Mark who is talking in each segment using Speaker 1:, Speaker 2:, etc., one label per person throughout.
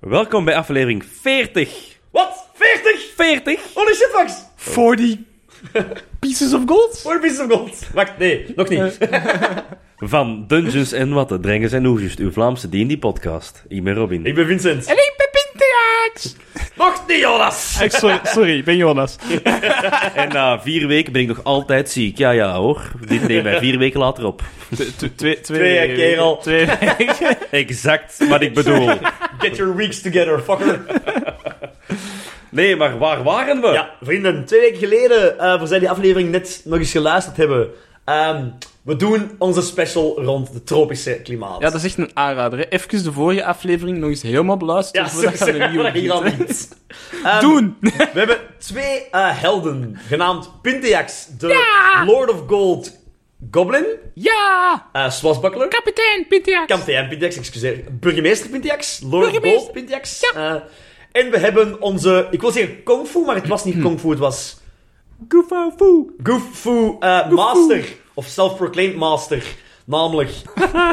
Speaker 1: Welkom bij aflevering 40.
Speaker 2: Wat? 40?
Speaker 1: 40?
Speaker 2: Holy shit, Max!
Speaker 3: 40 pieces of gold?
Speaker 2: Voor Beast of Gold. Wacht, nee, nog niet.
Speaker 1: Van Dungeons en Watten, Drengens en Oerjust, uw Vlaamse D&D-podcast. Ik ben Robin.
Speaker 2: Ik ben Vincent.
Speaker 3: En ik ben Pintiax!
Speaker 2: Nog niet, Jonas!
Speaker 3: Ik, sorry, sorry, ik ben Jonas.
Speaker 1: En na vier weken ben ik nog altijd ziek. Ja, ja hoor. Dit neem mij vier weken later op.
Speaker 3: Twee, twee, twee,
Speaker 2: Twee, kerel.
Speaker 3: Twee weken.
Speaker 1: Exact wat ik bedoel.
Speaker 2: Get your weeks together, fucker.
Speaker 1: Nee, maar waar waren we?
Speaker 2: Ja, vrienden, twee weken geleden, eh voor zij die aflevering net nog eens geluisterd hebben, ehm, we doen onze special rond de tropische klimaat.
Speaker 3: Ja, dat is echt een aanrader. Hè. Even de vorige aflevering nog eens helemaal beluisteren.
Speaker 2: Ja, zo
Speaker 3: voordat je aan de
Speaker 2: zeggen we
Speaker 3: nieuwe
Speaker 2: dat hier al
Speaker 3: begint, hè.
Speaker 2: niet. Ehm,
Speaker 3: Doen!
Speaker 2: We hebben twee eh, helden, genaamd Pintiax, de Lord of Gold Goblin,
Speaker 3: Ja!
Speaker 2: eh Swasbuckler.
Speaker 3: Kapitein Pintiax!
Speaker 2: Kapitein Pintiax, excuseer. Burgemeester Pintiax. Lord
Speaker 3: Burgemeester.
Speaker 2: Gold Pintiax. Eh, en we hebben onze... Ik wil zeggen Kung Fu, maar het was niet Kung Fu. Het was
Speaker 3: Goofoo!
Speaker 2: Goof Fu eh, Master. Of Self-Proclaimed Master. Namelijk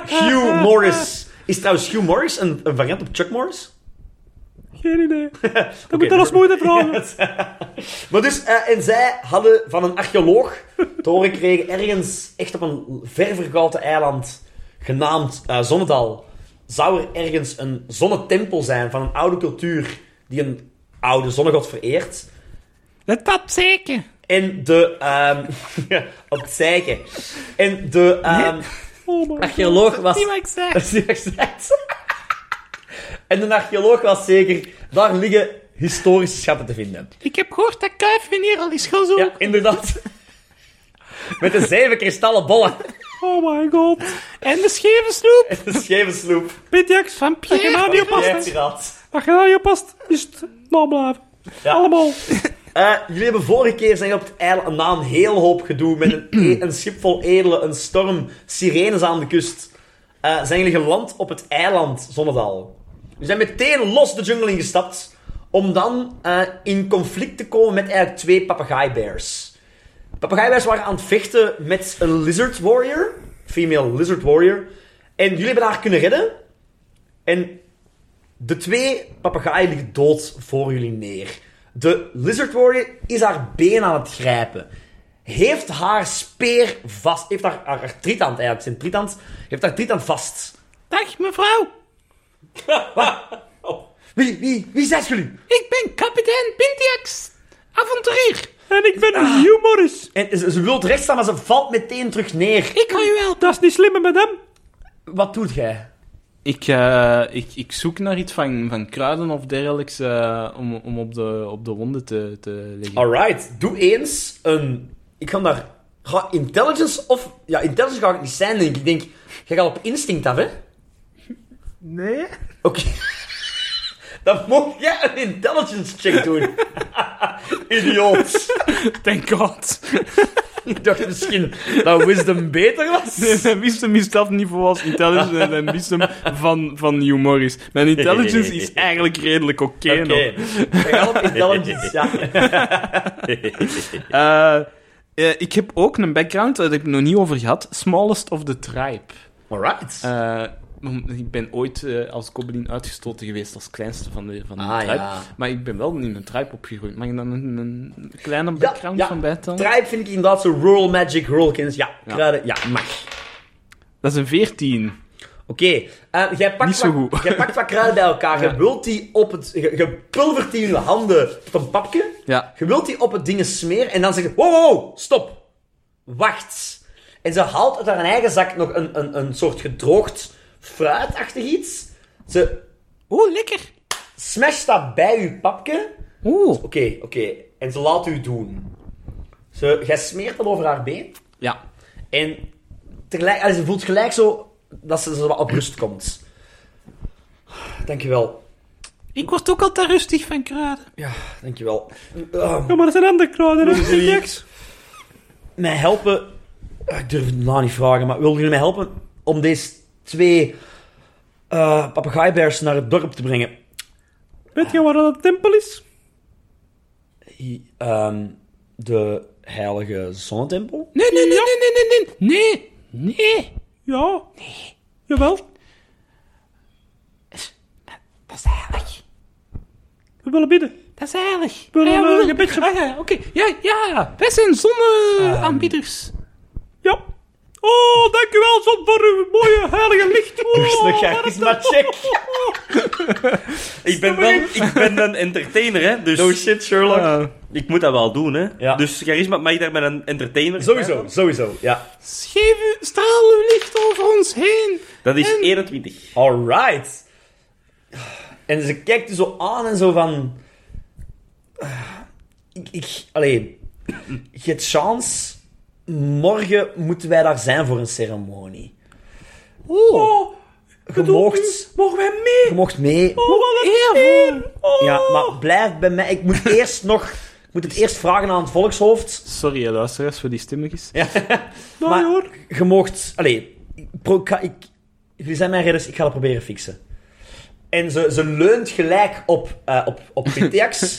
Speaker 2: Hugh Morris. Is trouwens Hugh Morris een, een variant op Chuck Morris?
Speaker 3: Geen idee.
Speaker 2: Oké,
Speaker 3: moet er als moeder vragen.
Speaker 2: maar dus, eh, en zij hadden van een archeoloog te horen gekregen ergens, echt op een ver vergoten eiland, genaamd eh Zonnedal, zou er ergens een zonnetempel zijn van een oude cultuur die een oude zonnegod vereert.
Speaker 3: Dat dat zeker.
Speaker 2: En de... ehm op het zeiken. En de... ehm,
Speaker 3: Oh my
Speaker 2: Archeoloog
Speaker 3: God.
Speaker 2: was-
Speaker 3: Niet wat ik zei.
Speaker 2: Dat is niet exact. en de archeoloog was zeker, daar liggen historische schatten te vinden.
Speaker 3: Ik heb gehoord dat Kuif meneer al is gaan zoeken.
Speaker 2: Ja, inderdaad. Met de zeven kristallen bollen
Speaker 3: Oh my god. En de scheve snoep.
Speaker 2: en de scheve sloep.
Speaker 3: Pintiax van Pierre. Dat je daar niet op
Speaker 2: Ja,
Speaker 3: past.
Speaker 2: piraat.
Speaker 3: Dat je daar niet op past. Is het nablaven.
Speaker 2: Ja.
Speaker 3: Allemaal.
Speaker 2: Eh, jullie hebben vorige keer zijn op het eiland na een heel hoop gedoe met een, e- een schip vol edelen, een storm, sirenes aan de kust. eh, zijn jullie geland op het eiland Zonnedal. Jullie zijn meteen los de jungle ingestapt om dan eh, in conflict te komen met eigenlijk twee papegaaibears. Papegaaibears waren aan het vechten met een lizard warrior, female lizard warrior. En jullie hebben haar kunnen redden. En de twee papegaaien liggen dood voor jullie neer. De Lizard Warrior is haar been aan het grijpen. Heeft haar speer vast. Heeft haar, haar, haar tritand eigenlijk. Zijn tritand. Heeft haar tritand vast.
Speaker 3: Dag mevrouw,
Speaker 2: Oh. Wie, wie, wie zijn jullie?
Speaker 3: ik ben kapitein Pintiax, avonturier. En ik ben ah. Morris.
Speaker 2: En ze, ze wil recht staan, maar ze valt meteen terug neer.
Speaker 3: Ik kan u helpen. Dat is niet slimmer met hem.
Speaker 2: Wat doet jij?
Speaker 3: Ik, eh, ik, ik zoek naar iets van, van kruiden of dergelijks eh, om, om op, de, op de wonden te, te leggen.
Speaker 2: Alright, doe eens een. Ik ga daar. Ga intelligence of. Ja, intelligence ga ik niet zijn, denk ik. Ik denk. Jij gaat op instinct af, hè?
Speaker 3: Nee?
Speaker 2: Oké. Dan mocht jij een intelligence check doen. Idioot.
Speaker 3: Thank god.
Speaker 2: Ik dacht misschien dat wisdom beter was.
Speaker 3: Nee, mijn wisdom is dat niveau als intelligence en mijn wisdom van, van Hugh Morris. Mijn intelligence is eigenlijk redelijk oké nog.
Speaker 2: Oké. We gaan op intelligence, ja.
Speaker 3: Eh, eh, ik heb ook een background, daar heb ik het nog niet over gehad. Smallest of the tribe.
Speaker 2: Alright.
Speaker 3: Eh, ik ben ooit eh, als goblin uitgestoten geweest als kleinste van de, van de
Speaker 2: Ah,
Speaker 3: tribe.
Speaker 2: ja.
Speaker 3: Maar ik ben wel in een tribe opgegroeid. Mag ik dan een, een kleine
Speaker 2: Ja,
Speaker 3: background
Speaker 2: ja.
Speaker 3: van bijtellen?
Speaker 2: Tribe vind ik inderdaad zo rural magic, rural kennis. Ja,
Speaker 3: Ja.
Speaker 2: kruiden. Ja, mag.
Speaker 3: Dat is een 14.
Speaker 2: Oké. eh, jij pakt
Speaker 3: Niet zo
Speaker 2: wat-
Speaker 3: goed.
Speaker 2: Jij pakt wat kruiden bij elkaar.
Speaker 3: Ja.
Speaker 2: Je wilt die op het... Je, je pulvert die in je handen tot een papje.
Speaker 3: Ja.
Speaker 2: Je wilt die op het ding smeren en dan zeg je... Wow, wow, wow, stop. Wacht. En ze haalt uit haar eigen zak nog een, een, een soort gedroogd fruitachtig iets. Ze
Speaker 3: Oeh, lekker.
Speaker 2: smasht dat bij uw papje.
Speaker 3: Oeh.
Speaker 2: Oké, oké. En ze laat u doen. Ze, jij smeert dat over haar been.
Speaker 3: Ja.
Speaker 2: En tegelijk, allee, ze voelt gelijk zo dat ze, ze wat op rust komt. Dankjewel.
Speaker 3: Ik word ook altijd rustig van kruiden.
Speaker 2: Ja, dankjewel. Ah,
Speaker 3: maar dat zijn andere kruiden,
Speaker 2: hè? Doei. Niks. mij helpen... Ah, Ik durf het nou niet vragen, maar wilden jullie mij helpen om deze twee eh papegaaibears naar het dorp te brengen?
Speaker 3: Weet je waar dat tempel is?
Speaker 2: I- ehm, de heilige zonnetempel?
Speaker 3: Nee, nee, nee, nee, nee, nee, nee. Nee. Ja. Nee. Jawel.
Speaker 4: Dat is heilig.
Speaker 3: We willen bidden.
Speaker 4: Dat is heilig.
Speaker 3: We willen
Speaker 4: Ah, ja,
Speaker 3: eh,
Speaker 4: we-
Speaker 3: een beetje...
Speaker 4: Ah, ja, oké. Ja, ja. Wij zijn zonneaanbieders.
Speaker 3: Ja. Oh, dankjewel, zon, voor uw mooie heilige licht. Oh,
Speaker 2: Dus een charisma-check.
Speaker 1: Ik ben, dan, ik ben dan entertainer, hè? Dus
Speaker 2: No shit, Sherlock.
Speaker 1: ik moet dat wel doen, hè?
Speaker 2: Ja.
Speaker 1: Dus charisma, mag ik daar met een entertainer?
Speaker 2: Sowieso, sowieso, ja.
Speaker 4: Geef u, straal uw licht over ons heen.
Speaker 1: Dat is 21.
Speaker 2: Alright. En ze kijkt u zo aan en zo van... "Ah, Ik, ik, allee, je hebt chance. Morgen moeten wij daar zijn voor een ceremonie.
Speaker 3: Oh,
Speaker 2: Je moogt,
Speaker 3: mogen wij mee?
Speaker 2: je moogt mee.
Speaker 3: Oh, wat een eer. Oh.
Speaker 2: Ja, maar blijf bij mij. Ik moet eerst nog... Ik moet het eerst vragen aan het volkshoofd.
Speaker 3: Sorry, hè, luisteraars, voor die stemmigjes.
Speaker 2: Ja.
Speaker 3: Nou,
Speaker 2: Maar-
Speaker 3: hoor.
Speaker 2: Je moogt... Allee, ik pro- ik ga- ik, jullie zijn mijn redders, ik ga dat proberen fixen. En ze, ze leunt gelijk op, eh op, op Pitex.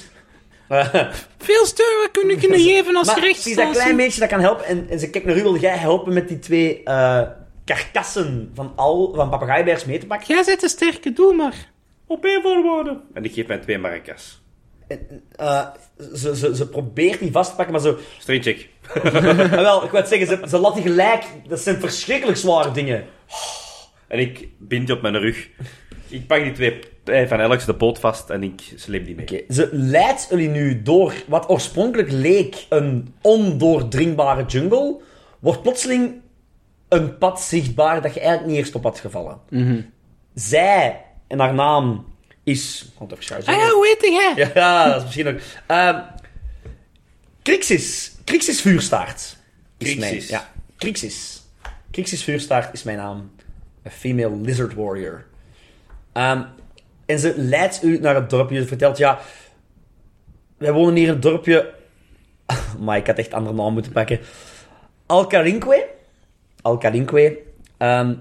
Speaker 2: Eh,
Speaker 4: Veel steun we kunnen, kunnen geven als
Speaker 2: maar het is dat klein
Speaker 4: gerechtsstatie.
Speaker 2: beetje dat kan helpen. En, en ze kijkt naar u, wil jij helpen met die twee eh, karkassen van, al- van papegaaibeers mee te pakken?
Speaker 4: Jij zet de sterke, doe maar.
Speaker 3: Op één voorwaarde.
Speaker 1: En ik geef mij twee maracas.
Speaker 2: En, eh, ze, ze, ze probeert die vast te pakken, maar zo...
Speaker 1: Straight check.
Speaker 2: Ah, wel, ik wou het zeggen, ze, ze laat die gelijk... Dat zijn verschrikkelijk zware dingen.
Speaker 1: En ik bind die op mijn rug. Ik pak die twee eh, van elk de poot vast en ik sleep die mee.
Speaker 2: Oké, Ze leidt jullie nu door wat oorspronkelijk leek een ondoordringbare jungle, wordt plotseling een pad zichtbaar dat je eigenlijk niet eerst op had gevallen.
Speaker 4: Mhm.
Speaker 2: Zij, en haar naam is... God, even schuizen.
Speaker 4: Ah ja, hoe heet jij?
Speaker 2: Ja, dat is misschien ook... Ehm Krixis. Krixis Vuurstaart. Is Mijn,
Speaker 1: Krixis.
Speaker 2: ja, Krixis. Krixis Vuurstaart is mijn naam. Een female lizard warrior. Ehm, en ze leidt u naar het dorpje. Ze vertelt, ja... Wij wonen hier in het dorpje... Maar ik had echt andere naam moeten pakken. Alcarinque. Alcarinque. Ehm,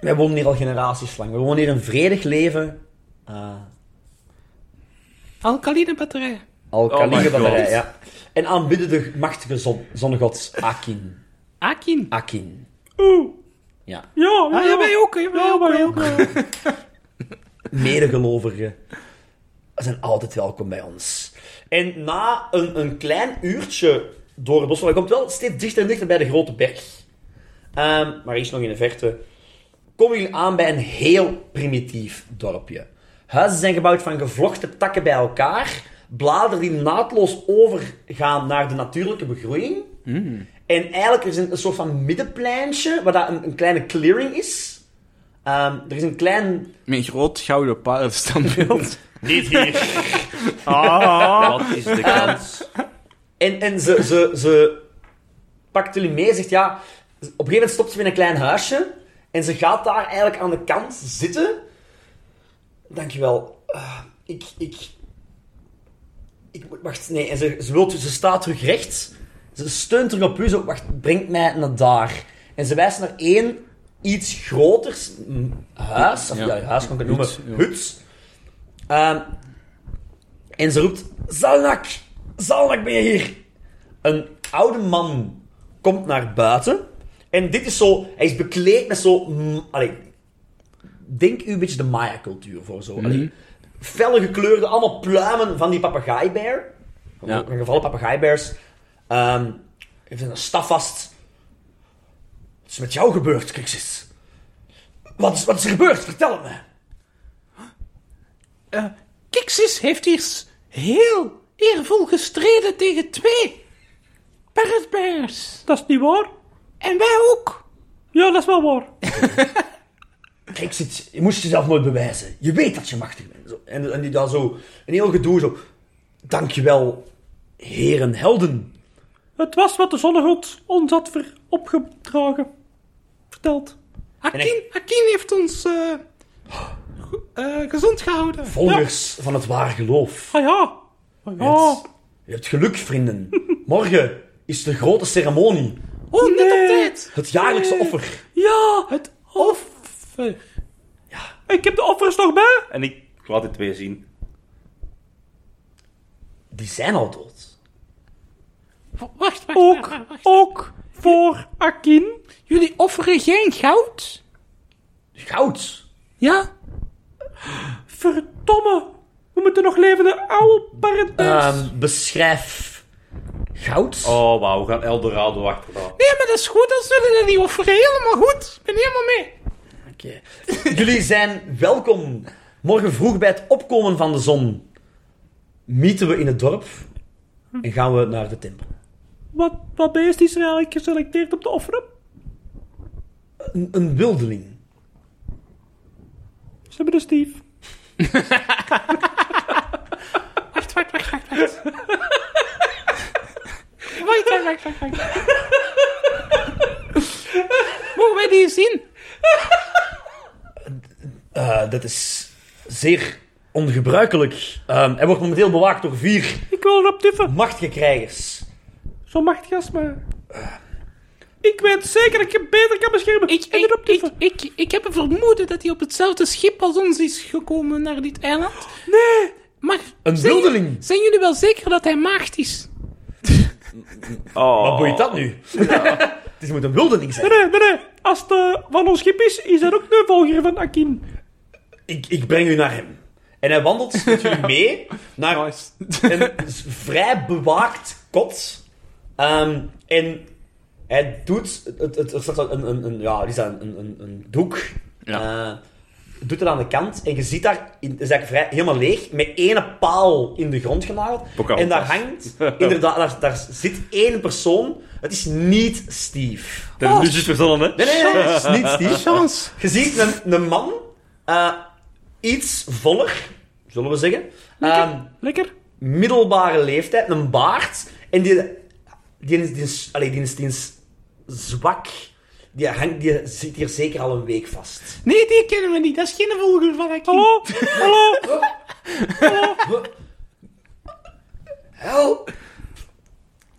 Speaker 2: wij wonen hier al generaties lang. We wonen hier een vredig leven. Eh,
Speaker 4: Alkaline batterij.
Speaker 1: Oh my
Speaker 2: Alkaline
Speaker 1: God.
Speaker 2: batterij, ja. En aanbidden de machtige zon, zonnegod Akin.
Speaker 4: Akin.
Speaker 2: Akin.
Speaker 3: Oeh.
Speaker 2: Ja.
Speaker 3: Ja, ja.
Speaker 4: Ah, ja, wij ook, hè. Wij
Speaker 3: Ja,
Speaker 4: ook,
Speaker 3: wij
Speaker 4: wij
Speaker 3: ook.
Speaker 4: ook.
Speaker 2: Medegelovigen zijn altijd welkom bij ons. En na een, een klein uurtje door het bos, want je komt wel steeds dichter en dichter bij de grote berg. Ehm, maar iets nog in de verte. Komen jullie aan bij een heel primitief dorpje. Huizen zijn gebouwd van gevlochten takken bij elkaar. Bladeren die naadloos overgaan naar de natuurlijke begroeiing. En eigenlijk is het een soort van middenpleintje, waar dat een, een kleine clearing is. Ehm, er is een klein
Speaker 3: Mijn groot gouden paardenstandbeeld.
Speaker 1: Niet hier.
Speaker 3: Ah.
Speaker 1: Wat is de kans?
Speaker 2: En, en ze, ze, ze pakt jullie mee, zegt ja. Op een gegeven moment stopt ze in een klein huisje. En ze gaat daar eigenlijk aan de kant zitten. Dankjewel. Eh, ik, ik. Ik moet. Wacht, nee. En ze, ze, wil, ze staat terug recht. Ze steunt terug op u. Zo, wacht, breng mij naar daar. En ze wijst naar één iets groters mm, huis. Of ja,
Speaker 3: Ja.
Speaker 2: huis kan ik het noemen.
Speaker 3: Hut, ja.
Speaker 2: Hut. Ehm, en ze roept: Zalnak! Zalnak ben je hier! Een oude man komt naar buiten. En dit is zo, hij is bekleed met zo. mm, allee, denk u een beetje de Maya-cultuur voor zo. Allee, felle gekleurde, allemaal pluimen van die papegaaibeer. Van
Speaker 3: Ja.
Speaker 2: van gevallen papegaaibeers. Ehm, heeft een staf vast. Wat is met jou gebeurd, Crixis? Wat is, wat is er gebeurd? Vertel het me.
Speaker 4: Eh, Kixis heeft hier s- heel eervol gestreden tegen twee parrot bears.
Speaker 3: Dat is niet waar.
Speaker 4: En wij ook.
Speaker 3: Ja, dat is wel waar.
Speaker 2: Crixis, je moest jezelf nooit bewijzen. Je weet dat je machtig bent. Zo. En, en die daar zo, een heel gedoe zo. Dankjewel, heren helden.
Speaker 3: Het was wat de zonnegod ons had ver- opgedragen. Verteld.
Speaker 4: Akin, Akin heeft ons eh, go- eh, gezond gehouden.
Speaker 2: Volgers van het waar geloof.
Speaker 3: Ah ja. Ah ja.
Speaker 2: Yes. Je hebt geluk, vrienden. Morgen is de grote ceremonie.
Speaker 4: Oh, net
Speaker 3: Nee.
Speaker 4: op tijd.
Speaker 2: Het jaarlijkse offer.
Speaker 3: Ja. Oh.
Speaker 4: Het offer.
Speaker 3: Ik heb de offers nog bij.
Speaker 1: En ik laat die twee zien.
Speaker 2: Die zijn al dood.
Speaker 3: W- Wacht, wacht.
Speaker 4: Ook,
Speaker 3: wacht, wacht.
Speaker 4: ook voor Akin.
Speaker 3: Jullie offeren geen goud?
Speaker 2: Goud.
Speaker 3: Ja?
Speaker 4: Verdomme. We moeten nog levende oude paradijs.
Speaker 2: Ehm, beschrijf goud.
Speaker 1: Oh, wauw, we gaan Eldorado achter. Oh.
Speaker 3: Nee, maar dat is goed. Dat zullen jullie offeren. Helemaal goed. Ik ben helemaal mee.
Speaker 2: Oké. Jullie zijn welkom. Morgen vroeg bij het opkomen van de zon mieten we in het dorp en gaan we naar de tempel.
Speaker 4: Wat, wat beest is er eigenlijk geselecteerd om te offeren?
Speaker 2: Een, een wildeling.
Speaker 4: Ze hebben de Steve.
Speaker 3: Wacht, wacht, wacht, wacht. Wacht, wacht, wacht, wacht, wacht, wacht. Mogen wij die zien?
Speaker 2: Eh, dat is zeer ongebruikelijk. Ehm, hij wordt momenteel bewaakt door vier
Speaker 4: Ik wil erop tiffen.
Speaker 2: machtige krijgers.
Speaker 4: Zo machtig als maar. Ik weet zeker dat ik hem beter kan beschermen.
Speaker 3: Ik,
Speaker 4: En
Speaker 3: ik,
Speaker 4: erop
Speaker 3: ik,
Speaker 4: tiffen.
Speaker 3: ik, ik heb een vermoeden dat hij op hetzelfde schip als ons is gekomen naar dit eiland.
Speaker 4: Nee.
Speaker 3: Maar
Speaker 2: Een
Speaker 3: zijn jullie-
Speaker 2: wildeling.
Speaker 3: Zijn jullie wel zeker dat hij maagd is?
Speaker 1: Oh.
Speaker 2: Wat boeit dat nu? het is, moet een wildeling zijn.
Speaker 4: Nee, nee, nee. Als het eh, van ons schip is, is dat ook de volger van Akin.
Speaker 2: Ik, ik breng u naar hem. En hij wandelt met jullie mee naar een s- vrij bewaakt kot. Ehm, en hij doet... Het, het, er staat zo een, een, een, ja, die staat een, een, een doek. Eh, doet het aan de kant. En je ziet daar... in- Het is eigenlijk vrij, helemaal leeg. Met één paal in de grond genageld.
Speaker 1: Pocahontas.
Speaker 2: En daar hangt... Inderdaad, daar, daar zit één persoon. Het is niet Steve. Oh,
Speaker 1: Dat is nu juist verzonnen, hè?
Speaker 2: Nee, nee, nee. Het is niet Steve.
Speaker 4: Chance.
Speaker 2: Je ziet een, een man, eh, iets voller, zullen we zeggen. Ehm,
Speaker 4: Lekker.
Speaker 2: middelbare leeftijd, een baard. En die, die, is- die, is- allee, die, is- die is zwak. Die, hangt, die zit hier zeker al een week vast.
Speaker 3: Nee, die kennen we niet. Dat is geen volger van Akin.
Speaker 4: Hallo. Hallo.
Speaker 2: Help!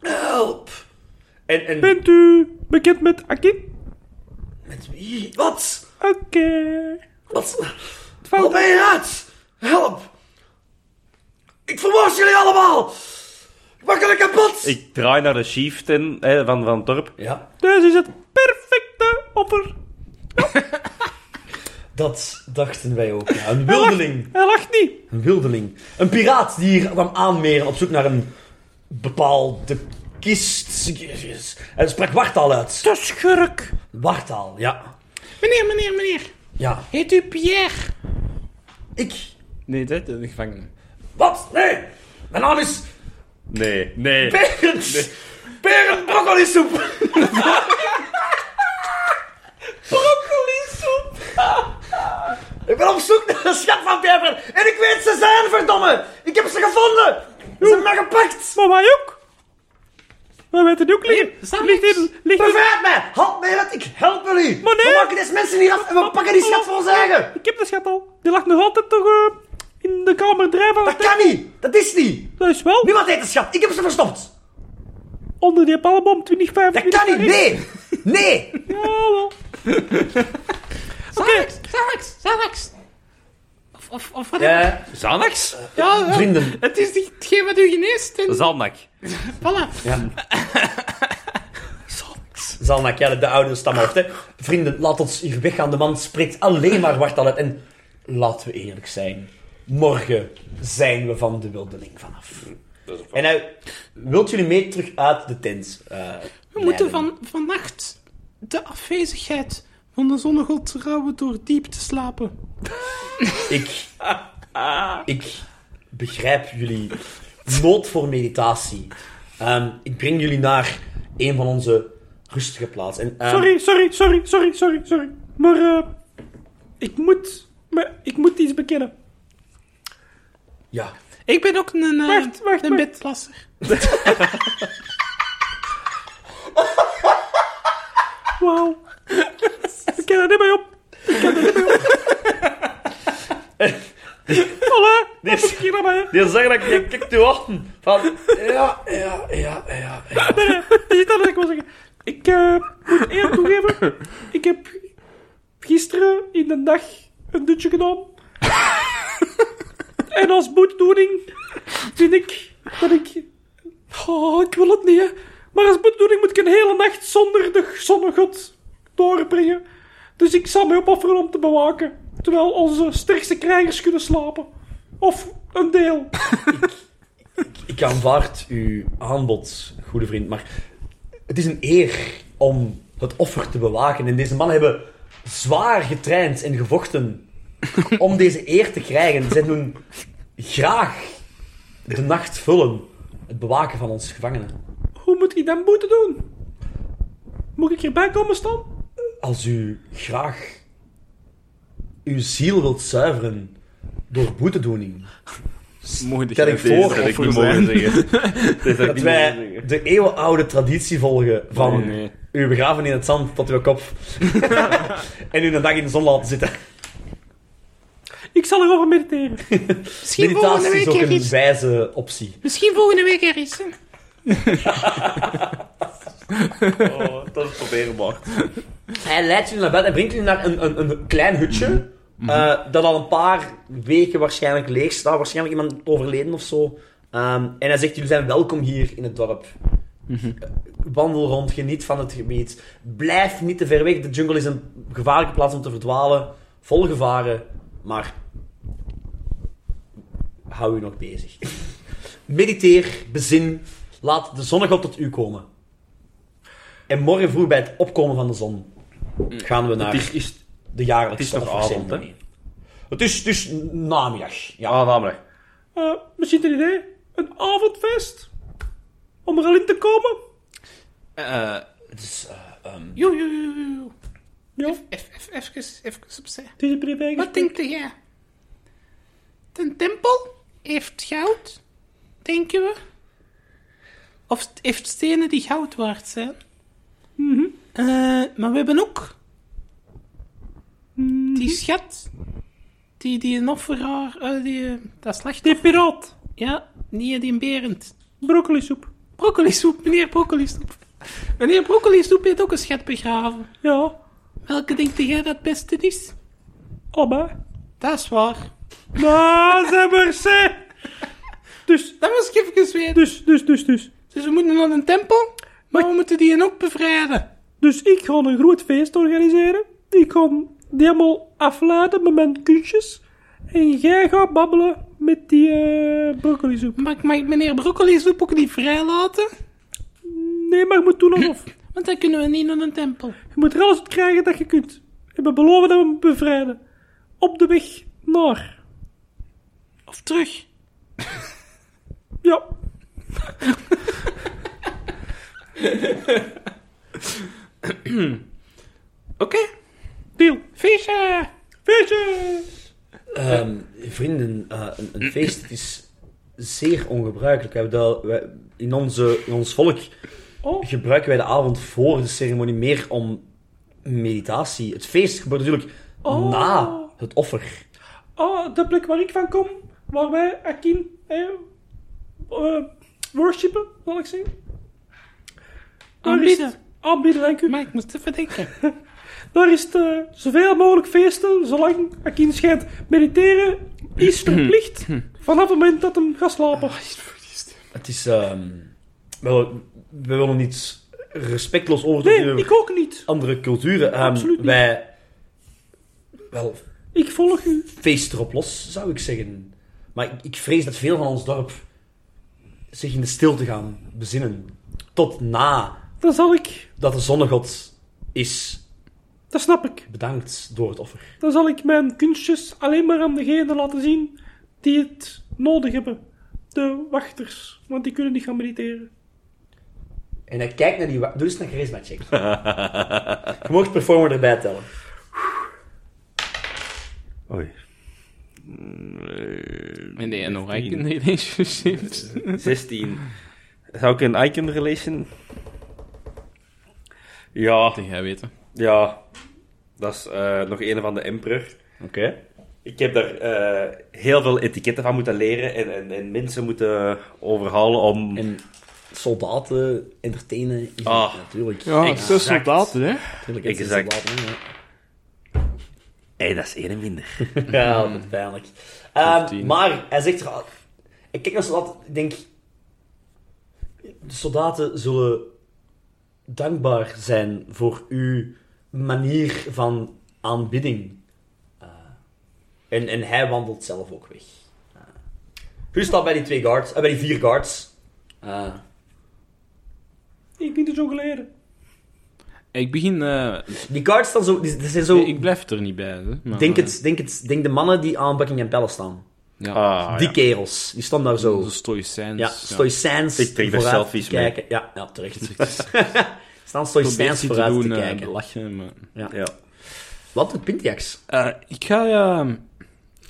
Speaker 2: Help! En, en
Speaker 4: Bent u bekend met Akin?
Speaker 2: met wie? Wat?
Speaker 4: Oké.
Speaker 2: Wat? Wat ben je uit? Help! Ik vermoord jullie allemaal! Ik maak jullie kapot!
Speaker 1: Ik draai naar de chieftain hè, van, van het dorp.
Speaker 2: Ja,
Speaker 4: Dit Dus is het perfecte offer.
Speaker 2: dat dachten wij ook. Ja, een wildeling.
Speaker 4: Hij lacht niet.
Speaker 2: Een wildeling. Een piraat die hier kwam aanmeren op zoek naar een bepaalde kist. Hij sprak wartaal uit.
Speaker 3: De schurk.
Speaker 2: Wartaal, ja.
Speaker 3: Meneer, meneer, meneer.
Speaker 2: Ja.
Speaker 3: Heet u Pierre?
Speaker 2: Ik.
Speaker 4: Nee, dat is een gevangene.
Speaker 2: Wat? Nee! Mijn naam is
Speaker 1: Nee, nee.
Speaker 2: Berend. Berend Broccolisoep. Broccolisoep. ik ben op zoek naar de schat van Berend. En ik weet ze zijn, verdomme. Ik heb ze gevonden. Ze hebben mij gepakt.
Speaker 4: Maar wij ook. Wij weten die ook liggen.
Speaker 3: samen.
Speaker 4: Ligt in... Ligt in...
Speaker 2: Bevrijd mij. Help mij, want ik help jullie.
Speaker 4: Maar nee.
Speaker 2: We maken deze mensen hier af en we pakken die schat voor ons eigen.
Speaker 4: Ik heb de schat al. Die lag nog altijd toch eh, in de kamer drijven.
Speaker 2: Dat kan niet. Dat is niet.
Speaker 4: Dat is wel
Speaker 2: Niemand heeft de schat. Ik heb ze verstopt.
Speaker 4: onder die palmboom 2025.
Speaker 2: Dat kan niet. Nee. Nee.
Speaker 4: Jawel.
Speaker 3: Zanax, Zanax, Zanax. Of, of, of wat
Speaker 2: Ja,
Speaker 1: Xanax?
Speaker 3: ja, ja.
Speaker 2: vrienden.
Speaker 3: Het is niet hetgeen wat u geneest. En,
Speaker 1: Zalnak.
Speaker 3: voilà.
Speaker 2: Ja. Zalnak, ja, de oude stamhoofd, hè. Vrienden, laat ons hier weggaan. De man spreekt alleen maar wartal uit. En laten we eerlijk zijn. Morgen zijn we van de wildeling vanaf. En hij wilt jullie mee terug uit de tent. eh,
Speaker 3: We
Speaker 2: leiden.
Speaker 3: moeten van, vannacht de afwezigheid van de zonnegod trouwen door diep te slapen.
Speaker 2: Ik... Ik begrijp jullie nood voor meditatie. Ehm, ik breng jullie naar een van onze rustige plaatsen. En, ehm,
Speaker 4: Sorry, sorry, sorry, sorry, sorry, sorry. Maar eh, ik moet... Maar ik moet iets bekennen.
Speaker 2: Ja.
Speaker 3: Ik ben ook een, eh,
Speaker 4: Wacht, wacht,
Speaker 3: een
Speaker 4: wacht.
Speaker 3: bedplasser.
Speaker 4: Wauw. Ik ken er niet mee op. Ik ken er niet mee op. Hallo, wat moet ik hier nou mee?
Speaker 2: Die zeggen dat ik kijk te wachten. Van, ja, ja, ja, ja, ja.
Speaker 4: Dat is dat wat ik wil zeggen. Ik eh, moet eerlijk toegeven, ik heb gisteren in de dag een dutje gedaan. en als boetdoening vind ik dat ik Oh, ik wil het niet, hè. Maar als bedoeling moet ik een hele nacht zonder de zonnegod doorbrengen. Dus ik zal mij opofferen om te bewaken. Terwijl onze sterkste krijgers kunnen slapen. Of een deel.
Speaker 2: Ik aanvaard uw aanbod, goede vriend, maar het is een eer om het offer te bewaken. En deze mannen hebben zwaar getraind en gevochten om deze eer te krijgen. Zij doen graag de nacht vullen, het bewaken van ons gevangenen.
Speaker 4: Hoe moet ik dat moeten doen? Moet ik hierbij komen staan?
Speaker 2: Als u graag uw ziel wilt zuiveren door boetedoening,
Speaker 3: Mocht
Speaker 2: Stel
Speaker 3: jij
Speaker 2: ik
Speaker 3: deze
Speaker 2: voor,
Speaker 1: dat ik
Speaker 3: offer
Speaker 1: niet mogen
Speaker 3: zijn?
Speaker 1: zeggen. Dit had ik
Speaker 2: dat
Speaker 1: niet mogen
Speaker 2: wij
Speaker 1: zeggen.
Speaker 2: de eeuwenoude traditie volgen van
Speaker 3: Nee, nee.
Speaker 2: u begraven in het zand tot uw kop en u een dag in de zon laten zitten.
Speaker 4: Ik zal erover mediteren.
Speaker 5: Misschien volgende
Speaker 2: Meditatie is
Speaker 5: week
Speaker 2: ook
Speaker 5: er
Speaker 2: een
Speaker 5: iets.
Speaker 2: wijze optie.
Speaker 5: Misschien volgende week er iets. hè.
Speaker 1: Oh, dat is proberen waard.
Speaker 2: Hij leidt jullie naar bed en brengt jullie naar een, een, een klein hutje. eh, dat al een paar weken waarschijnlijk leeg staat. Waarschijnlijk iemand overleden of zo. Ehm, en hij zegt: Jullie zijn welkom hier in het dorp. Eh, Wandel rond, geniet van het gebied. Blijf niet te ver weg. De jungle is een gevaarlijke plaats om te verdwalen. Vol gevaren, maar hou u nog bezig. Mediteer, bezin. Laat de zonnegod tot u komen. En morgen vroeg bij het opkomen van de zon gaan we naar
Speaker 1: Mm. Het is, is,
Speaker 2: de jaarlijkse
Speaker 1: Het is nog
Speaker 2: afwasseremonie.
Speaker 1: avond, hè?
Speaker 2: Het is, het is namiddag. Ja.
Speaker 1: ah, namelijk.
Speaker 4: Eh, misschien een idee? Een avondfeest? Om er al in te komen?
Speaker 3: Eh,
Speaker 2: Het is, eh, ehm,
Speaker 5: Joe, joe, joe, joe, joe.
Speaker 4: Ja,
Speaker 5: Even, even, even, even opzij.
Speaker 4: het is een privé
Speaker 5: Wat denkt jij? De tempel heeft goud, denken we. Of het heeft stenen die goud waard zijn.
Speaker 4: Mhm.
Speaker 5: Eh, maar we hebben ook
Speaker 4: Mhm.
Speaker 5: die schat, die, die een offeraar, eh, die, eh, dat slachtoffer.
Speaker 4: Die piraat.
Speaker 5: Ja, niet die Berend.
Speaker 4: Broccoli soep.
Speaker 5: Broccoli soep, meneer broccoli soep. Meneer broccoli soep heeft ook een schat begraven.
Speaker 4: Ja,
Speaker 5: Welke denkt jij dat het beste is?
Speaker 4: allebei.
Speaker 5: Dat is waar.
Speaker 4: Maar ze mercé. Dus,
Speaker 5: Dat was ik even weten.
Speaker 4: dus, dus, dus, dus.
Speaker 5: Dus we moeten naar een tempel, maar we moeten die hen ook bevrijden.
Speaker 4: Dus ik ga een groot feest organiseren. Ik ga die helemaal afladen met mijn kunstjes. En jij gaat babbelen met die eh broccoli soep.
Speaker 5: Maar ik mag meneer Broccoli soep ook niet vrijlaten,
Speaker 4: Nee, maar je moet doen alsof.
Speaker 5: want dan kunnen we niet naar een tempel.
Speaker 4: Je moet er alles op krijgen dat je kunt. En we beloven dat we hem bevrijden. Op de weg naar.
Speaker 5: Of terug.
Speaker 4: Ja.
Speaker 5: Oké.
Speaker 4: Deal.
Speaker 5: Feestje!
Speaker 4: Feestje!
Speaker 2: ehm, vrienden, eh, een, een feest het is zeer ongebruikelijk. We hebben dat- wij- in, onze, in ons volk
Speaker 4: Oh.
Speaker 2: gebruiken wij de avond voor de ceremonie meer om meditatie. Het feest gebeurt natuurlijk
Speaker 4: Oh.
Speaker 2: na het offer.
Speaker 4: Ah, de plek waar ik van kom, waar wij Akin eh, eh, worshipen, zal ik zeggen. Daar is het-
Speaker 5: Aanbidden.
Speaker 4: Aanbidden, dank u.
Speaker 5: Oh, Maar ik moest even denken.
Speaker 4: Daar is het eh, zoveel mogelijk feesten, zolang Akin schijnt mediteren, is
Speaker 5: Mhm.
Speaker 4: verplicht vanaf het moment dat hem gaat slapen.
Speaker 5: Ah,
Speaker 2: Het is. ehm, wel, we willen niet respectloos over
Speaker 4: Nee, ik ook niet.
Speaker 2: andere culturen. Ehm,
Speaker 4: Absoluut niet.
Speaker 2: Wij. Wel,
Speaker 4: Ik volg u.
Speaker 2: feest erop los, zou ik zeggen. Maar ik, ik vrees dat veel van ons dorp zich in de stilte gaan bezinnen. Tot na
Speaker 4: Dan zal ik,
Speaker 2: dat de zonnegod is
Speaker 4: dat snap ik,
Speaker 2: bedankt door het offer.
Speaker 4: dan zal ik mijn kunstjes alleen maar aan degenen laten zien die het nodig hebben. De wachters, want die kunnen niet gaan mediteren.
Speaker 2: En hij kijkt naar die... wa- Doe eens een charisma check. Je mocht performer erbij tellen.
Speaker 1: Oei.
Speaker 5: Nee, nog een relationships.
Speaker 1: 16. Zou ik een icon relation? Ja,
Speaker 5: jij weten.
Speaker 1: ja. Dat is eh, nog een van de emperor.
Speaker 2: Oké.
Speaker 1: Ik heb daar eh, heel veel etiketten van moeten leren en, en, en mensen moeten overhalen om...
Speaker 2: En soldaten entertainen is
Speaker 1: Ah.
Speaker 2: natuurlijk...
Speaker 3: ja,
Speaker 1: Exact.
Speaker 3: zes soldaten, hè.
Speaker 2: natuurlijk is het
Speaker 1: exact.
Speaker 2: soldaten, ja.
Speaker 1: hey, dat is één minder.
Speaker 2: Ja, wat pijnlijk. Ehm,
Speaker 3: 15.
Speaker 2: maar hij zegt er al- Ik kijk naar soldaten, ik denk... De soldaten zullen dankbaar zijn voor uw manier van aanbidding. Eh, en, en hij wandelt zelf ook weg. Eh, u staat bij die twee guards, eh, bij die vier guards. Eh,
Speaker 4: Ik ben er zo geleden.
Speaker 3: Ik begin... eh,
Speaker 2: die guards staan zo, die, die zijn zo.
Speaker 3: ik blijf er niet bij. Hè, maar,
Speaker 2: denk,
Speaker 3: eh,
Speaker 2: het, denk, het, denk de mannen die aan Buckingham Palace staan.
Speaker 3: Ja.
Speaker 1: Ah,
Speaker 2: die
Speaker 1: ja.
Speaker 2: kerels, die staan daar zo.
Speaker 3: Zo stoïcijns.
Speaker 2: Ja, stoïcijns.
Speaker 1: Ik trek daar
Speaker 2: vooruit
Speaker 1: selfies
Speaker 2: te
Speaker 1: mee.
Speaker 2: kijken. Ja, ja, terecht. staan stoïcijns
Speaker 3: te
Speaker 2: vooruit te,
Speaker 3: doen, eh,
Speaker 2: kijken.
Speaker 3: lachen, maar...
Speaker 1: Ja.
Speaker 2: Wat doet Pintiax?
Speaker 3: Eh, ik ga eh,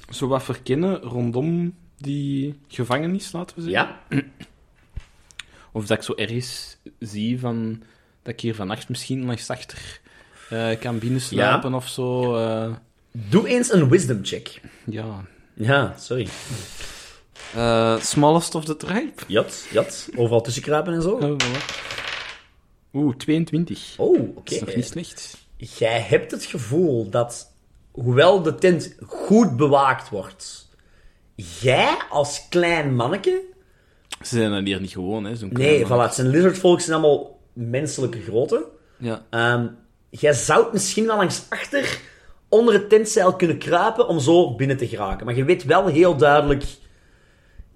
Speaker 3: zo wat verkennen rondom die gevangenis, laten we zeggen.
Speaker 2: Ja?
Speaker 3: Of dat ik zo ergens zie van... Dat ik hier vannacht misschien langs achter eh, kan binnensluipen of zo. eh,
Speaker 2: Doe eens een wisdom check.
Speaker 3: ja.
Speaker 2: Ja, sorry.
Speaker 3: Eh, smallest of the tribe.
Speaker 2: Jat, jat. Overal tussen kruipen en zo.
Speaker 3: Oh, voilà. Oeh, 22.
Speaker 2: Oh, oké.
Speaker 3: Dat is nog niet slecht.
Speaker 2: Jij hebt het gevoel dat, hoewel de tent goed bewaakt wordt, jij als klein manneke...
Speaker 3: Ze zijn dat hier niet gewoon, hè? Zo'n
Speaker 2: Nee,
Speaker 3: klein
Speaker 2: voilà,
Speaker 3: man.
Speaker 2: het zijn lizardvolk, zijn allemaal menselijke grootte.
Speaker 3: Ja.
Speaker 2: Ehm, jij zou misschien wel langs achter onder het tentzeil kunnen kruipen om zo binnen te geraken. Maar je weet wel heel duidelijk,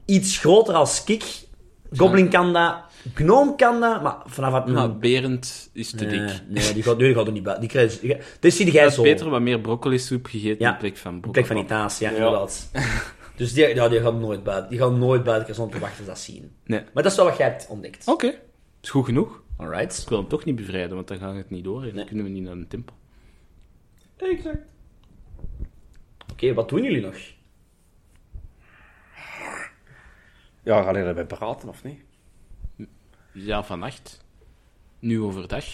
Speaker 2: iets groter als Kik, Goblin kan dat, Gnome kan dat, maar vanaf het...
Speaker 3: Maar Berend is te
Speaker 2: nee,
Speaker 3: dik.
Speaker 2: nee, die gaat, nee, die gaat er niet bij. Die krijgt, die- dus zie jij zo.
Speaker 3: Beter wat meer broccolisoep gegeten
Speaker 2: Ja,
Speaker 3: in plek van
Speaker 2: Op
Speaker 3: broccoli.
Speaker 2: plek van Itaas, ja, inderdaad. Dus die, ja, die gaan nooit buiten. Die gaan nooit buiten zonder te wachten dat zien.
Speaker 3: Nee.
Speaker 2: Maar dat is wel wat jij hebt ontdekt.
Speaker 3: Oké. Is goed genoeg.
Speaker 2: Alright.
Speaker 3: Ik wil hem toch niet bevrijden, want dan gaan we het niet door en dan
Speaker 2: Nee.
Speaker 3: kunnen we niet naar een tempel.
Speaker 4: Exact.
Speaker 2: Oké, wat doen jullie nog?
Speaker 1: Ja, gaan jullie erbij praten, of niet?
Speaker 3: Dus Ja, vannacht. Nu overdag.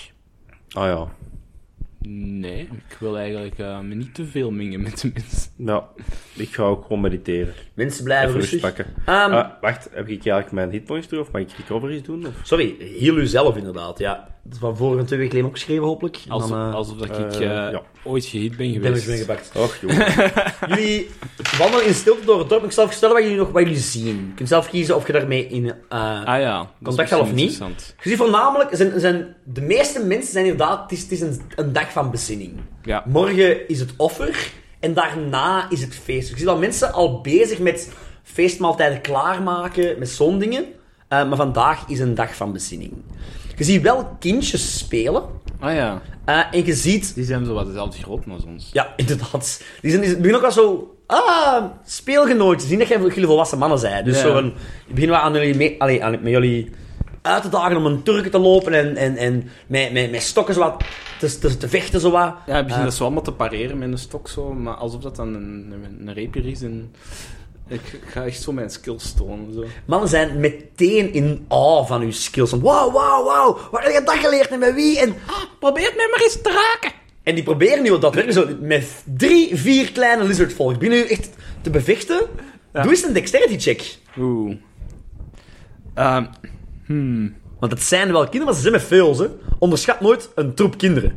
Speaker 1: Ah ja.
Speaker 3: Nee, ik wil eigenlijk eh, me niet te veel mengen met de mensen.
Speaker 1: Nou, ik ga ook gewoon mediteren.
Speaker 2: Mensen blijven
Speaker 1: Even rust
Speaker 2: rustig.
Speaker 1: pakken.
Speaker 2: Ehm,
Speaker 1: Ah, wacht, heb ik eigenlijk mijn hitpoints terug? Of mag ik recoveries doen? Of?
Speaker 2: Sorry, heel u zelf inderdaad, ja. Dat is van vorige twee weken geleden opgeschreven, hopelijk. En
Speaker 3: Alsof,
Speaker 2: dan, eh,
Speaker 3: alsof dat ik
Speaker 1: eh,
Speaker 3: eh,
Speaker 1: ja.
Speaker 3: ooit gehit ben
Speaker 2: damage
Speaker 3: geweest.
Speaker 2: ben gepakt.
Speaker 1: Och, joh.
Speaker 2: Jullie wandelen in stilte door het dorp. Ik zal even vertellen wat jullie nog wat jullie zien. Je kunt zelf kiezen of je daarmee in... eh,
Speaker 3: Ah ja, dat is
Speaker 2: Contact al of
Speaker 3: misschien
Speaker 2: niet?
Speaker 3: interessant.
Speaker 2: Je ziet voornamelijk, zijn, zijn, de meeste mensen zijn inderdaad, het is, het is een, een dag van bezinning.
Speaker 3: Ja.
Speaker 2: Morgen is het offer en daarna is het feest. Ik zie al mensen al bezig met feestmaaltijden klaarmaken, met zo'n dingen. Eh, maar vandaag is een dag van bezinning. Je ziet wel kindjes spelen
Speaker 3: Ah ja,
Speaker 2: eh, en je ziet,
Speaker 3: die zijn zo wat dezelfde groot als ons.
Speaker 2: ja, inderdaad, die zijn, die zijn- beginnen ook wel zo, ah, speelgenootjes. Zien dat jij- jullie volwassen mannen zijn. Dus
Speaker 3: Ja.
Speaker 2: zo een, beginnen we aan jullie, mee, allee, aan, met jullie uit te dagen om een Turken te lopen en, en, en met, met, met stokken zo wat te, te, te vechten. Zo wat.
Speaker 3: Ja, ik begin
Speaker 2: Eh,
Speaker 3: dat zo allemaal te pareren met een stok zo, maar alsof dat dan een, een, een rapier is en... Ik ik ga echt zo mijn skills tonen, zo.
Speaker 2: Mannen zijn meteen in awe van uw skills. Van, Wauw, wauw, wauw. Waar heb je dat geleerd en met wie? En,
Speaker 5: Ah, Probeer het mij maar eens te raken.
Speaker 2: en die proberen nu dat werken zo met drie, vier kleine lizardvolk binnen u echt te bevechten. Doe eens een dexterity check.
Speaker 3: Oeh. Ehm, hmm.
Speaker 2: Want het zijn wel kinderen, maar ze zijn met veel. Hè. Onderschat nooit een troep kinderen.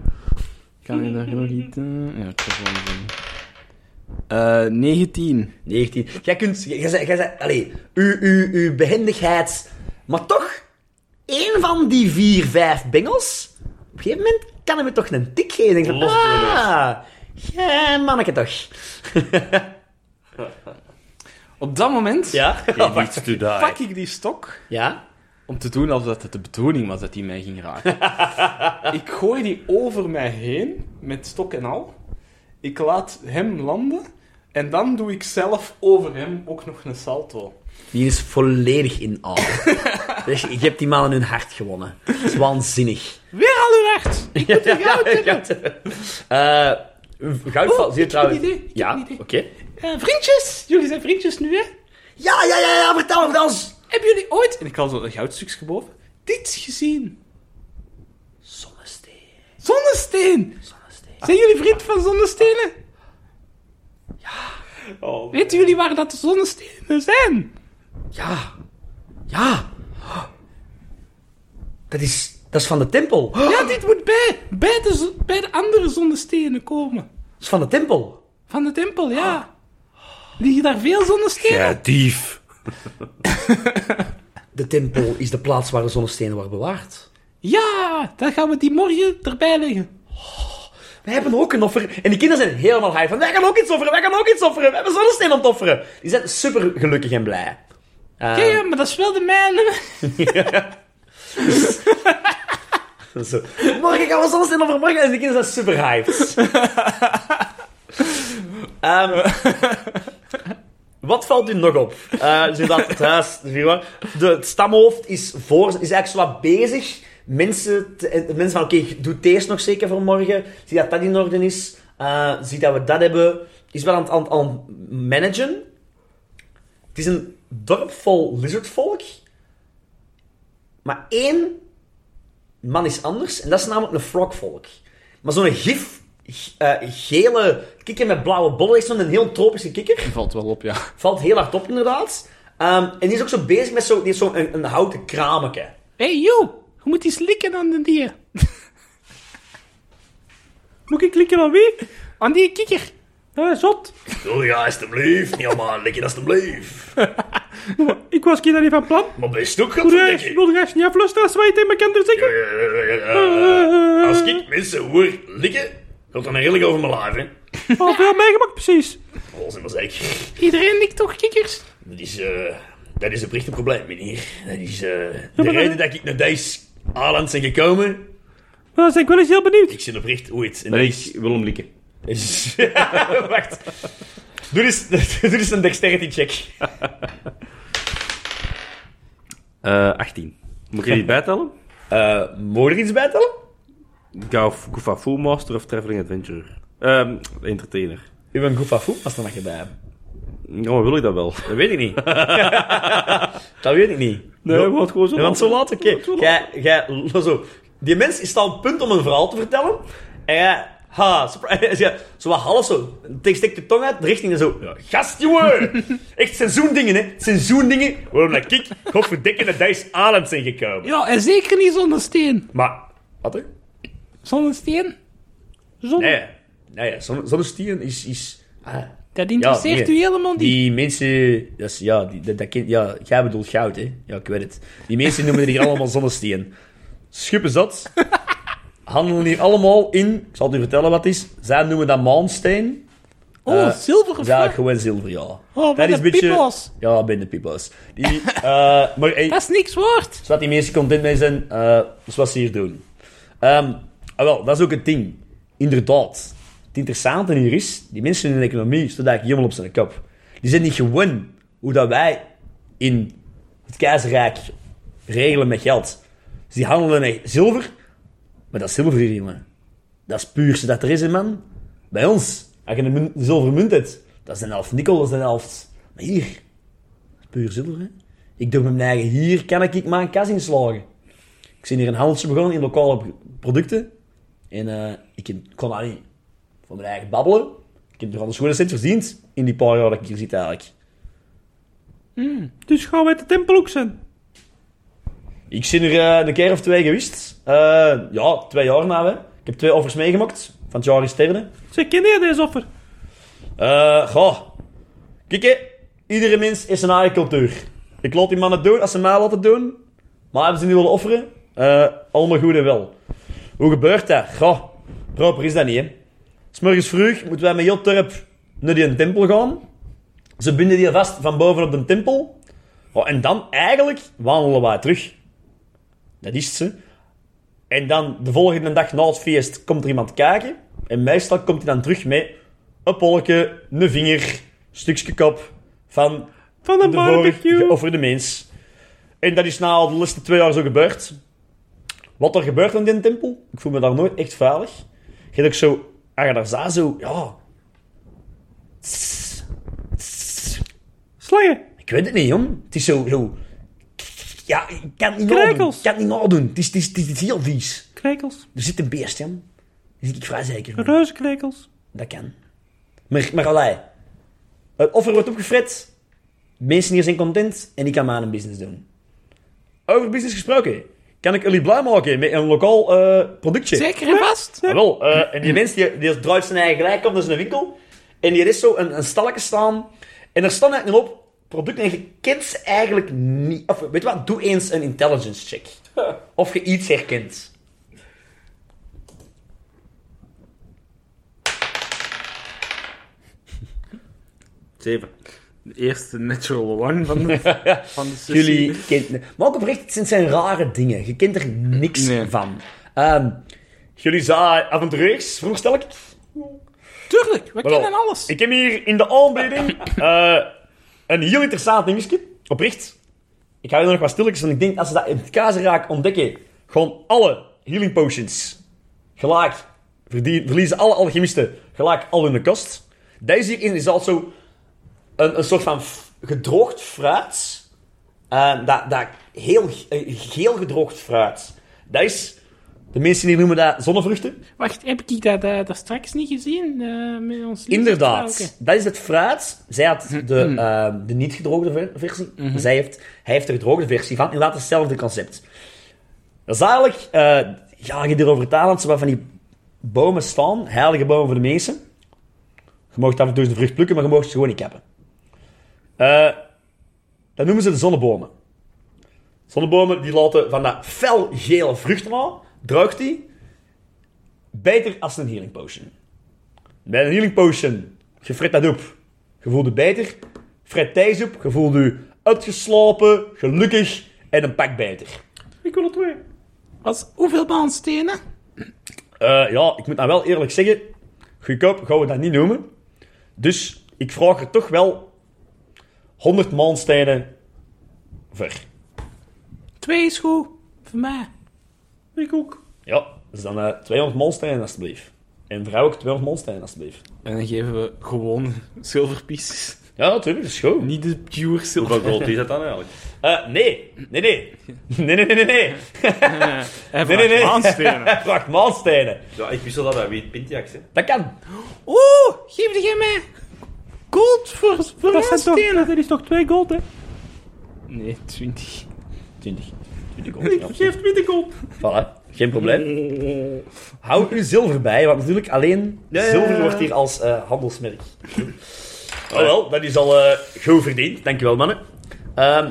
Speaker 3: Kan je daar nog iets... eh, ja, ik heb wel een Eh, 19.
Speaker 2: 19. Jij kunt... Jij, jij, zei- jij, zei- allee, uw, uw, uw behendigheid... Maar toch, één van die vier, vijf bengels... Op een gegeven moment kan hem het toch een tik geven. Ik Denk van,
Speaker 1: Los door de
Speaker 2: ah, jij manneke toch.
Speaker 3: Op dat moment
Speaker 2: Ja?
Speaker 1: Iets to die.
Speaker 3: pak ik die stok
Speaker 2: Ja?
Speaker 3: om te doen alsof dat het de bedoeling was dat die mij ging raken. ik gooi die over mij heen, met stok en al. Ik laat hem landen. En dan doe ik zelf over hem ook nog een salto.
Speaker 2: Die is volledig in awe. Dus je hebt die man in hun hart gewonnen. Dat is waanzinnig.
Speaker 5: Weer al uw hart. Ik moet een goud hebben.
Speaker 2: Eh, Goudval, zie je
Speaker 5: Oh, ik heb een
Speaker 2: trouwens...
Speaker 5: idee, ik heb
Speaker 2: Ja,
Speaker 5: een
Speaker 2: oké.
Speaker 5: idee. Eh, vriendjes, jullie zijn vriendjes nu, hè?
Speaker 2: Ja, ja, ja, ja, vertel, vertel eens.
Speaker 5: Hebben jullie ooit
Speaker 3: En ik haal zo een goudstukje boven.
Speaker 5: dit gezien?
Speaker 2: Zonnesteen,
Speaker 5: Zonnesteen!
Speaker 2: zonnesteen.
Speaker 5: Zijn jullie vriend van zonnestenen?
Speaker 4: Oh,
Speaker 5: Weten jullie waar dat de zonnestenen zijn?
Speaker 2: Ja. Ja. Dat is, dat is van de tempel. Dat
Speaker 5: Ja, dit moet bij, bij, de, zo- bij de andere zonnestenen komen.
Speaker 2: is van de tempel.
Speaker 5: Van de tempel, ja. Liggen daar veel zonnestenen?
Speaker 1: Ja, dief.
Speaker 2: De tempel is de plaats waar de zonnestenen worden bewaard.
Speaker 5: Ja, dan gaan we die morgen erbij leggen.
Speaker 2: Wij hebben ook een offer. En die kinderen zijn helemaal high van, wij gaan ook iets offeren, wij gaan ook iets offeren. We hebben zonnestenen om te offeren. Die zijn super gelukkig en blij. Eh,
Speaker 5: Ja, ja, maar dat is wel de mijne.
Speaker 2: Zo. Morgen gaan we zelfs in overmorgen. En de kinderen zijn super hyped. Ehm, wat valt u nog op? Eh dus inderdaad, het huis, de villa. De, het stamhoofd is, voor, is eigenlijk zo wat bezig. Mensen, te- eh, mensen van, oké, doe deze nog zeker voor morgen. Zie dat dat in orde is. Eh, zie dat we dat hebben. Is wel aan het- aan het- aan het managen. Het is een dorp vol lizardvolk. Maar één man is anders. En dat is namelijk een frogvolk. Maar zo'n gif, g- eh, gele kikker met blauwe bollen, echt zo'n heel tropische kikker.
Speaker 3: Die valt wel op, ja.
Speaker 2: Valt heel hard op, inderdaad. Ehm, en die is ook zo bezig met zo'n zo een, een houten krameke.
Speaker 5: Hé, hey, joh, je moet eens likken aan de dier.
Speaker 4: Moet ik klikken aan wie?
Speaker 5: Aan die kikker.
Speaker 4: Eh, zot.
Speaker 2: Doe ja, alsjeblieft. Ja, man, lik je alsjeblieft.
Speaker 4: Ik was hier niet van plan.
Speaker 2: Maar ben je stuk
Speaker 4: Moet je wil je echt niet afluisteren als wij het in mijn kinderen zeggen? Eh,
Speaker 2: ik mensen hoor likken, gaat dan heerlijk over mijn lijf, hè.
Speaker 4: Al veel meegemaakt, precies.
Speaker 2: Volgens mij zeg ik.
Speaker 5: Iedereen likt toch kikkers?
Speaker 2: Dat is, eh, dat is oprecht een probleem, meneer. Dat is eh, de
Speaker 4: maar dat-
Speaker 2: reden dat ik naar deze Aland ben gekomen.
Speaker 4: Maar dan ben ik wel eens heel benieuwd.
Speaker 2: Ik zit oprecht ooit. En
Speaker 1: Maar
Speaker 2: dat
Speaker 1: ik wil hem likken.
Speaker 2: is... Wacht. Doe eens, doe eens een dexterity check.
Speaker 1: Eh, 18. Moet ik er iets bij tellen?
Speaker 2: Eh moet er iets bij tellen?
Speaker 1: Gauf- Kufa Full Master of Traveling Adventurer? Ehm, entertainer.
Speaker 2: U bent Goefafoe, was dan nog je bij hem?
Speaker 1: Ja, maar wil ik dat wel?
Speaker 2: Dat weet ik niet. dat weet ik niet.
Speaker 1: Nee, we gaan gewoon zo.
Speaker 2: Ja, want zo laat, oké. Jij, jij, zo. Die mens is al op punt om een verhaal te vertellen. En jij, ha, surprise. Ja, zo wat half zo. Steek steek de tong uit, de richting en zo. Ja, gast, jongen! Echt seizoendingen, hè? Seizoendingen. Waarom dat ik, godverdikke, naar Dijs Aland zijn gekomen.
Speaker 5: Ja, en zeker niet zonder steen.
Speaker 2: Maar, wat hè?
Speaker 5: Zonder steen? Zonder...
Speaker 2: Nee, nee, zo'n zo'n stier is. is ah,
Speaker 5: Dat
Speaker 2: ja,
Speaker 5: interesseert
Speaker 2: nee.
Speaker 5: u helemaal niet.
Speaker 2: Die mensen, dat is, ja, die, dat, dat kind, ja, jij bedoelt goud, hè? Ja, ik weet het. Die mensen noemen hier allemaal zonnesteen. Schuppen zat. Handelen hier allemaal in, ik zal het u vertellen wat het is. Zij noemen dat maansteen.
Speaker 5: oh,
Speaker 2: eh,
Speaker 5: zilveren
Speaker 2: Zij
Speaker 5: vlak.
Speaker 2: eigenlijk gewoon zilver, ja.
Speaker 5: Oh, bij
Speaker 2: is
Speaker 5: de
Speaker 2: een beetje-
Speaker 5: pipo's.
Speaker 2: Ja, bij de pipo's. Die, eh, maar hey,
Speaker 5: Dat is niks waard.
Speaker 2: zodat die mensen content mee zijn, eh zoals ze hier doen. Ehm, ah, wel, dat is ook het ding. Inderdaad. Het interessante hier is, die mensen in de economie staan eigenlijk helemaal op zijn kop. Die zijn niet gewoon hoe dat wij in het keizerrijk regelen met geld. Dus die handelen met zilver, maar dat is zilver, jongen. Dat is het puurste dat er is, hè, man. Bij ons, als je een, munt, een zilveren munt hebt, dat is een helft nikkel, dat is een helft. Maar hier, dat is puur zilver, hè. Ik doe mijn eigen, hier kan ik mijn kas inslagen. Ik ben hier een handeltje begonnen in lokale p- producten. En eh, ik ken- kon dat niet voor mijn eigen babbelen. Ik heb er anders gewoon een cent verdiend in die paar jaar dat ik hier zit eigenlijk.
Speaker 4: Dus gaan wij de tempel ook zijn.
Speaker 2: Ik ben er eh, een keer of twee geweest. Eh, ja, twee jaar na. Hè. Ik heb twee offers meegemaakt van het jaar is derde.
Speaker 4: Zeg, ken jij deze offer?
Speaker 2: Eh, goh. Kijk, hè. iedere mens is zijn eigen cultuur. Ik laat die mannen doen als ze mij laten doen. Maar hebben ze niet willen offeren? Eh, allemaal goed en wel. Hoe gebeurt dat? Goh, proper is dat niet, hè. S'morgens vroeg moeten wij met heel Turp naar die tempel gaan. Ze binden die vast van boven op de tempel. Oh, en dan eigenlijk wandelen wij terug. Dat is ze. En dan de volgende dag na het feest komt er iemand kijken. En meestal komt hij dan terug met een polkje, een vinger, stukje kop van
Speaker 4: Van een
Speaker 2: de vorig
Speaker 4: barbecue.
Speaker 2: geofferde mens. En dat is na al de laatste twee jaar zo gebeurd. Wat er gebeurt in die tempel, ik voel me daar nooit echt veilig. Je hebt ook zo, als je daar zat, zo, ja... Tss, tss.
Speaker 4: Slangen.
Speaker 2: Ik weet het niet, jong. Het is zo, zo... Ja, ik kan het niet nadoen.
Speaker 4: Krekels.
Speaker 2: Ik kan het niet nadoen. Het is, het is, het is, het is heel vies.
Speaker 4: Krekels.
Speaker 2: Er zit een beest, jong. Daar zit ik vrij zeker van.
Speaker 4: Reuzenkrekels.
Speaker 2: Dat kan. Maar, maar allee. Het offer wordt opgefret. De mensen hier zijn content. En ik kan maar aan een business doen. Over business gesproken. Kan ik jullie blij maken met een lokaal eh, productje?
Speaker 5: Zeker en vast.
Speaker 2: Ah, wel, eh, en die mens die, die draait zijn eigen gelijk op naar zijn winkel. En hier is zo een, een stalletje staan. En er staan eigenlijk op product en je kent ze eigenlijk niet. Of weet je wat, doe eens een intelligence check. Of je iets herkent.
Speaker 1: Zeven.
Speaker 3: De eerste natural one van de, van de sessie.
Speaker 2: Jullie kent... Maar ook oprecht, het zijn- het zijn rare dingen. Je kent er niks
Speaker 3: Nee.
Speaker 2: van. Ehm, jullie zijn avonturiers, vroeg stel ik.
Speaker 5: Tuurlijk, we kennen alles.
Speaker 2: Ik heb hier in de aanbieding eh, een heel interessant dingetje. Oprecht. Ik hou er nog wat stilletjes, want ik denk als ze dat in het kaas raak ontdekken, gewoon alle healing potions gelijk verdien- verliezen alle alchemisten gelijk al hun kost. Deze hierin is al zo een, een soort van f- gedroogd fruit. Eh, dat, dat heel eh, geel gedroogd fruit. Dat is, de mensen die noemen dat zonnevruchten.
Speaker 5: Wacht, heb ik dat, eh, dat, dat straks niet gezien? eh, met ons Ah, lieve
Speaker 2: Inderdaad,
Speaker 5: vrouwke?
Speaker 2: dat is het fruit. Zij had de, eh, de niet gedroogde ver- versie. Zij heeft, hij heeft de gedroogde versie van. Inderdaad, hetzelfde concept. Dat is eigenlijk, eh, ja, je hier over het eiland, zo wat van die bomen staan, heilige bomen voor de mensen. Je mag af en toe eens de vrucht plukken, maar je mag ze gewoon niet kappen. Eh, dat noemen ze de zonnebomen. Zonnebomen die laten van dat felgele vruchten aan, druikt die, beter als een healing potion. Bij een healing potion, je fret dat op. Je voelt je beter. Fret deze op, je voelt je uitgeslapen, gelukkig en een pak beter.
Speaker 4: Ik wil er twee.
Speaker 5: Was hoeveel baanstenen?
Speaker 2: Eh, ja, ik moet nou wel eerlijk zeggen, goedkoop gaan we dat niet noemen. Dus ik vraag er toch wel 100 maanstenen voor.
Speaker 5: Twee is goed. Voor mij.
Speaker 4: Ik ook.
Speaker 2: Ja, dus dan eh, 200 maanstenen alsjeblieft. En vrouw ook 200 maanstenen alsjeblieft.
Speaker 3: En dan geven we gewoon zilverpieces.
Speaker 2: Ja, natuurlijk, dat is goed.
Speaker 3: Niet de pure
Speaker 1: Hoeveel
Speaker 3: zilver.
Speaker 1: gold is dat dan eigenlijk?
Speaker 2: Eh, nee, nee, nee. Nee, nee, nee, nee, nee.
Speaker 3: En
Speaker 2: Nee, nee, nee.
Speaker 3: aanstenen.
Speaker 2: Vraag maanstenen.
Speaker 1: Ja, ik wist al dat bij Wheat Pintiax, hè.
Speaker 2: Dat kan.
Speaker 5: Oeh, geef die jij mij. Gold voor, voor
Speaker 4: Dat, zijn toch,
Speaker 5: baanstenen.
Speaker 4: dat is toch twee gold, hè?
Speaker 3: Nee, 20.
Speaker 2: 20. 20
Speaker 4: Ik
Speaker 2: gold. Ja.
Speaker 4: geef 20 gold.
Speaker 2: Voilà, geen probleem. Houd uw zilver bij, want natuurlijk alleen
Speaker 1: ja,
Speaker 2: zilver
Speaker 1: ja.
Speaker 2: wordt hier als eh, handelsmerk. Oh wel, dat is al eh goed verdiend. Dankjewel, mannen. Ehm,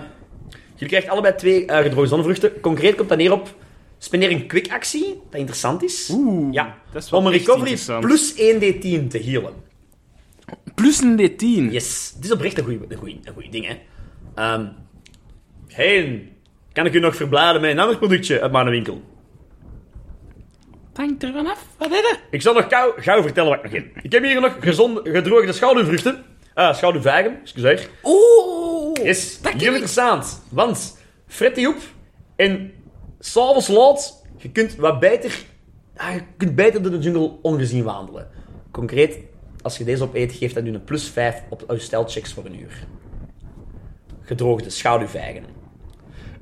Speaker 2: jullie krijgen allebei twee eh, gedroogde zonnevruchten. Concreet komt dat neer op spendeer een quick actie, dat interessant is.
Speaker 3: Oeh,
Speaker 2: ja.
Speaker 3: dat is wel
Speaker 2: Om een
Speaker 3: echt
Speaker 2: recovery
Speaker 3: interessant.
Speaker 2: plus 1d10 te healen.
Speaker 3: Plus een D10.
Speaker 2: Yes, dit is oprecht een goeie, een goeie, een goeie ding, hè. Ehm geen. Kan ik u nog verbladen met een ander productje uit mijn winkel?
Speaker 5: Het hangt er vanaf. Wat is dat?
Speaker 2: Ik zal nog gauw, gauw vertellen wat ik nog heb. Ik heb hier nog gezonde, gedroogde schaduwvruchten. Ah, schaduwvijgen, excuseer.
Speaker 5: Oeh.
Speaker 2: Yes,
Speaker 5: dat ken
Speaker 2: heel
Speaker 5: ik.
Speaker 2: interessant. Want, fret die op. En s'avonds laat, je kunt wat beter... ah, je kunt beter door de jungle ongezien wandelen. Concreet, als je deze opeet, geeft dat nu een plus 5 op uw stijlchecks voor een uur. Gedroogde schaduwvijgen.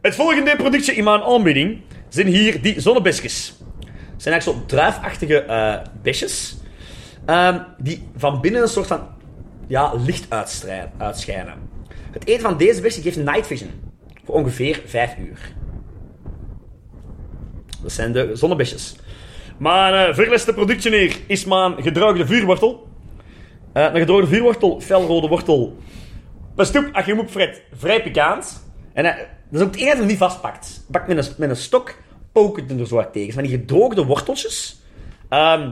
Speaker 2: Het volgende productje in mijn aanbieding zijn hier die zonnebesjes. Het zijn eigenlijk zo'n druifachtige eh besjes. Ehm, die van binnen een soort van ja, licht uitstrij- uitschijnen. Het eten van deze beestje geeft night vision. Voor ongeveer 5 uur. Dat zijn de zonnebesjes. Mijn eh verleste productje hier is mijn gedroogde vuurwortel. Eh, een gedroogde vuurwortel, felrode wortel. Pastoep, als je hem opvret, vrij pikant. En eh, dat is ook het enige dat hem niet vastpakt. Pak met een, met een stok, pook het er zo hard tegen. Van die gedroogde worteltjes. Ehm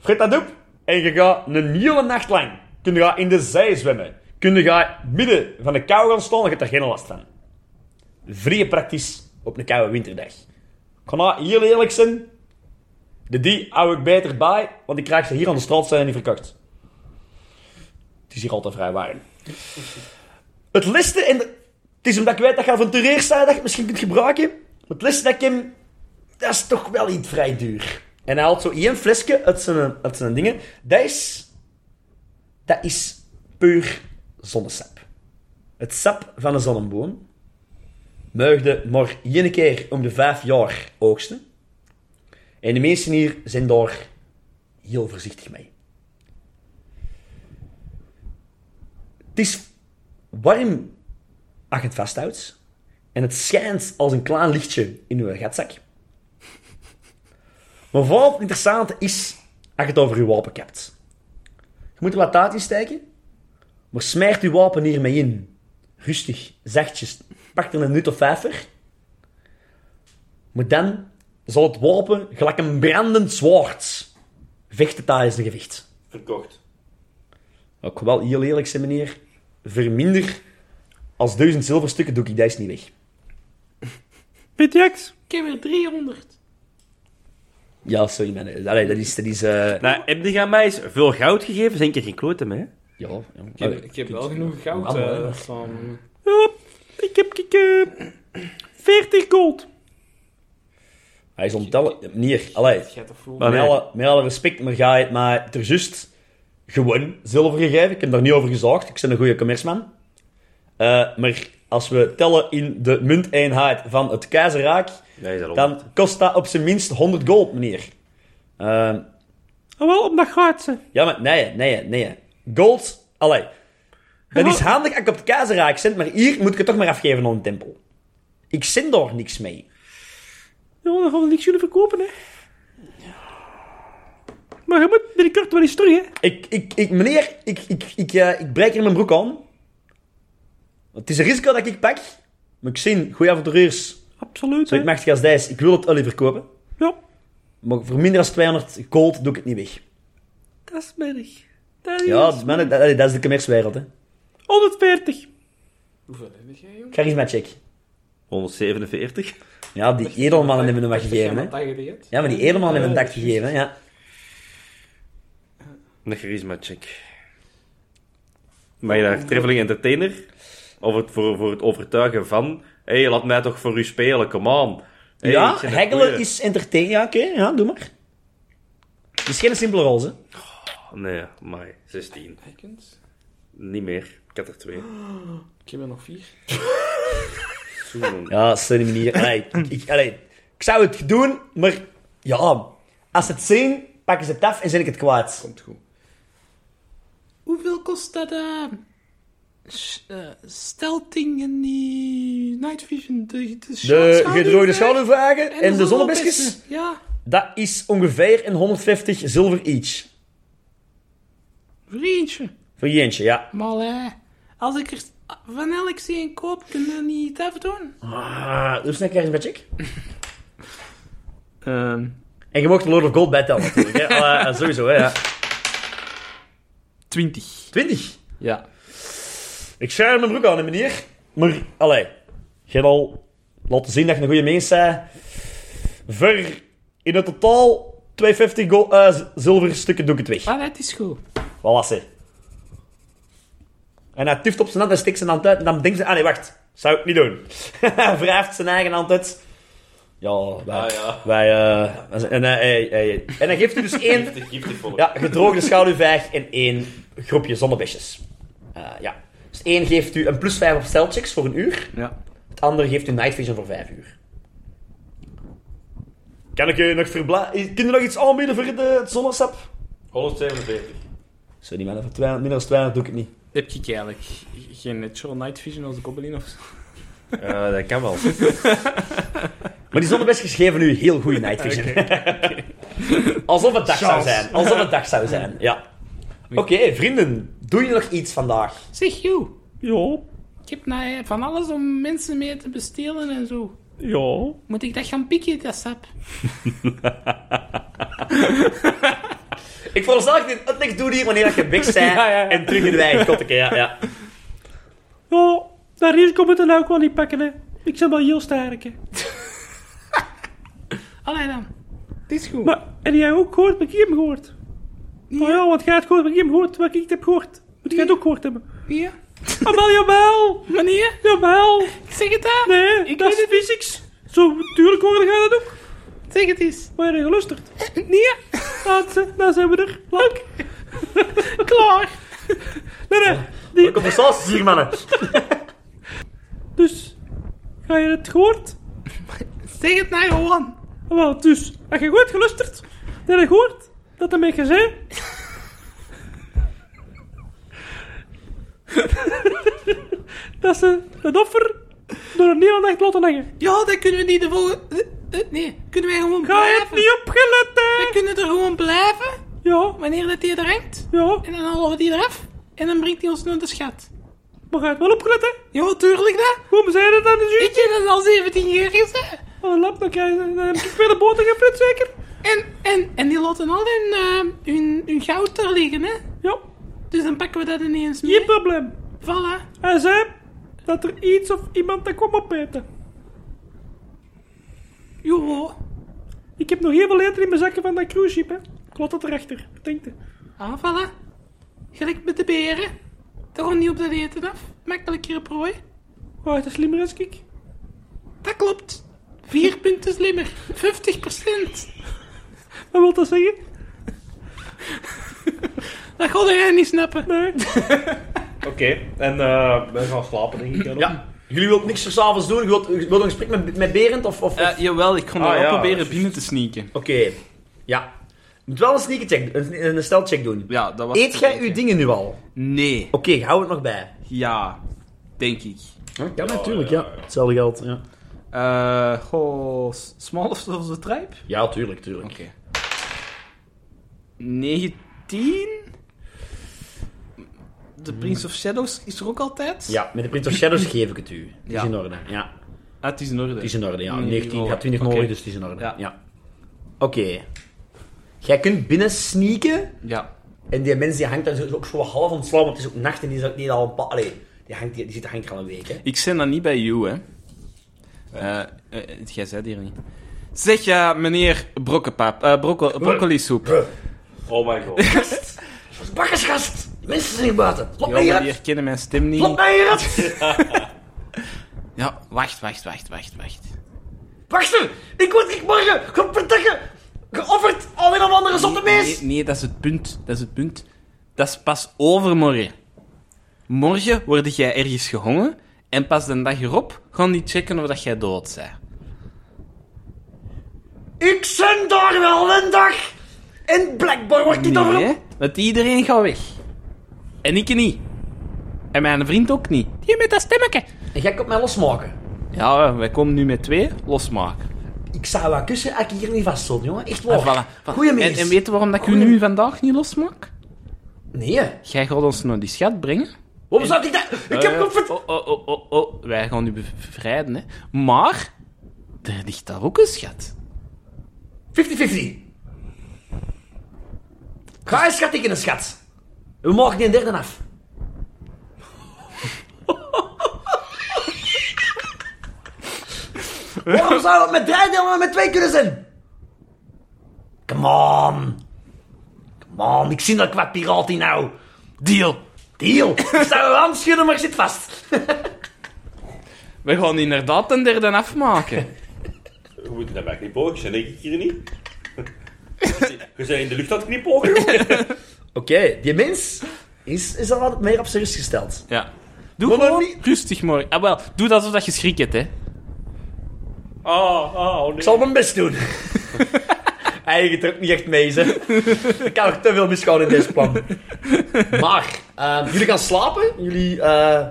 Speaker 2: Frit dat op en je gaat een hele nacht lang kun je gaan in de zij zwemmen. Kun je gaan midden van de kou gaan staan en je hebt daar geen last van. Vrij praktisch op een koude winterdag. Ik ga nou heel eerlijk zijn. De die hou ik beter bij, want ik krijg ze hier aan de straat zijn en niet verkocht. Het is hier altijd vrij warm. Het liste en... de- Het is omdat ik weet dat je avonturiers zijn dat je het misschien kunt gebruiken. Het liste dat ik hem dat is toch wel iets vrij duur. En hij haalt zo één flesje uit zijn, uit zijn dingen. Dat is... Dat is puur zonnesap. Het sap van een zonneboom. Meugde maar één keer om de vijf jaar oogsten. En de mensen hier zijn daar heel voorzichtig mee. Het is warm als je het vasthoudt. En het schijnt als een klein lichtje in uw gatzak. Maar vooral het interessante is als je het over je wapen hebt. Je moet er wat tijd in steken, Maar smijt uw wapen hiermee in. Rustig, zachtjes. Pak er een minuut of vijver. Maar dan zal het wapen gelijk een brandend zwaard. Vechten tijdens een gewicht.
Speaker 1: Verkocht.
Speaker 2: Ook wel heel eerlijk zijn, meneer. Verminder als duizend zilverstukken doe ik die is niet weg.
Speaker 4: Weet je iets?
Speaker 5: Ik heb er 300.
Speaker 2: Ja, sorry, man. Allee, dat is... Dat is eh,
Speaker 1: Nou, heb je aan mij eens veel goud gegeven? Zijn keer geen klote mee, hè?
Speaker 2: ja, ja.
Speaker 3: Ik heb,
Speaker 2: Allee,
Speaker 3: ik heb
Speaker 2: kunt-
Speaker 3: wel genoeg goud.
Speaker 2: Allemaal,
Speaker 3: eh,
Speaker 2: hè.
Speaker 3: van...
Speaker 4: Ja, ik heb ik, eh, 40 gold.
Speaker 2: Hij is ontellen... Meneer, allee.
Speaker 3: Jij toch
Speaker 1: Maar
Speaker 2: Met,
Speaker 1: nee.
Speaker 2: alle, met alle respect, maar ga je het maar ter just gewoon zilver gegeven. Ik heb daar niet over gezorgd. Ik ben een goede commerceman. Eh, maar als we tellen in de munteenheid van het keizerrijk,
Speaker 1: Nee, is dat
Speaker 2: dan kost dat op zijn minst 100 gold, meneer. Eh,
Speaker 4: Ah, wel, omdat gaat ze.
Speaker 2: ja, maar nee, nee, nee. Gold, allee. Dat is handig als ik op het keizerrijk zit, maar hier moet ik het toch maar afgeven aan een tempel. Ik zin daar niks mee.
Speaker 4: Ja, dan gaan we niks kunnen verkopen, hè. Maar je moet binnenkort wel eens terug, hè.
Speaker 2: Ik, ik, ik, meneer, ik, ik, ik, eh, ik breek er mijn broek aan. Het is een risico dat ik pak. Maar ik zie, goeie avonturiers,
Speaker 4: Absoluut,
Speaker 2: zo
Speaker 4: hè.
Speaker 2: machtig als deze. Ik wil het olie verkopen.
Speaker 4: Ja,
Speaker 2: Maar voor minder dan 200 gold doe ik het niet weg.
Speaker 4: dat is merg. Dat is
Speaker 2: Ja, mannen, dat, dat is de commercewereld, hè.
Speaker 4: 140.
Speaker 3: Hoeveel heb jij, jongen?
Speaker 2: Charisma check.
Speaker 1: 147.
Speaker 2: Ja, die edelmannen hebben hem wat gegeven, hè. Ja, maar die edelmannen hebben een dak gegeven, hè. Ja.
Speaker 1: Een charisma check. Ben je daar traveling entertainer? Of het voor, voor het overtuigen van... Hé, hey, laat mij toch voor u spelen, come on. Hey,
Speaker 2: ja,
Speaker 1: ik ben een
Speaker 2: haggelen
Speaker 1: goeie.
Speaker 2: is entertain. Ja, oké, ja, doe maar. Het is geen simpele rol, hè.
Speaker 1: Nee, maar 16. Niet meer. Ik had er twee.
Speaker 3: Ik heb er nog vier.
Speaker 1: Zoen.
Speaker 2: Ja, sorry meneer. Allee, ik, ik, allee, ik zou het doen, maar ja, als ze het zien, pakken ze het af en zet ik het kwaad.
Speaker 3: Komt goed.
Speaker 5: Hoeveel kost dat? eh s- eh, stelting en die night vision. De, de,
Speaker 2: De
Speaker 5: schaduw-
Speaker 2: gedroogde schaduwvragen en de zonnebesjes,
Speaker 5: zonnebessen. Ja.
Speaker 2: dat is ongeveer een 150 zilver each.
Speaker 5: Vriendje.
Speaker 2: Voor Jentje, ja.
Speaker 5: Maar eh, als ik er van elk zie een koop, kun je dat niet afdoen?
Speaker 2: Ah, dus snel een check.
Speaker 3: Ehm
Speaker 2: En je mocht de Lord of Gold bijtellen natuurlijk. Hè. Allee, sowieso, hè. Ja.
Speaker 3: 20.
Speaker 2: 20.
Speaker 3: Ja.
Speaker 2: Ik schaar mijn broek aan, meneer. Maar, allee. Je hebt al laten zien dat je een goede mens bent. Ver in het totaal 250 gold, eh, z- zilverstukken doe ik het weg.
Speaker 5: Maar Ah, dat is goed.
Speaker 2: Wat was hij? En hij tuft op zijn hand en steekt zijn hand uit. En dan denkt ze, ah nee, wacht. Zou ik niet doen. Wrijft zijn eigen hand uit. Ja, wij... wij eh, wij zijn- en, eh, hij- hij- en dan geeft hij dus één
Speaker 1: Giftig, giftig volk.
Speaker 2: ja, gedroogde schaduwvijg en één groepje zonnebesjes. Eh, ja. Dus één geeft u een plus 5 op stelchecks voor een uur.
Speaker 3: Ja.
Speaker 2: Het andere geeft u night vision voor 5 uur. Kan ik je nog verblijven? Kun je nog iets aanbieden voor de, het zonnesap?
Speaker 1: 147.
Speaker 2: Zo, die mannen voor 200, minder dan 200 doe ik het niet.
Speaker 3: Heb ik eigenlijk geen natural night vision als goblin of zo?
Speaker 1: Ja, dat kan wel.
Speaker 2: Maar die zonnebesjes geven u heel goede night vision. Alsof het dag zou
Speaker 3: Chance.
Speaker 2: zijn. Alsof het dag zou zijn, ja. Oké, vrienden. Doe je nog iets vandaag?
Speaker 5: Zeg, joh.
Speaker 4: Ja,
Speaker 5: Ik heb nou, eh, van alles om mensen mee te bestelen en zo.
Speaker 4: ja.
Speaker 5: Moet ik dat gaan pikken, dat sap?
Speaker 2: Ik veronderstel dat ik dit uitleg doe hier wanneer dat je weg bent
Speaker 3: Ja, ja, ja.
Speaker 2: en terug in de wijn. Kotteke, ja, ja.
Speaker 4: Ja, dat risico moet je nou ook wel niet pakken, hè. Ik ben wel heel sterk, hè.
Speaker 5: Allee dan. Het is goed.
Speaker 4: Maar, en jij ook gehoord wat ik heb gehoord? Oh ja, want jij hebt gehoord wat ik heb gehoord, wat ik heb gehoord. Moet jij het ook gehoord hebben?
Speaker 5: Hier.
Speaker 4: Jawel, jawel!
Speaker 5: Meneer,
Speaker 4: Jawel!
Speaker 5: ik zeg het aan.
Speaker 4: Nee,
Speaker 5: Ik
Speaker 4: dat is
Speaker 5: weet
Speaker 4: physics. Zo, natuurlijk hoorde jij dat ook.
Speaker 5: Zeg het eens.
Speaker 4: Maar je hebt geluisterd.
Speaker 5: Nee.
Speaker 4: Laatste, daar zijn we er. Lang.
Speaker 5: Klaar.
Speaker 4: Nee, nee. Die,
Speaker 2: Conversaties hier, mannen.
Speaker 4: dus, ga je het gehoord?
Speaker 5: Zeg het nou gewoon.
Speaker 4: Wel, dus, heb je goed geluisterd? Heb je gehoord dat een beetje zei? dat ze het offer door een hele nacht laten hangen.
Speaker 5: Ja, dat kunnen we niet de volgende... Eh, eh, Nee, kunnen wij gewoon
Speaker 4: Ga je
Speaker 5: blijven.
Speaker 4: het niet opgelet,
Speaker 5: We
Speaker 4: hè?
Speaker 5: kunnen er gewoon blijven,
Speaker 4: Ja,
Speaker 5: wanneer dat die er hangt.
Speaker 4: ja.
Speaker 5: En dan halen we die eraf. En dan brengt hij ons naar de schat.
Speaker 4: Maar ga je het wel opgelet, hè?
Speaker 5: Ja, tuurlijk dat.
Speaker 4: Waarom zei je dat dan? Dus
Speaker 5: Weet je dat al 17 jaar is, hè?
Speaker 4: een lap, dan, krijg je, dan heb ik weer de boter gefrit, zeker?
Speaker 5: En, en, en die laten al hun, eh, hun, hun goud daar liggen, hè?
Speaker 4: Ja,
Speaker 5: Dus dan pakken we dat ineens mee.
Speaker 4: geen probleem.
Speaker 5: Voilà.
Speaker 4: Hij zei dat er iets of iemand dat kwam opeten.
Speaker 5: Joho.
Speaker 4: Ik heb nog heel veel eten in mijn zakken van dat cruise ship, hè? Ik laat dat erachter. Wat denkt u?
Speaker 5: Ah, voilà. Gelijk met de beren. Daar rond niet op dat eten af. Makkelijker op prooi.
Speaker 4: Oh, het is slimmer als ik.
Speaker 5: Dat klopt. Vier punten slimmer. 50
Speaker 4: Wat wil dat zeggen?
Speaker 5: Dat gaat jij niet snappen.
Speaker 4: Nee.
Speaker 1: Oké, en eh we gaan slapen, denk ik. Ja.
Speaker 2: Ja. Jullie wilt niks voor 's avonds doen? Je wilt, je wilt een gesprek met, met Berend? Of, of, of-
Speaker 3: jawel, ik kon
Speaker 1: Ah,
Speaker 3: er wel
Speaker 1: ja,
Speaker 3: proberen
Speaker 1: juist.
Speaker 3: binnen te sneaken.
Speaker 2: Oké. Ja. Je moet wel een sneaker check, een, een stelcheck doen.
Speaker 3: Ja, dat was
Speaker 2: Eet
Speaker 3: te
Speaker 2: jij
Speaker 3: denken.
Speaker 2: uw dingen nu al?
Speaker 3: Nee.
Speaker 2: Oké, hou het nog bij.
Speaker 3: Ja. Denk ik.
Speaker 2: Ja, natuurlijk, ja. Hetzelfde geld, ja.
Speaker 3: Eh, goh, s- small of the tribe?
Speaker 2: Ja, tuurlijk, tuurlijk.
Speaker 3: Oké. 19? De Prince of Shadows is er ook altijd?
Speaker 2: Ja, met de Prince of Shadows geef ik het u. Het is
Speaker 3: Ja.
Speaker 2: in orde, ja.
Speaker 3: Ah, het is in orde.
Speaker 2: Het is in orde, ja.
Speaker 3: Nee,
Speaker 2: 19
Speaker 3: oh,
Speaker 2: gaat 20
Speaker 3: oké.
Speaker 2: nodig, dus het is in orde. Ja.
Speaker 3: Ja.
Speaker 2: Oké. Jij kunt binnen sneaken.
Speaker 3: Ja.
Speaker 2: En die mens die hangt daar zo- ook zo half ontslaan, want het is ook nacht en die is ook niet al een paar... Allee, die, hangt, die, die zit, hangt er al een week, hè.
Speaker 3: Ik zit dan niet bij jou, hè. Eh, eh, jij zei het hier niet. Zeg, ja, meneer brokkenpap, eh, brocco- broccolisuep.
Speaker 1: Oh my god.
Speaker 2: Dus Bakkersgast! Mensen zijn hier buiten. Lop
Speaker 3: Ja,
Speaker 2: mij
Speaker 3: maar
Speaker 2: hier
Speaker 3: die
Speaker 2: uit.
Speaker 3: herkennen mijn stem niet.
Speaker 2: Lop mij hier uit.
Speaker 3: Ja, wacht, wacht, wacht, wacht, wacht.
Speaker 2: Wacht Ik word ik morgen gepertikken. Geofferd aan een of andere zotte
Speaker 3: Nee,
Speaker 2: mees.
Speaker 3: nee, dat is het punt. Dat is het punt. Dat is pas overmorgen. Morgen word jij ergens gehongen en pas de dag erop gaan die checken of dat jij dood bent.
Speaker 2: Ik zend daar wel een dag. En blijkbaar word ik daarop.
Speaker 3: Nee, hè? want iedereen gaat weg. En ik niet. En mijn vriend ook niet.
Speaker 5: Hier met dat stemmetje.
Speaker 2: En jij komt mij losmaken.
Speaker 3: Ja, eh, wij komen nu met twee. Losmaken.
Speaker 2: Ik zou wel kussen als ik hier niet vast stond, jongen. Echt
Speaker 3: Ah,
Speaker 2: waar.
Speaker 3: voilà. Van-
Speaker 2: Goeie
Speaker 3: en,
Speaker 2: mees.
Speaker 3: en weet je waarom dat ik u
Speaker 2: Goeie-
Speaker 3: nu vandaag niet losmaak?
Speaker 2: Nee. hè.
Speaker 3: Jij gaat ons naar die schat brengen.
Speaker 2: Waarom zou ik dat... Ik heb
Speaker 3: Eh,
Speaker 2: geofferd...
Speaker 3: oh, oh, oh, oh, oh. Wij gaan u bev- bevrijden, hè. Maar, er ligt daar ook een schat.
Speaker 2: 50-50. Ga eens schat een schat. We mogen die derde af. Waarom zou dat met drie delen en met twee kunnen zijn? Come on. Come on, ik zie dat qua piraat hier nou.
Speaker 3: Deal.
Speaker 2: Deal. Ik zou wel aanschudden, maar ik zit vast.
Speaker 3: We gaan inderdaad een derde afmaken.
Speaker 1: Hoe moet je dat bij knipogen? Zijn ik hier niet? Je zijn in de lucht aan het knipogen.
Speaker 2: Oké, die mens is, is al wat meer op zijn rust gesteld.
Speaker 3: ja. Doe
Speaker 2: Maar dan
Speaker 3: gewoon
Speaker 2: niet-
Speaker 3: rustig, morgen. Ah, wel, doe dat alsof dat je schrik hebt, hè.
Speaker 1: Ah, ah, oh
Speaker 2: Ik
Speaker 1: nee.
Speaker 2: zal mijn best doen. Hij gaat er ook niet echt mee, hè. Ik kan nog te veel misgaan in deze plan. Maar, eh, jullie gaan slapen. Jullie, eh,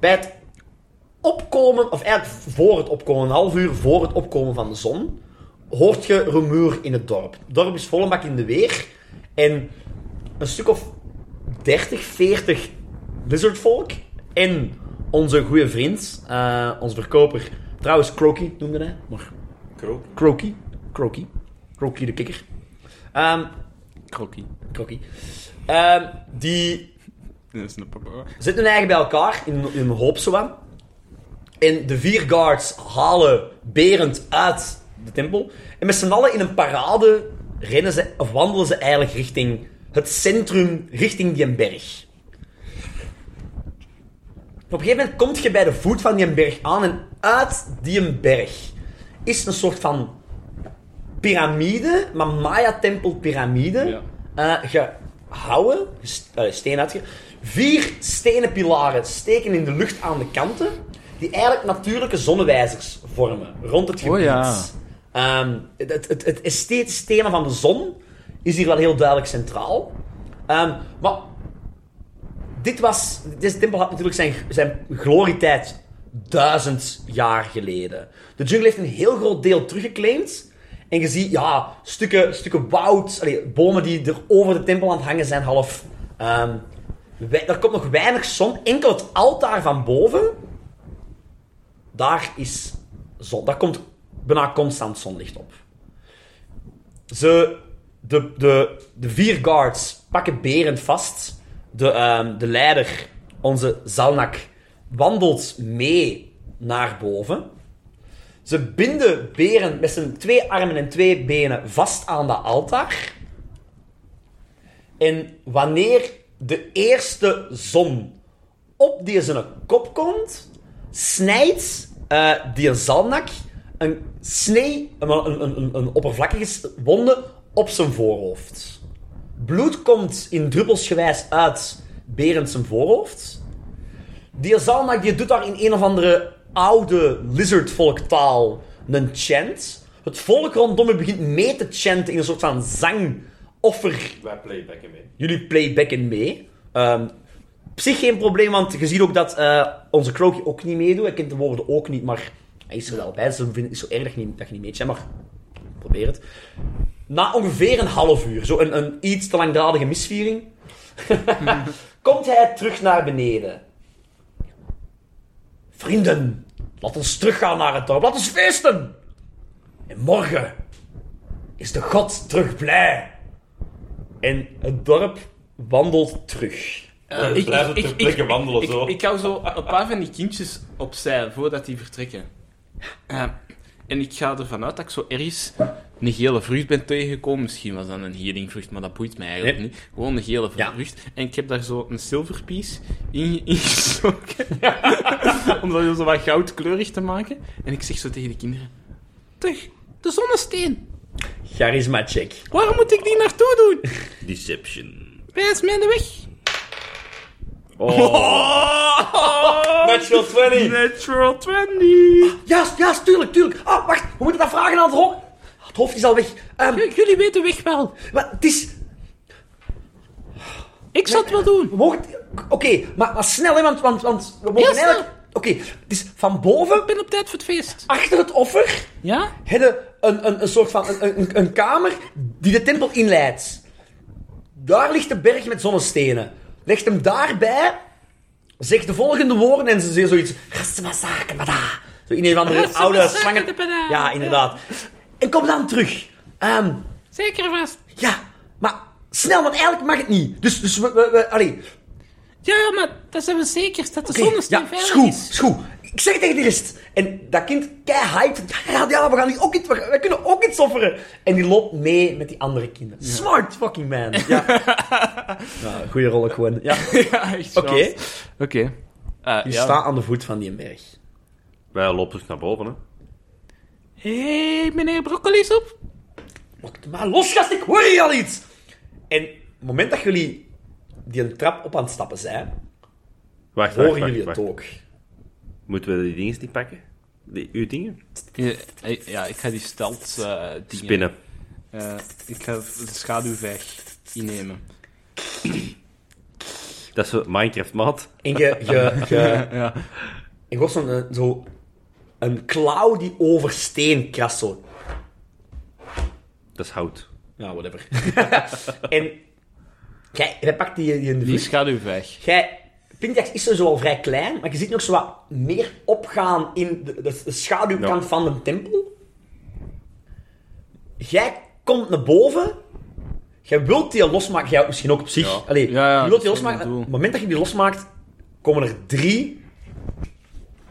Speaker 2: bij het opkomen, of eigenlijk voor het opkomen, een half uur voor het opkomen van de zon, hoort je rumoer in het dorp. Het dorp is volle bak in de weer. En een stuk of 30, 40 lizardvolk. En onze goede vriend, eh onze verkoper, trouwens Croaky noemde hij, maar
Speaker 1: Krook.
Speaker 2: Croaky. Croaky. Croaky de kikker. Ehm
Speaker 3: Krokkie.
Speaker 2: Croaky. Ehm, die
Speaker 3: Dat is een papa.
Speaker 2: zitten hun eigen bij elkaar in, in een hoop zo aan. En de vier guards halen Berend uit de tempel. En met z'n allen in een parade rennen ze, of wandelen ze eigenlijk richting het centrum, richting die berg. Op een gegeven moment kom je bij de voet van die berg aan en uit die berg is een soort van piramide, maar Maya-tempel-piramide, eh, gehouden, ges- eh, steen uitge... Vier stenen pilaren steken in de lucht aan de kanten, die eigenlijk natuurlijke zonnewijzers vormen rond het gebied.
Speaker 3: Oh ja.
Speaker 2: Ehm, het, het, het, het esthetisch thema van de zon is hier wel heel duidelijk centraal. Ehm, maar dit was, deze tempel had natuurlijk zijn, zijn glorietijd duizend jaar geleden. De jungle heeft een heel groot deel teruggeclaimd. En je ziet, ja, stukken, stukken woud, allee, bomen die er over de tempel aan het hangen zijn, half. ehm, we- er komt nog weinig zon. Enkel het altaar van boven, daar is zon. Daar komt bijna constant zonlicht op. Ze, de, de, de vier guards pakken Berend vast. De, ehm, de leider, onze Zalnak, wandelt mee naar boven. Ze binden Berend met zijn twee armen en twee benen vast aan dat altaar. En wanneer de eerste zon op die zijn kop komt, snijdt eh, die zalnak een snee, een, een, een, een oppervlakkige s- wonde op zijn voorhoofd. Bloed komt in druppelsgewijs uit Berend zijn voorhoofd. Die Zalnak die doet daar in een of andere oude lizardvolktaal een chant. Het volk rondom hem begint mee te chanten in een soort van zangoffer
Speaker 1: Wij playbacken mee.
Speaker 2: jullie playbacken mee. Ehm op zich geen probleem, want je ziet ook dat eh, onze Croaky ook niet meedoet. Hij kent de woorden ook niet, maar hij is er wel bij. Dus dan vind ik het zo erg dat je niet, dat je niet meet, hè, maar probeer het. Na ongeveer een half uur, zo een, een iets te langdradige misviering, komt hij terug naar beneden. Vrienden, laat ons teruggaan naar het dorp. Laat ons feesten! En morgen is de god terug blij. En het dorp wandelt terug.
Speaker 1: We Dus blijven Eh, ter plekke wandelen,
Speaker 3: ik,
Speaker 1: zo.
Speaker 3: Ik hou zo een paar van die kindjes opzij voordat die vertrekken. Eh, en ik ga ervan uit dat ik zo ergens een gele vrucht ben tegengekomen. Misschien was dat een healingvrucht, maar dat boeit mij eigenlijk
Speaker 2: Nee.
Speaker 3: niet. Gewoon een gele
Speaker 2: Ja.
Speaker 3: vrucht. En ik heb daar zo een silverpiece in, in gestoken. Om dat zo wat goudkleurig te maken. En ik zeg zo tegen de kinderen.
Speaker 5: Terug, de zonnesteen.
Speaker 2: Charisma check.
Speaker 5: Waar moet ik die naartoe doen?
Speaker 1: Deception.
Speaker 5: Wijs mij de weg.
Speaker 1: Oh,
Speaker 2: Natural 20!
Speaker 3: Natural 20!
Speaker 2: Ja, s- ja, s- tuurlijk, tuurlijk. Ah, wacht, we moeten dat vragen aan het hoofd. Het hoofd is al weg. Ehm,
Speaker 5: J- jullie weten de weg wel.
Speaker 2: maar het is...
Speaker 5: Ik zal het wel doen.
Speaker 2: We mogen... Oké, maar, maar snel, hè, want, want, want we mogen
Speaker 5: Heel snel.
Speaker 2: eigenlijk... Oké, het is van boven,
Speaker 5: Ik ben op tijd voor het feest.
Speaker 2: achter het offer,
Speaker 5: Ja?
Speaker 2: hebben een, een, een soort van een, een, een kamer die de tempel inleidt. Daar ligt de berg met zonnestenen. Leg hem daarbij, zeg de volgende woorden en ze zeggen zoiets. Rasmasakabada. Zo in een van de oude slangen.
Speaker 5: Rasmasakabada.
Speaker 2: Ja, inderdaad. En kom dan terug. Ehm,
Speaker 5: Zeker vast.
Speaker 2: ja, maar snel, want eigenlijk mag het niet. Dus, dus we, we, we- allee.
Speaker 5: Ja, maar dan zijn we zeker dat de
Speaker 2: Oké,
Speaker 5: zonnesteen
Speaker 2: ja,
Speaker 5: veilig
Speaker 2: schoe,
Speaker 5: is.
Speaker 2: schoe. Ik zeg het tegen de rest. En dat kind keihyped. Ja, ja, we gaan nu ook iets... We, we kunnen ook iets offeren. En die loopt mee met die andere kinderen. Smart fucking man. Ja. ja goeie rol ook gewoon. Ja.
Speaker 3: Ja, echt
Speaker 2: Oké.
Speaker 3: Oké. Eh,
Speaker 2: Je
Speaker 3: ja.
Speaker 2: staat aan de voet van die berg.
Speaker 1: Wij lopen terug naar boven, hè.
Speaker 5: Hé, hey, meneer Brokkolisop.
Speaker 2: Maak maar los, gast. Ik hoor hier al iets. En op het moment dat jullie die een trap op aan het stappen zijn,
Speaker 1: Wacht, wacht,
Speaker 2: horen
Speaker 1: wacht,
Speaker 2: jullie het
Speaker 1: wacht.
Speaker 2: ook.
Speaker 1: Moeten we die dingen niet pakken? Die, uw dingen?
Speaker 3: Ja, eh, ja, ik ga die stelt eh, dingen-
Speaker 1: Spinnen.
Speaker 3: Eh, ik ga de schaduw weg innemen.
Speaker 1: Dat is een Minecraft-maat.
Speaker 2: En je... je, je
Speaker 3: Ja.
Speaker 2: Ik was zo'n eh, zo een klauw die over steen krast, zo.
Speaker 1: Dat is hout.
Speaker 2: Ja, whatever. en jij, jij pakt die, die in de
Speaker 3: Die
Speaker 2: vlieg.
Speaker 3: schaduw weg.
Speaker 2: Jij, Pintax is sowieso al vrij klein, maar je ziet nog zo wat meer opgaan in de, de, de schaduwkant
Speaker 1: Ja.
Speaker 2: van de tempel. Jij komt naar boven. Jij wilt die losmaken. Jij misschien ook op zich.
Speaker 1: Ja.
Speaker 2: Allee,
Speaker 3: Ja, ja,
Speaker 2: je wilt
Speaker 3: dat is
Speaker 2: die
Speaker 3: wat ik
Speaker 2: losmaken.
Speaker 3: bedoel.
Speaker 2: Op het moment dat je die losmaakt, komen er drie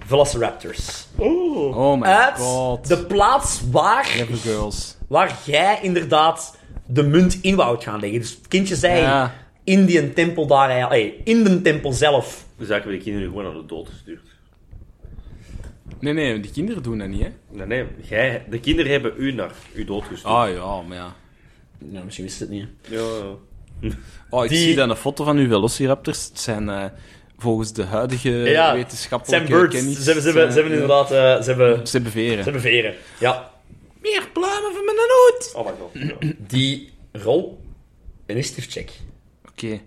Speaker 2: Velociraptors.
Speaker 3: Oh my
Speaker 2: Uit
Speaker 3: god.
Speaker 2: de plaats waar
Speaker 3: Never girls.
Speaker 2: waar jij inderdaad de munt in wou gaan leggen. Dus het kindje zei
Speaker 3: Ja.
Speaker 2: in die tempel daar, eigenlijk- hey, in de tempel zelf.
Speaker 1: Dus eigenlijk hebben de kinderen gewoon aan de dood gestuurd.
Speaker 3: Nee, nee, die kinderen doen dat niet, hè?
Speaker 1: Nee, nee. Jij, de kinderen hebben u naar u dood gestuurd.
Speaker 3: Ah ja, maar ja.
Speaker 2: Nou, misschien wist het niet.
Speaker 1: Ja.
Speaker 3: Oh, ik
Speaker 2: Die-
Speaker 3: zie dan een foto van uw velociraptors. Het zijn eh, volgens de huidige
Speaker 2: Ja, het zijn
Speaker 3: wetenschappelijke
Speaker 2: birds. Ze,
Speaker 3: kennis-
Speaker 2: hebben- ze, hebben- ze hebben inderdaad... eh, ze, hebben, ze
Speaker 3: Ze beveren.
Speaker 2: hebben veren. Ja.
Speaker 5: Meer pluimen van mijn hoed.
Speaker 1: Oh my god. Ja.
Speaker 2: Die rol... Initiative check.
Speaker 3: Oké.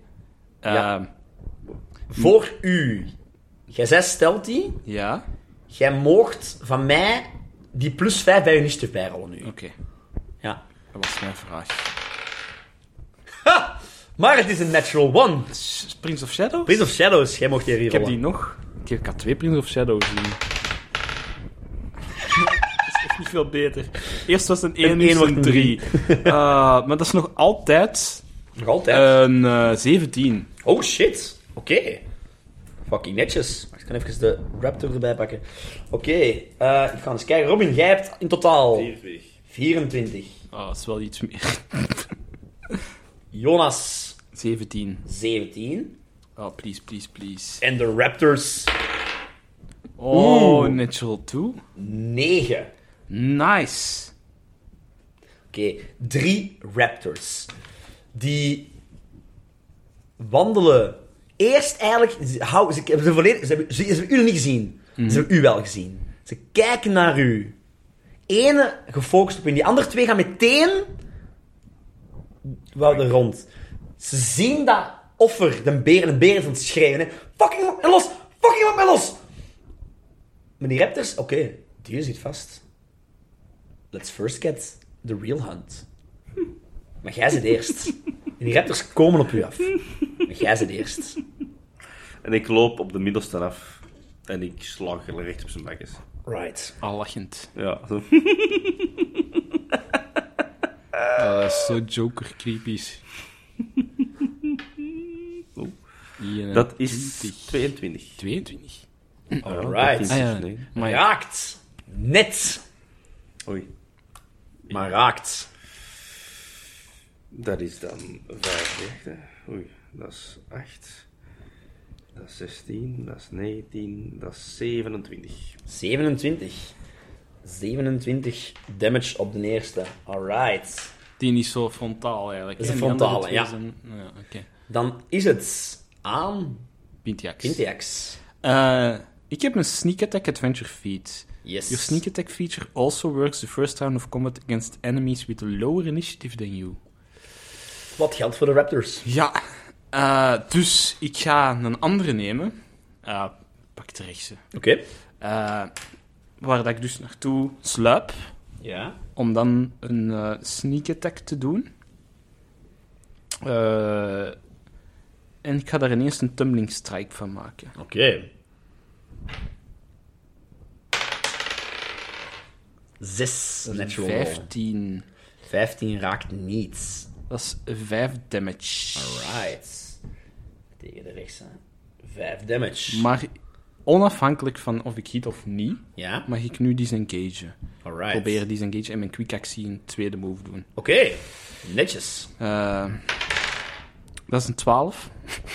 Speaker 2: Ja.
Speaker 3: Ehm,
Speaker 2: Voor u. Jij zei stelt die.
Speaker 3: ja?
Speaker 2: Jij moogt van mij die plus 5 bij initiative bijrollen nu.
Speaker 3: Oké.
Speaker 2: Ja.
Speaker 3: Dat was mijn vraag.
Speaker 2: Maar het is een natural one.
Speaker 3: S- Prince of Shadow?
Speaker 2: Prince of Shadows, jij mocht hier
Speaker 3: Ik heb die nog. Ik heb- Ik had twee Prince of Shadow gezien. dat is echt niet veel beter. Eerst was het een 1,
Speaker 2: Een
Speaker 3: nu is het
Speaker 2: één
Speaker 3: een
Speaker 2: wordt een
Speaker 3: 3. maar dat is nog altijd
Speaker 2: Nog altijd.
Speaker 3: een eh, 17.
Speaker 2: Oh shit. Oké. Fucking netjes. Wacht, Ik kan even de Raptor erbij pakken. Oké, eh, ik ga eens kijken. Robin, jij hebt in totaal 24.
Speaker 3: Oh, dat is wel iets meer.
Speaker 2: Jonas,
Speaker 3: 17.
Speaker 2: 17.
Speaker 3: Oh, please, please, please.
Speaker 2: En de Raptors,
Speaker 3: Oh,
Speaker 2: Oeh.
Speaker 3: natural 2.
Speaker 2: 9. Oké,
Speaker 3: Nice.
Speaker 2: drie Raptors. Die wandelen. Eerst eigenlijk... Ze, hou, ze, hebben ze, volledig, ze, hebben, ze, ze hebben u nog niet gezien. Ze hebben u wel gezien. Ze kijken naar u. Ene gefocust op u. Die andere twee gaan meteen... Wel er rond. Ze zien dat offer, de beer, en de beer is aan het schreeuwen. Hè. Fucking iemand mij los! Fucking iemand mij los! Maar die raptors, oké, die zit vast. Let's first get the real hunt. Maar jij zit eerst. En die raptors komen op u af. Maar jij zit eerst.
Speaker 1: En ik loop op de middelste af. En ik slag er recht op zijn bekjes.
Speaker 2: Right.
Speaker 3: Al Ah, lachend.
Speaker 1: Ja, zo.
Speaker 3: Ah, dat is zo Joker creepies.
Speaker 1: Oeh.
Speaker 3: Hier, eh,
Speaker 1: Dat is 22.
Speaker 3: 22.
Speaker 2: Alright.
Speaker 1: Ah, ja.
Speaker 3: Ah,
Speaker 1: Nee.
Speaker 3: Maar ja.
Speaker 2: Raakt. Net.
Speaker 1: Oei.
Speaker 2: Maar raakt.
Speaker 1: Dat is dan 35. Oei, dat is 8. Dat is 16, dat is 19, dat is 27.
Speaker 2: 27. 27 damage op de eerste. Alright.
Speaker 3: Die is zo frontaal eigenlijk.
Speaker 2: Dat is
Speaker 3: hè?
Speaker 2: een
Speaker 3: En die andere
Speaker 2: frontale,
Speaker 3: twee zijn- ja, oké.
Speaker 2: Dan is het aan
Speaker 3: Pintiax.
Speaker 2: Pintiax.
Speaker 3: Eh, ik heb een sneak attack adventure feat.
Speaker 2: Yes.
Speaker 3: Your sneak attack feature also works the first round of combat against enemies with a lower initiative than you.
Speaker 2: Wat geldt voor de raptors?
Speaker 3: Ja, eh, dus ik ga een andere nemen. Eh, pak de rechtse.
Speaker 2: Oké.
Speaker 3: Eh, waar dat ik dus naartoe sluip.
Speaker 2: Ja.
Speaker 3: om dan een eh, sneak attack te doen. Eh, en ik ga daar ineens een tumbling strike van maken.
Speaker 2: Oké. Zes. Natural roll.
Speaker 3: 15.
Speaker 2: 15 raakt niets.
Speaker 3: Dat is 5 damage.
Speaker 2: Alright. Tegen de rechtse. 5 damage.
Speaker 3: Maar onafhankelijk van of ik hit of niet,
Speaker 2: ja,
Speaker 3: mag ik nu disengagen.
Speaker 2: alright.
Speaker 3: Proberen disengage en mijn quick actie een tweede move doen.
Speaker 2: Oké, netjes.
Speaker 3: Eh, dat is een 12.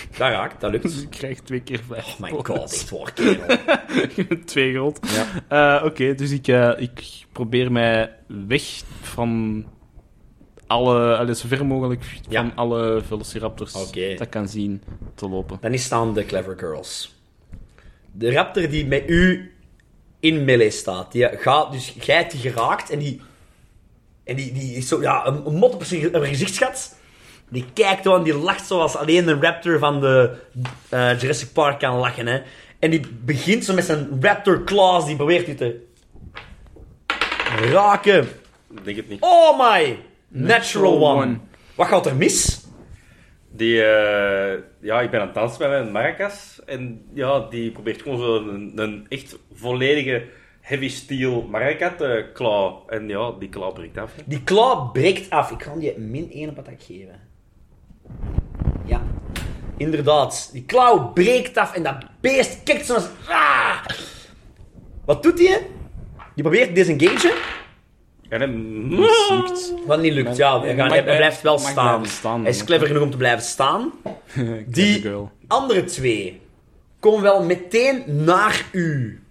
Speaker 2: Dat raakt, dat lukt.
Speaker 3: Dus ik krijg twee keer 5.
Speaker 2: Oh my god, echt waar, kerel.
Speaker 3: Twee gold.
Speaker 2: Ja.
Speaker 3: Eh, Oké, dus ik, eh, ik probeer mij weg van alle, allee, zo ver mogelijk van
Speaker 2: Ja.
Speaker 3: alle velociraptors
Speaker 2: Oké.
Speaker 3: dat ik kan zien te lopen.
Speaker 2: Dan is staan de Clever Girls. De raptor die met u in melee staat. Die gaat, dus jij hebt die geraakt en die... En die, die is zo, ja, een, een mot op zijn ge- op haar gezicht schat. Die kijkt zo en die lacht zoals alleen een raptor van de eh, Jurassic Park kan lachen, hè. En die begint zo met zijn raptor claws, die probeert u te... Raken.
Speaker 1: Ik denk het niet.
Speaker 2: Oh my! Natural,
Speaker 3: Natural
Speaker 2: one.
Speaker 3: one.
Speaker 2: Wat gaat er mis?
Speaker 1: Die, eh, ja, ik ben aan het dansen met mijn maracas. En ja, die probeert gewoon zo een, een echt volledige heavy steel maracat eh, klauw. En ja, die klauw breekt af. hè.
Speaker 2: Die klauw breekt af. Ik ga die min 1 op attack geven. Ja. Inderdaad. Die klauw breekt af en dat beest kikt zoals... Ah! Wat doet hij? Die probeert te disengagen.
Speaker 1: En dan...
Speaker 3: Lukt.
Speaker 2: Wat niet lukt. Ja, hij, gaat-
Speaker 3: mag
Speaker 2: hij
Speaker 3: blijven-
Speaker 2: blijft wel
Speaker 3: mag
Speaker 2: staan.
Speaker 3: blijven staan.
Speaker 2: Hij is clever genoeg om te blijven staan. Die
Speaker 3: girl.
Speaker 2: andere twee komen wel meteen naar u.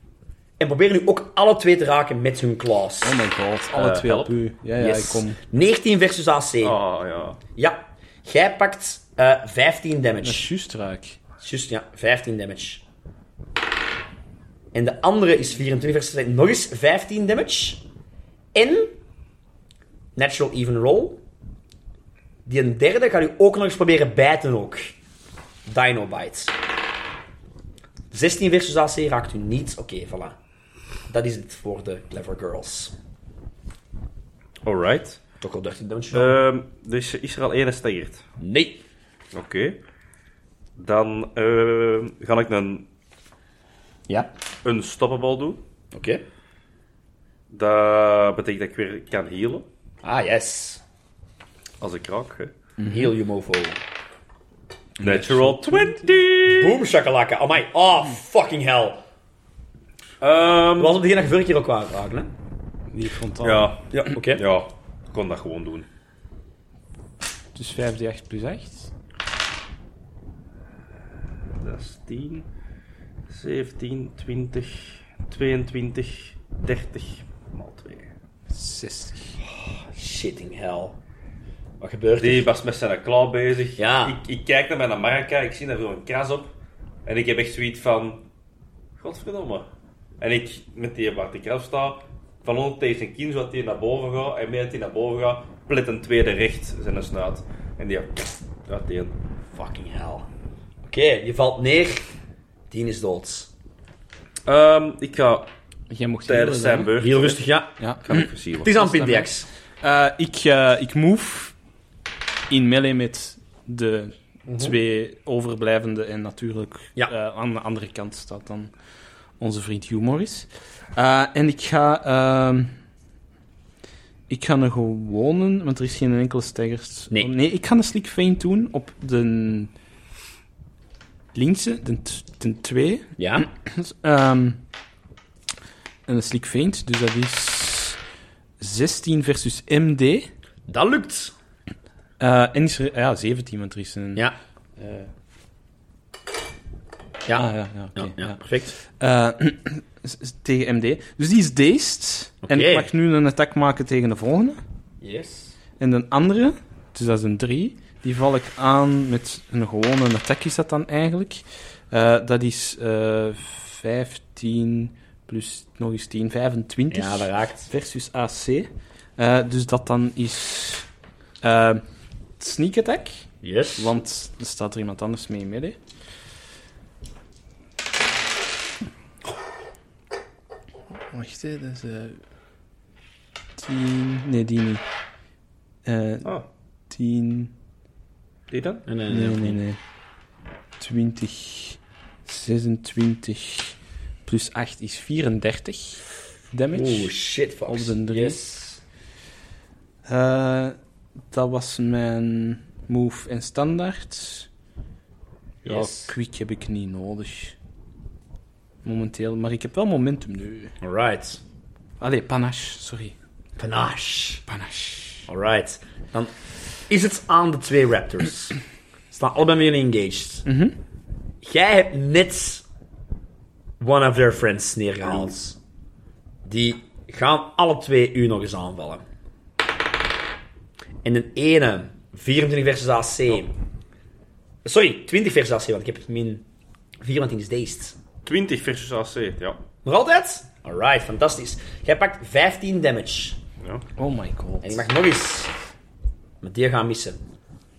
Speaker 2: En proberen nu ook alle twee te raken met hun claws.
Speaker 3: Oh my god, alle
Speaker 1: Eh,
Speaker 3: twee
Speaker 1: help.
Speaker 3: op u. Ja, ja,
Speaker 2: Yes.
Speaker 3: ik kom. Oh.
Speaker 2: 19 versus AC.
Speaker 1: Ah, ja.
Speaker 2: Ja. Jij pakt eh, 15
Speaker 3: Dat
Speaker 2: damage.
Speaker 3: is juist raak.
Speaker 2: Juist, ja. 15 damage. En de andere is 24 versus AC. Nog eens 15 damage. En... Natural even roll. Die een derde gaat u ook nog eens proberen bijten ook. Dino bite. 16 versus AC raakt u niet. Oké, voilà. Dat is het voor de Clever Girls.
Speaker 1: Alright.
Speaker 2: Toch al 13 damage?
Speaker 1: Eh. Ehm, dus is er al één gestaggerd?
Speaker 2: nee.
Speaker 1: Oké. Dan eh, ga ik een
Speaker 6: Ja.
Speaker 1: unstoppable doen.
Speaker 6: Oké.
Speaker 1: Dat betekent dat ik weer kan healen.
Speaker 6: Ah, yes.
Speaker 1: Als ik raak. Hè.
Speaker 6: Heel je mofo.
Speaker 1: Natural 20!
Speaker 2: Boom, shakalaka. Amai. Oh, fucking hell.
Speaker 1: Ehm,
Speaker 2: Dat was op het begin dat je vorige keer elkaar raken, hè?
Speaker 3: Niet frontaal.
Speaker 1: ja,
Speaker 2: Ja, oké.
Speaker 1: ja, ik kon dat gewoon doen.
Speaker 3: Dus 5d8 plus 8.
Speaker 1: Dat is 10, 17, 20, 22, 30 maal 2.
Speaker 3: 60.
Speaker 2: Shitting hell. Wat gebeurt er?
Speaker 1: Die was met zijn klauw bezig.
Speaker 2: Ja.
Speaker 1: Ik, ik kijk naar mijn Amerika, ik zie daar zo een kras op. En ik heb echt zoiets van... Godverdomme. En ik, met die waar ik eraf sta, van onder tegen zijn kin, zodat hij naar boven gaat. En mee dat hij naar boven gaat, plet een tweede recht zijn snuit. En die gaat tegen.
Speaker 2: Fucking hell. Oké, je valt neer. Tien is dood.
Speaker 1: Ehm ik ga
Speaker 3: Jij mocht
Speaker 1: tijdens
Speaker 3: healen,
Speaker 1: zijn
Speaker 3: hè?
Speaker 1: beurt...
Speaker 2: Heel rustig, ja.
Speaker 3: Ja.
Speaker 1: Ik ga even zien.
Speaker 2: Het is aan Pindex.
Speaker 3: Eh, ik, eh, ik move in melee met de twee overblijvende en natuurlijk
Speaker 2: Mhm. Ja.
Speaker 3: eh, aan de andere kant staat dan onze vriend Hugh Morris. Eh, en ik ga, ehm, ik ga een gewone, want er is geen enkele staggers.
Speaker 2: Nee.
Speaker 3: ik ga een slick feint doen op de linkse, de, t- de twee.
Speaker 2: Ja.
Speaker 3: Ehm, en een slick feint, dus dat is 16 versus MD.
Speaker 2: Dat lukt.
Speaker 3: Eh, en is er, ja, 17, want er is een.
Speaker 2: Ja. Eh.
Speaker 3: Ah,
Speaker 2: Ja.
Speaker 3: ja, ja, oké,
Speaker 2: Ja, ja,
Speaker 3: ja.
Speaker 2: perfect.
Speaker 3: Eh, s- s- tegen MD. Dus die is dazed. En
Speaker 2: Oké.
Speaker 3: ik mag nu een attack maken tegen de volgende.
Speaker 2: Yes.
Speaker 3: En de andere, dus dat is een 3, die val ik aan met een gewone attack, is dat dan eigenlijk. Eh, dat is eh 15 plus nog eens 10, 25.
Speaker 2: Ja, dat raakt.
Speaker 3: versus AC. Eh, dus dat dan is eh, sneak attack,
Speaker 2: Yes.
Speaker 3: want er staat er iemand anders mee in midden. Wacht, hè, dat is... eh 10... Nee, die niet. Eh
Speaker 1: Ah,
Speaker 3: 10...
Speaker 1: die dan?
Speaker 2: En, eh,
Speaker 3: Nee, nee, nee. 20... 26... Plus 8 is 34 damage.
Speaker 2: Oeh, shit, fuck.
Speaker 3: Op de drie.
Speaker 2: Yes.
Speaker 3: Eh, dat was mijn move en standaard. Ja,
Speaker 2: Yes.
Speaker 3: quick heb ik niet nodig. Momenteel, maar ik heb wel momentum nu.
Speaker 2: Alright.
Speaker 3: Allee, panache, sorry.
Speaker 2: Panache.
Speaker 3: Panache.
Speaker 2: Alright. Dan is het aan de twee Raptors. Staan allebei met jullie engaged.
Speaker 3: Mhm.
Speaker 2: Jij hebt net one of their friends neergehaald. Die gaan alle twee u nog eens aanvallen. En de ene, 24 versus AC. Sorry, 20 versus AC, want ik heb het min 24 is dazed.
Speaker 1: 20 versus AC, ja.
Speaker 2: Nog altijd? Alright, fantastisch. Jij pakt 15 damage.
Speaker 1: ja.
Speaker 3: Oh my god.
Speaker 2: En ik mag nog eens. Met die gaan missen.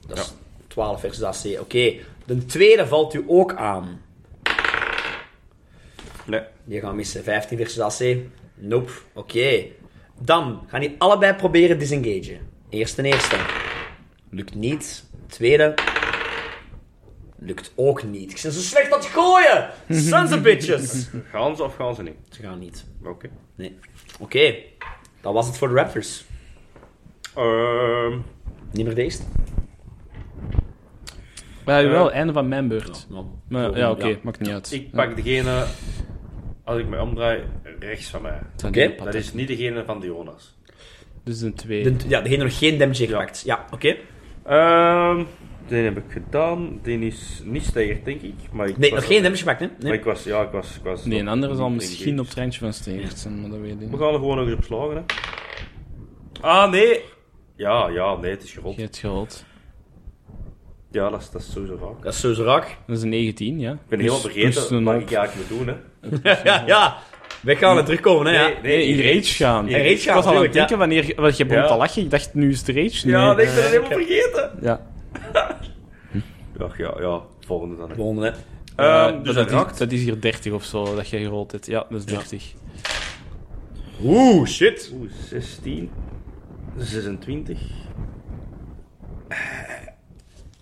Speaker 2: Dat is 12 versus AC. Oké, de tweede valt u ook aan.
Speaker 1: Nee.
Speaker 2: Die gaan missen. 15 versus AC. Nope. Oké. Dan gaan die allebei proberen disengagen. Eerste en eerste. Lukt niet. Tweede. Lukt ook niet. Ik ben zo slecht aan het gooien. Sons of bitches.
Speaker 1: Gaan ze of gaan ze niet?
Speaker 2: Ze gaan niet.
Speaker 1: Oké.
Speaker 2: Nee. Oké. Dat was het voor de Raptors.
Speaker 1: Ehm,
Speaker 2: Niet meer deze.
Speaker 3: Maar wel, einde van mijn beurt.
Speaker 2: Man.
Speaker 3: Maar, ja, oké, maakt niet uit.
Speaker 1: ik pak degene, als ik me omdraai, rechts van mij.
Speaker 3: Ja,
Speaker 2: oké,
Speaker 3: dat
Speaker 1: Dat
Speaker 3: is...
Speaker 1: is niet degene van de Jonas.
Speaker 3: Dus een 2.
Speaker 2: De, ja, degene die nog geen damage heeft
Speaker 1: Ja.
Speaker 2: gepakt. Ja, oké.
Speaker 1: Ehm, die heb ik gedaan. Die is niet stijger, denk ik. Maar ik
Speaker 2: Nee,
Speaker 1: was
Speaker 2: nog
Speaker 1: er-
Speaker 2: geen damage gepakt, hè?
Speaker 1: Maar
Speaker 2: Nee.
Speaker 1: ik was, ja, ik was... Ik was
Speaker 3: Nee, een andere zal
Speaker 1: niet
Speaker 3: misschien op
Speaker 1: engaged.
Speaker 3: het randje van stevig zijn, maar dat weet ik
Speaker 1: We
Speaker 3: niet.
Speaker 1: gaan er gewoon nog eens op slagen, hè. Ah, nee! Ja, ja, nee, het is gerold.
Speaker 3: Je hebt gehaald.
Speaker 1: Ja, dat is, dat is sowieso raak.
Speaker 2: Dat is sowieso raak.
Speaker 3: Dat is een 19, ja. Dus-
Speaker 1: Ik ben helemaal vergeten wat ik
Speaker 3: ja.
Speaker 1: eigenlijk moet doen, hè.
Speaker 2: Ja, ja. Wij gaan er terugkomen, hè? ja.
Speaker 3: Nee, in rage gaan.
Speaker 1: In
Speaker 2: rage gaan,
Speaker 3: Ik was al aan
Speaker 2: tuurlijk,
Speaker 3: het denken wanneer... Want je begon
Speaker 1: Ja.
Speaker 3: te lachen. Ik dacht, nu is het rage.
Speaker 1: Ja,
Speaker 3: nee.
Speaker 1: nee, ik
Speaker 2: Eh,
Speaker 1: ben het helemaal vergeten!
Speaker 3: Ja.
Speaker 1: Ach, ja, ja. Volgende dan. hè.
Speaker 2: Volgende, hè.
Speaker 1: Ehm,
Speaker 3: Eh,
Speaker 1: dus
Speaker 3: dat,
Speaker 1: dat
Speaker 3: is,
Speaker 1: raakt.
Speaker 3: dat is hier 30 of zo, dat jij gerold hebt. Ja, dat is 30.
Speaker 2: Oeh, shit.
Speaker 1: Oeh, 16. 26.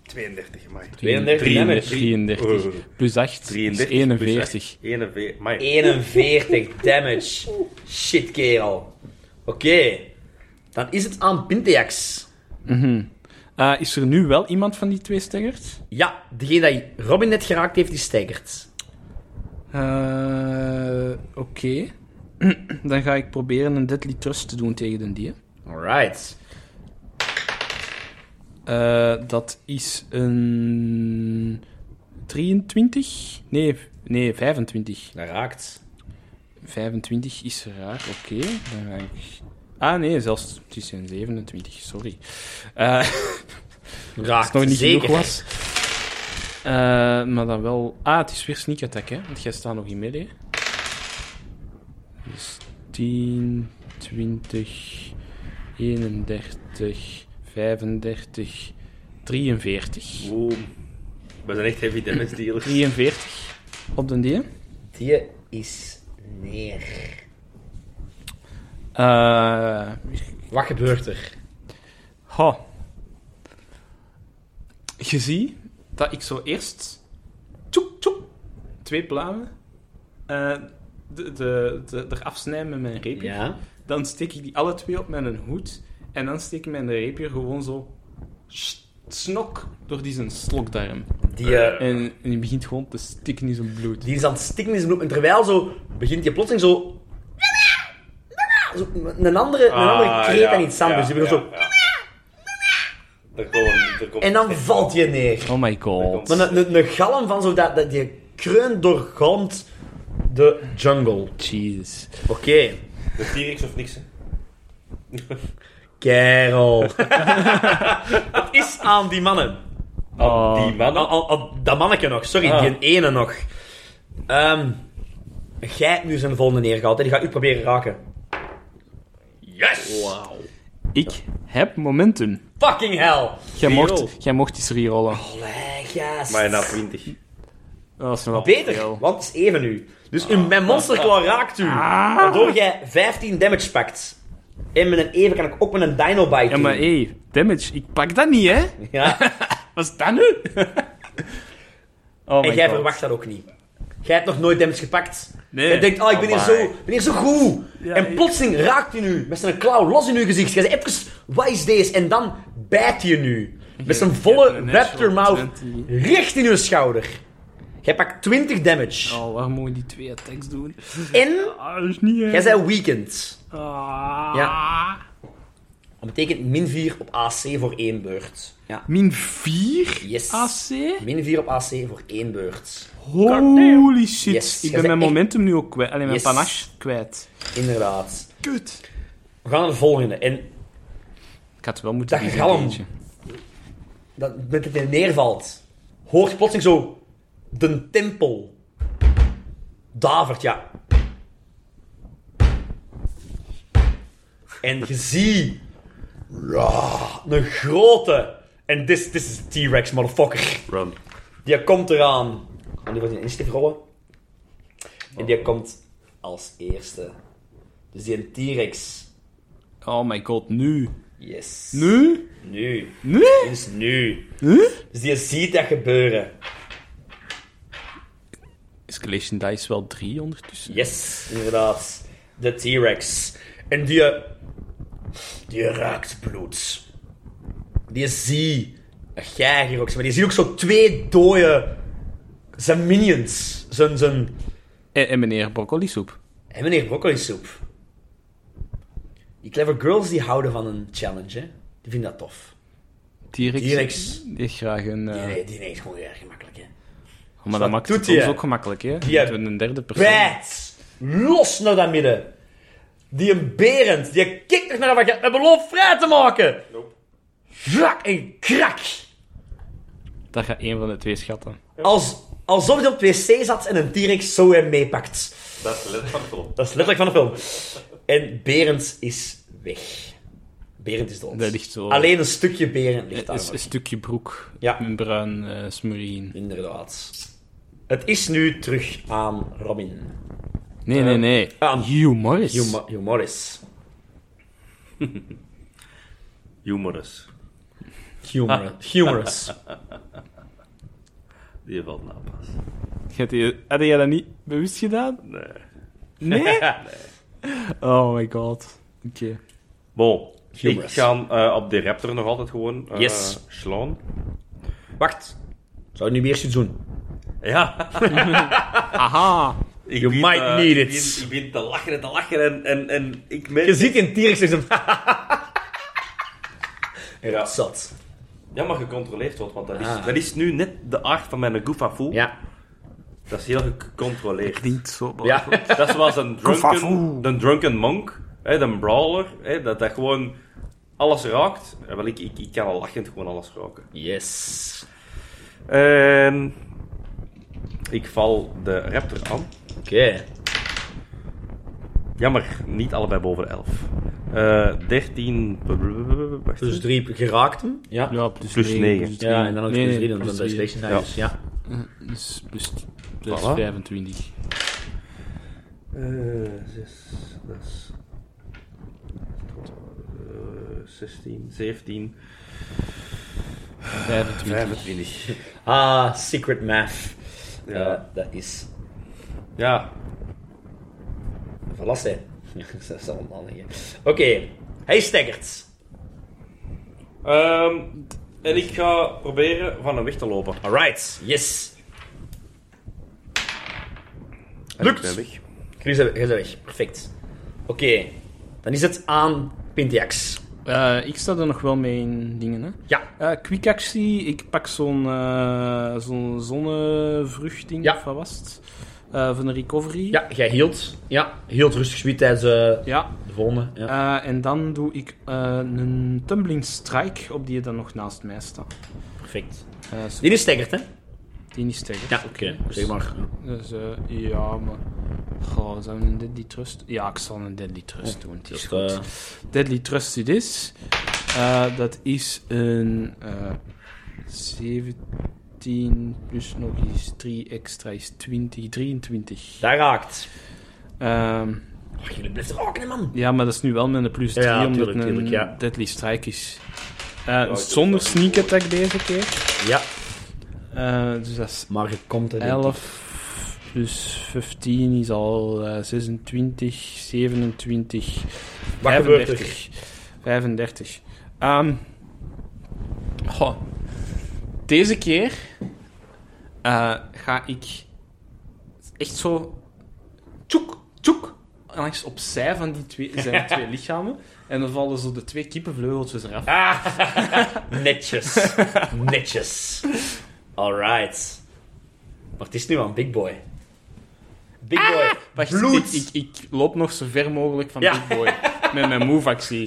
Speaker 1: 32, amai.
Speaker 2: 32 damage.
Speaker 3: 33.
Speaker 1: Oh.
Speaker 3: Plus 8 is
Speaker 1: 33
Speaker 3: 41.
Speaker 1: 41, amai.
Speaker 2: 41 damage. Shit, kerel. Oké. Dan is het aan Pinteax.
Speaker 3: Eh, is er nu wel iemand van die twee steggers?
Speaker 2: Ja, degene dat Robin net geraakt heeft, die staggert.
Speaker 3: Eh, Oké. Dan ga ik proberen een Deadly Trust te doen tegen de dier.
Speaker 2: Alright.
Speaker 3: Eh, dat is een 23? Nee, v- nee 25.
Speaker 2: Dat raakt.
Speaker 3: 25 is raak, oké. Dan ga ik... Ah nee, zelfs het is een 27, sorry. Eh als
Speaker 2: Raakt,
Speaker 3: het nog niet
Speaker 2: zeker.
Speaker 3: genoeg was. Eh, maar dan wel... Ah, het is weer sneak attack, hè. Want jij staat nog in melee. Dus 10, 20, 31, 35, 43.
Speaker 1: Oeh. We zijn echt heavy damage dealers.
Speaker 3: 43 op de die.
Speaker 2: Die is neer.
Speaker 3: Eh,
Speaker 2: Wat gebeurt er?
Speaker 3: ha. Je ziet dat ik zo eerst... Tjoek, tjoek. Twee pluimen. eh, de, de, de, eraf snij met mijn reepje.
Speaker 2: Ja.
Speaker 3: Dan steek ik die alle twee op met een hoed. En dan steek ik mijn reepje gewoon zo... s- Snok door die zijn slokdarm.
Speaker 2: Die, eh,
Speaker 3: En, en die begint gewoon te stikken in zijn bloed.
Speaker 2: die is aan het stikken in zijn bloed. En terwijl zo begint je plotseling zo... zo een andere,
Speaker 1: Ah,
Speaker 2: een andere kreet en iets anders. Die begint dus zo...
Speaker 1: Er komt, er komt
Speaker 2: En dan valt je neer.
Speaker 3: Oh my god.
Speaker 2: Maar een, een, een galm van zo dat, dat je kreun doorgalmt de jungle.
Speaker 3: Jesus.
Speaker 2: Oké.
Speaker 1: de T-Rex of niks. hè.
Speaker 2: Kerel. Het is aan die mannen.
Speaker 1: Aan
Speaker 2: Ah.
Speaker 1: die man.
Speaker 2: Aan, aan- aan dat manneke nog, sorry,
Speaker 1: Ah.
Speaker 2: die ene nog. Ehm jij hebt nu zijn volgende neergehaald, hè. die gaat u proberen raken.
Speaker 1: Yes!
Speaker 3: Ik heb momentum.
Speaker 2: Fucking hell!
Speaker 3: Jij
Speaker 1: Reroll.
Speaker 3: mocht, jij mocht eens rerollen.
Speaker 2: Allee, gast.
Speaker 1: Maar na 20.
Speaker 3: Oh, Dat is wel
Speaker 2: Beter, want het is even nu. Dus een mijn
Speaker 3: Ah.
Speaker 2: monsterklaar raakt u, waardoor jij 15 damage pakt. En met een even kan ik ook met een dino bite
Speaker 3: Ja, maar
Speaker 2: doen.
Speaker 3: hé, hey, damage, ik Oh pak dat niet, hè?
Speaker 2: Ja.
Speaker 3: Wat is dat nu? oh
Speaker 2: En
Speaker 3: my
Speaker 2: jij
Speaker 3: God.
Speaker 2: verwacht dat ook niet. Jij hebt nog nooit damage gepakt.
Speaker 3: Nee.
Speaker 2: Je denkt, ah, ik ben hier, zo,
Speaker 1: Amai.
Speaker 2: ik ben hier zo goed.
Speaker 3: Ja,
Speaker 2: en
Speaker 3: ik-
Speaker 2: plotseling raakt hij nu met zijn klauw los in uw gezicht. Jij zegt even, wat is deze? En dan bijt hij nu. Met zijn
Speaker 3: hebt
Speaker 2: volle
Speaker 3: een
Speaker 2: raptor
Speaker 3: natural
Speaker 2: mouth
Speaker 3: 20.
Speaker 2: recht in uw schouder. Jij pakt 20 damage.
Speaker 3: Oh, waar moet je die twee attacks doen?
Speaker 2: En
Speaker 3: Ah, dat is niet, hè?
Speaker 2: jij bent weakened.
Speaker 3: Ah.
Speaker 2: Ja. Dat betekent min 4 op AC voor één beurt. Ja.
Speaker 3: Min 4
Speaker 2: Yes.
Speaker 3: AC?
Speaker 2: Min 4 op AC voor één beurt.
Speaker 3: Holy shit.
Speaker 2: Yes, jij
Speaker 3: Ik ben mijn
Speaker 2: bent echt-
Speaker 3: momentum nu ook kwijt. Alleen mijn
Speaker 2: Yes.
Speaker 3: panache kwijt.
Speaker 2: Inderdaad.
Speaker 3: Kut.
Speaker 2: We gaan naar de volgende. En
Speaker 3: Ik had wel moeten
Speaker 2: Dat
Speaker 3: disengagen.
Speaker 2: dat, met dat hij neervalt, hoort plotseling zo de tempel. Davert, ja. En je ziet Ra, een grote. En dit dit is een T-Rex, motherfucker.
Speaker 1: Run.
Speaker 2: Die komt eraan. En die wordt in initiatief rollen. En die komt als eerste. Dus die een T-Rex.
Speaker 3: Oh my god, nu.
Speaker 2: Yes.
Speaker 3: Nu?
Speaker 2: Nu.
Speaker 3: Nu?
Speaker 2: Dus nu.
Speaker 3: Nu?
Speaker 2: Dus die ziet dat gebeuren.
Speaker 3: Escalation dice wel 3 ondertussen.
Speaker 2: Yes, inderdaad. De T-Rex. En die... eh, Die raakt bloed. Die zie... Een geiger ook. Maar die zie ook zo twee dode... Zijn minions. Zijn... zijn
Speaker 3: Eh, En, en meneer Broccolisoep.
Speaker 2: en meneer Broccoli soep. Die clever girls die houden van een challenge, hè. Die vinden dat tof.
Speaker 3: T-Rex.
Speaker 2: T-Rex.
Speaker 3: Die heeft graag een... eh, oh,
Speaker 2: Die, die neemt gewoon heel erg gemakkelijk, hè.
Speaker 3: Maar dat maakt
Speaker 2: doet
Speaker 3: het
Speaker 2: hij,
Speaker 3: ons
Speaker 2: hè?
Speaker 3: ook gemakkelijk, hè?
Speaker 2: Die
Speaker 3: Moeten we een derde persoon.
Speaker 2: Bijt! Los naar dat midden. Die een berend, die kijkt nog naar wat je hebt met beloof vrij te maken. Vlak en krak.
Speaker 3: Daar gaat één van de twee schatten.
Speaker 2: Als, alsof hij op het wc zat en een T-Rex zo hem meepakt.
Speaker 1: Dat is letterlijk van de klop.
Speaker 2: Dat is letterlijk van de film. En Berend is weg. Berend is dood.
Speaker 3: Dat ligt zo.
Speaker 2: Alleen een stukje Berend ligt daar.
Speaker 3: Is
Speaker 2: nog.
Speaker 3: een stukje broek.
Speaker 2: Ja.
Speaker 3: Een bruin eh smurrie in.
Speaker 2: Inderdaad. Het is nu terug aan Robin.
Speaker 3: Nee, nee, nee.
Speaker 2: Eh, aan-
Speaker 3: Hugh Morris.
Speaker 2: Hugh Mo- Hugh Morris.
Speaker 1: Humorous.
Speaker 2: Ah, Humorous. Humorous.
Speaker 1: Die valt na pas.
Speaker 3: Had je- had jij dat niet bewust gedaan?
Speaker 1: Nee.
Speaker 3: Nee? Oh my god. Oké.
Speaker 1: Bon, ik
Speaker 6: Hubris.
Speaker 1: ga eh, op de Raptor nog altijd gewoon eh,
Speaker 2: Yes.
Speaker 1: slaan.
Speaker 2: Wacht. Zou je nu weer iets doen?
Speaker 1: Ja.
Speaker 3: Aha.
Speaker 1: Ik
Speaker 2: You
Speaker 1: begin,
Speaker 2: might
Speaker 1: eh,
Speaker 2: need
Speaker 1: ik
Speaker 2: it.
Speaker 1: begin- Ik begin te lachen en te lachen en, en, en ik merk...
Speaker 2: Je ziet in T-Rex zegt hem.
Speaker 1: Ja.
Speaker 2: Zat.
Speaker 1: ja, maar gecontroleerd wordt, want dat is,
Speaker 2: Ah.
Speaker 1: dat is nu net de aard van mijn goofafoe.
Speaker 2: Ja.
Speaker 1: Dat is heel gecontroleerd.
Speaker 3: Klinkt zo
Speaker 2: Ja.
Speaker 1: Dat is zoals een
Speaker 3: Goofafoe.
Speaker 1: drunken, een drunken monk, hè, een brawler, hè, dat dat gewoon alles raakt. Eh, Wel, ik, ik, ik kan al lachend gewoon alles raken.
Speaker 2: Yes.
Speaker 1: En ik val de raptor aan.
Speaker 2: Oké.
Speaker 1: Jammer, niet allebei boven 11. Eh 13 wacht,
Speaker 2: Dus drie geraakt hem. Ja.
Speaker 3: Ja, plus,
Speaker 1: Plus
Speaker 3: negen,
Speaker 1: negen.
Speaker 3: plus drie.
Speaker 2: Ja, en dan nog
Speaker 3: Nee,
Speaker 2: plus
Speaker 3: nee,
Speaker 2: drie, dan
Speaker 3: plus
Speaker 2: is dat
Speaker 3: drie.
Speaker 2: Expedition Dice. Ja.
Speaker 3: Eh, Dus plus dat is
Speaker 1: Voilà.
Speaker 3: 25.
Speaker 1: Eh, zes, dat is... eh, 16, 17,
Speaker 3: 25.
Speaker 1: 25.
Speaker 2: Ah, secret math. Ja,
Speaker 1: Ja.
Speaker 2: dat is...
Speaker 1: Ja,
Speaker 2: Verlast, hè. dat is allemaal niet. hè. Oké. Hij staggert.
Speaker 1: Ehm, en ik ga proberen van hem weg te lopen.
Speaker 2: Alright. Yes.
Speaker 1: En
Speaker 2: Lukt.
Speaker 1: ik ben weg.
Speaker 2: Chris, hij is weg. Perfect. Oké. Dan is het aan Pintiax.
Speaker 3: Eh, ik sta er nog wel mee in dingen, hè.
Speaker 2: Ja.
Speaker 3: Eh quick actie, ik pak zo'n eh zo'n zonnevruchtding,
Speaker 2: Ja.
Speaker 3: of wat was het? Eh, van de recovery.
Speaker 2: Ja, jij hield. Ja, hield rustig gebied tijdens eh,
Speaker 3: Ja.
Speaker 2: de volgende. Ja.
Speaker 3: Eh, en dan doe ik eh, een tumbling strike op die je dan nog naast mij staat.
Speaker 2: Perfect.
Speaker 3: Eh, so-
Speaker 2: Die is staggert, hè?
Speaker 3: die niet tegen.
Speaker 2: Ja, oké. Zeg maar.
Speaker 3: Dus, eh, ja, maar... Goh, zou ik een deadly trust... Ja, ik zal een deadly trust doen, het is
Speaker 2: dat, eh,
Speaker 3: goed. Deadly trust it is. Eh, dat is een... eh 17 plus nog eens 3 extra is 20, 23.
Speaker 2: Daar raakt.
Speaker 3: Ehm,
Speaker 2: Oh, jullie blijven raken, hè, man.
Speaker 3: ja, maar dat is nu wel met een plus 3,
Speaker 2: Ja,
Speaker 3: omdat
Speaker 2: tuurlijk,
Speaker 3: het een
Speaker 2: tuurlijk, ja.
Speaker 3: deadly strike is. Eh,
Speaker 1: ik
Speaker 3: zonder
Speaker 1: doe het
Speaker 3: sneak attack deze keer.
Speaker 2: Ja.
Speaker 3: Eh, dus dat is
Speaker 2: Maar je komt er
Speaker 3: 11 plus 15 is al eh, 26, 27,
Speaker 2: Wat gebeurt er?
Speaker 3: 35. 35. Ehm, goh. Deze keer eh, ga ik echt zo tjoek, tjoek, langs opzij van die twee, zijn twee lichamen. En dan vallen zo de twee kippenvleugeltjes eraf.
Speaker 2: Netjes. Netjes. Alright. Maar het is nu aan Big Boy. Big Boy.
Speaker 3: Wacht,
Speaker 2: Ah! bloed.
Speaker 3: Ik, ik, ik loop nog zo ver mogelijk van
Speaker 2: Ja.
Speaker 3: Big Boy. Met mijn move-actie.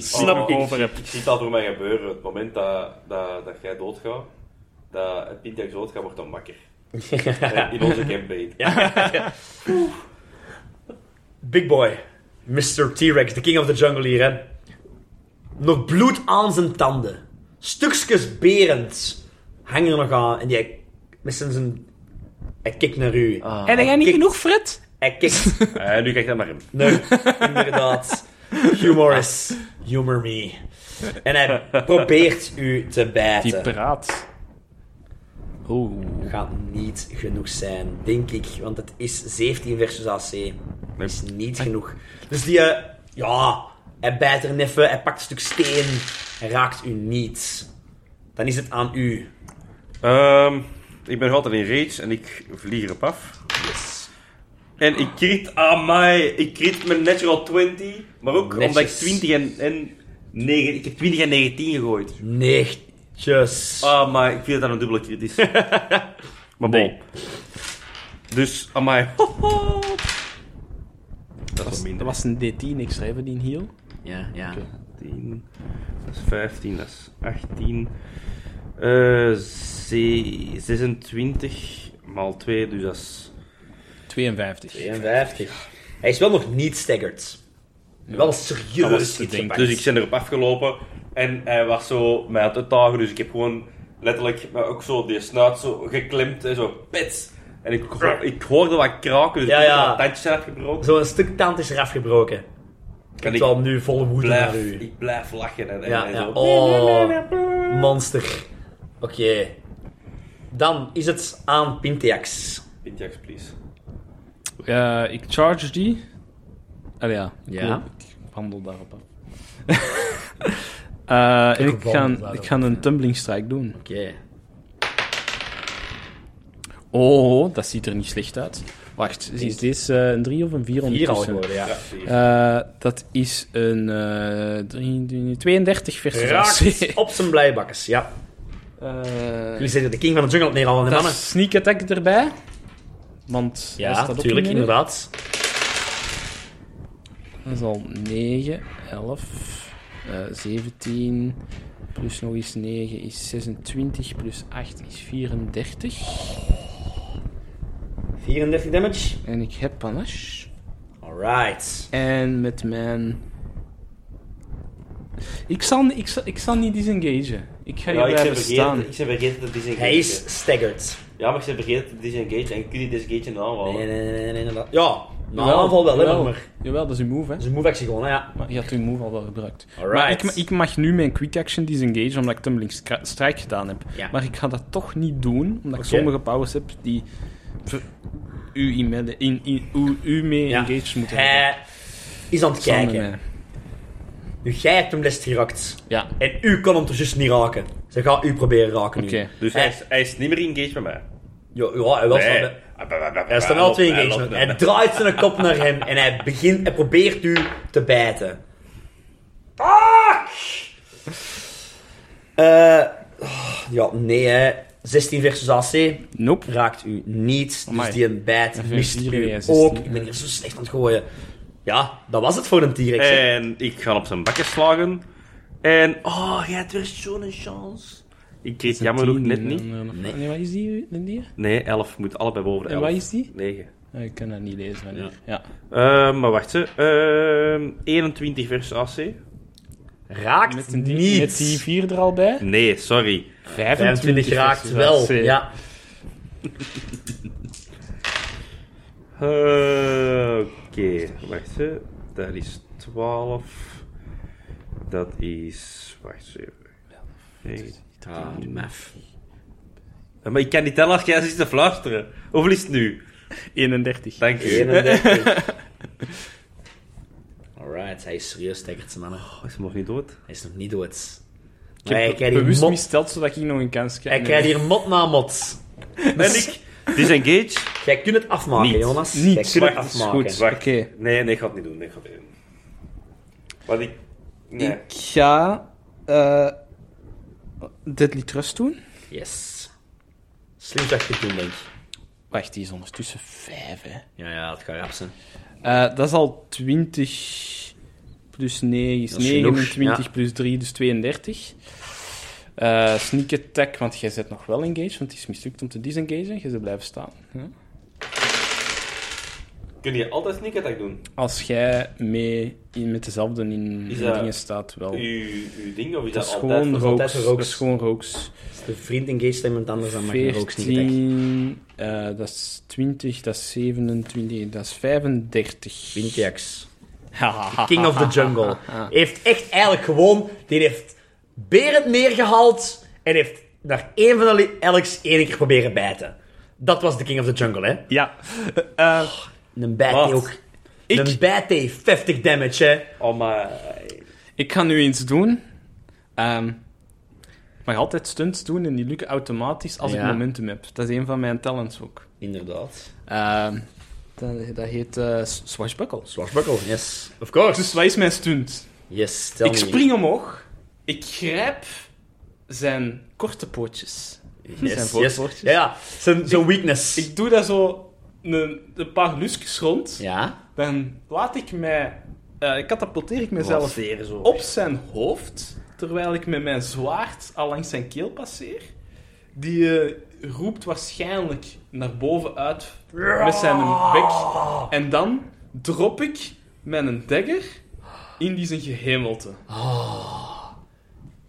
Speaker 2: Snap
Speaker 3: Oh,
Speaker 2: ik.
Speaker 3: Over heb.
Speaker 1: Ik zie het al voor mij gebeuren. Het moment dat, dat, dat jij doodgaat, dat het Pintiax doodgaat, wordt dan wakker. Eh, In onze campaign.
Speaker 2: Big Boy. Mr. T-Rex, de king of the jungle hier, hè. Nog bloed aan zijn tanden. Stukjes berend hangen er nog aan. En die... Met zijn- zijn... Hij kijkt naar u.
Speaker 4: Ah.
Speaker 5: Heb jij niet
Speaker 2: Kijk.
Speaker 5: genoeg, Fred?
Speaker 2: Hij kijkt
Speaker 1: Eh, nu kijk ik naar hem.
Speaker 2: Nee, inderdaad. Humorous. Humor me. En hij probeert u te
Speaker 3: Die
Speaker 2: bijten.
Speaker 3: praat. Oeh.
Speaker 2: Gaat niet genoeg zijn, denk ik. Want het is 17 versus AC. Is niet genoeg. Dus die, eh, ja, hij bijt er even, hij pakt een stuk steen. Hij raakt u niet. Dan is het aan u.
Speaker 1: Ehm, ik ben nog altijd in rage en ik vlieg erop af.
Speaker 2: Yes.
Speaker 1: En ik crit aan mij. Ik crit mijn natural 20. Maar ook omdat ik
Speaker 2: Netjes.
Speaker 1: 20 en, en 9, ik heb 20 en 19 gegooid.
Speaker 2: Nechtjes.
Speaker 1: Ah, maar ik vind dat een dubbele crit is. maar bon. Dus, amai. Dat is
Speaker 3: Dat
Speaker 1: minder.
Speaker 3: was een D10 extra, hebben die een heal?
Speaker 2: Ja, ja.
Speaker 1: 10, dat is 15, dat is 18. eh, ze- 26 maal 2, dus dat is...
Speaker 3: 52.
Speaker 2: 52. Hij is wel nog niet staggered. Wel
Speaker 3: Dat was te
Speaker 2: serieus
Speaker 3: denken.
Speaker 2: gepakt.
Speaker 1: Dus ik ben erop afgelopen en hij was zo mij aan het uitdagen, dus ik heb gewoon letterlijk maar ook zo die snuit zo geklemd en zo pets. En ik, ho- ik hoorde wat kraken, dus
Speaker 2: Ja,
Speaker 1: ik heb
Speaker 2: ja.
Speaker 1: mijn tandjes afgebroken.
Speaker 2: Zo'n stuk tand is eraf gebroken.
Speaker 1: En
Speaker 2: Ik
Speaker 1: ik
Speaker 2: zal nu vol woede naar
Speaker 1: blijf,
Speaker 2: u. Oh.
Speaker 1: ik blijf lachen en, en,
Speaker 2: Ja,
Speaker 1: en
Speaker 2: ja.
Speaker 1: zo.
Speaker 2: Oh, monster. Oké. Dan is het aan Pinteax.
Speaker 1: Pintiax, please.
Speaker 3: Eh, ik charge die. Allee, ja. Ik
Speaker 2: Ja.
Speaker 3: wil- Ik handel daarop af. Eh, en ik ga,
Speaker 2: daarop,
Speaker 3: ik ga een tumbling strike doen.
Speaker 2: Oké.
Speaker 3: Oh, dat ziet er niet slecht uit. Wacht, is deze eh, een 3 of een
Speaker 2: Hier
Speaker 3: 4
Speaker 2: al
Speaker 3: ondertussen?
Speaker 2: geworden, ja.
Speaker 1: Ja, vier.
Speaker 3: Eh, dat is een eh, drie- drie- 32 versus AC.
Speaker 2: Raakt op zijn blijbakkes, ja.
Speaker 3: Eh,
Speaker 2: Jullie zetten de king van de jungle op neer, al die
Speaker 3: dat
Speaker 2: mannen.
Speaker 3: is sneak attack erbij. Want was
Speaker 2: Ja,
Speaker 3: dat ook
Speaker 2: natuurlijk,
Speaker 3: niet meer?
Speaker 2: inderdaad.
Speaker 3: Dat is al 9, 11, eh, 17, plus nog eens 9 is 26, plus 8 is 34.
Speaker 2: 34 damage.
Speaker 3: En ik heb panache.
Speaker 2: Alright.
Speaker 3: En met mijn... Ik zal, ik zal, ik zal niet disengagen. Ik ga hier
Speaker 1: Ja, ik ben
Speaker 3: blijven staan.
Speaker 1: vergeten, ik ben vergeten dat disengage
Speaker 2: Hij is staggered.
Speaker 1: Ja, maar ik ben vergeten dat disengage en kun je disengage aanvallen.
Speaker 2: Nee, nee, nee, nee, nee, inderdaad. Ja, na een aanval wel, hè,
Speaker 3: jawel,
Speaker 2: maar...
Speaker 3: Jawel, dat is een move, hè.
Speaker 2: Dat is een move actie gewoon, hè, ja.
Speaker 3: Maar je had uw move al wel gebruikt.
Speaker 2: Alright.
Speaker 3: Maar ik, ma- ik mag nu mijn quick action disengage omdat ik Tumbling Stra- Strike gedaan heb.
Speaker 2: Ja.
Speaker 3: Maar ik ga dat toch niet doen, omdat ik sommige powers heb die ver- u, in mij- in, in, u, u mee
Speaker 2: Ja.
Speaker 3: engaged moeten hebben.
Speaker 2: Hij is aan het
Speaker 3: Samen
Speaker 2: kijken.
Speaker 3: met-
Speaker 2: Nu, jij hebt hem les geraakt.
Speaker 3: Ja,
Speaker 2: En u kon hem toch juist niet raken. Ze gaat u proberen raken nu.
Speaker 3: Oké.
Speaker 1: Dus hij is, hij is niet meer engaged met mij.
Speaker 2: Ja, ja, hij was
Speaker 1: Nee.
Speaker 2: wel-
Speaker 1: Hij Ah,
Speaker 2: Hij is dan wel twee
Speaker 1: loopt-
Speaker 2: engagement.
Speaker 1: hij
Speaker 2: Hij
Speaker 1: loopt-
Speaker 2: draait zijn kop naar hem en hij, begint, hij probeert u te bijten. Fuck! Eh, oh, ja, nee hè. 16 versus AC
Speaker 3: nope.
Speaker 2: raakt u niet.
Speaker 3: Amai.
Speaker 2: Dus die een bijt
Speaker 3: Even
Speaker 2: mist
Speaker 3: vier
Speaker 2: u
Speaker 3: weer, 16,
Speaker 2: ook.
Speaker 3: ja.
Speaker 2: Ik ben hier zo slecht aan het gooien. Ja, dat was het voor een T-Rex. hè.
Speaker 1: En ik ga op zijn bakken slagen. En, oh, jij hebt weer zo'n chance. Ik kreeg jammer genoeg
Speaker 3: ook
Speaker 1: net niet.
Speaker 3: Nee. wat is die? een
Speaker 2: Nou.
Speaker 3: die?
Speaker 1: Nee, 11 moet allebei boven de
Speaker 3: En
Speaker 1: 11.
Speaker 3: wat is die?
Speaker 1: 9.
Speaker 3: Ah, ik kan dat niet lezen. wanneer. Ja.
Speaker 1: maar wacht, ze. Ehm, 21 versus AC.
Speaker 2: Raakt
Speaker 3: Met, een die,
Speaker 2: niet.
Speaker 3: met die vier er al bij.
Speaker 1: Nee, sorry.
Speaker 2: 25 raakt wel. Ja.
Speaker 1: Eh, Oké, wacht ze. Dat is 12. Dat is. Wacht eens even. Nee.
Speaker 2: Ah, maf.
Speaker 1: Eh, Maar ik kan niet tellen als jij zit te fluisteren. Hoeveel is het nu?
Speaker 3: 31.
Speaker 1: Dank u.
Speaker 2: 31. Alright, hij is serieus staggerd, zijn mannen.
Speaker 1: Oh, is hem nog niet dood?
Speaker 2: Hij is nog niet dood.
Speaker 3: Ik
Speaker 2: Maar hij
Speaker 3: heb
Speaker 2: krijgt hier
Speaker 3: bewust
Speaker 2: mot,
Speaker 3: missteld, zodat ik nog een kans krijg.
Speaker 2: hij krijgt hier mot na mot.
Speaker 1: En ik. Disengage.
Speaker 2: Jij kunt het afmaken,
Speaker 1: Niet.
Speaker 2: Jonas. Jij
Speaker 3: Niet.
Speaker 2: kunt het
Speaker 3: Wacht, is
Speaker 2: afmaken.
Speaker 3: Goed,
Speaker 1: Wacht.
Speaker 3: oké.
Speaker 1: Nee, nee, ik ga het niet doen. Nee, ik ga het niet doen. Wat ik. Nee.
Speaker 3: Ik ga eh Deadly Trust doen.
Speaker 2: Yes. Slim dat je het doet, denk ik.
Speaker 3: Wacht, die is ondertussen 5, hè.
Speaker 2: Ja, ja, het gaat rap zijn.
Speaker 3: Eh, dat is al 20 plus 9 is
Speaker 2: Dat is genoeg,
Speaker 3: 29
Speaker 2: ja.
Speaker 3: plus 3, dus 32. Eh, sneak attack, want jij zet nog wel engaged, want het is mislukt om te disengagen. Je ze blijven staan. Ja.
Speaker 1: Kun je altijd sneak attack doen?
Speaker 3: Als jij mee in, met dezelfde in
Speaker 1: Is
Speaker 3: in
Speaker 1: dat-
Speaker 3: dingen staat, wel.
Speaker 1: Uw, uw ding of Oh. is
Speaker 3: Dat
Speaker 1: dat,
Speaker 3: is
Speaker 1: altijd?
Speaker 3: gewoon
Speaker 2: altijd
Speaker 3: rooks.
Speaker 2: voor rooks.
Speaker 3: Dat is gewoon rooks.
Speaker 2: Als de vriend engaged en iemand anders, dan mag je ook niet attacken.
Speaker 3: 14, eh, dat is 20, dat is 27, dat is 35.
Speaker 2: Vintiax.
Speaker 3: Hahaha.
Speaker 2: King of the Jungle. Heeft echt eigenlijk gewoon... Die heeft Berend neergehaald en heeft naar één van de Alex één keer proberen bijten. Dat was de King of the Jungle, hè.
Speaker 3: Ja. Eh,
Speaker 2: Een bijt
Speaker 1: Wat?
Speaker 2: die ook...
Speaker 3: Ik-
Speaker 2: Een bijt die 50 damage, hè.
Speaker 1: Oh, maar.
Speaker 3: ik ga nu iets doen. Ehm, ik mag altijd stunts doen en die lukken automatisch als ik
Speaker 2: Ja.
Speaker 3: momentum heb. Dat is een van mijn talents ook.
Speaker 2: Inderdaad.
Speaker 3: Ehm, dat, dat heet eh, s- swashbuckle.
Speaker 2: Swashbuckle, yes. Of course.
Speaker 3: Dus wat is mijn stunt?
Speaker 2: Yes, tell
Speaker 3: ik
Speaker 2: me.
Speaker 3: spring omhoog. Ik grijp zijn korte pootjes. zijn
Speaker 2: Yes, yes.
Speaker 3: voorpootjes.
Speaker 2: Ja, ja. Zijn, zijn weakness.
Speaker 3: Ik doe daar zo een, een paar lusjes rond.
Speaker 2: Ja.
Speaker 3: Dan laat ik mij... eh, ik katapulteer ik mezelf
Speaker 1: zo.
Speaker 3: op zijn hoofd, terwijl ik met mijn zwaard al langs zijn keel passeer. Die eh, roept waarschijnlijk naar boven uit met zijn bek. En dan drop ik mijn dagger in die zijn gehemelte.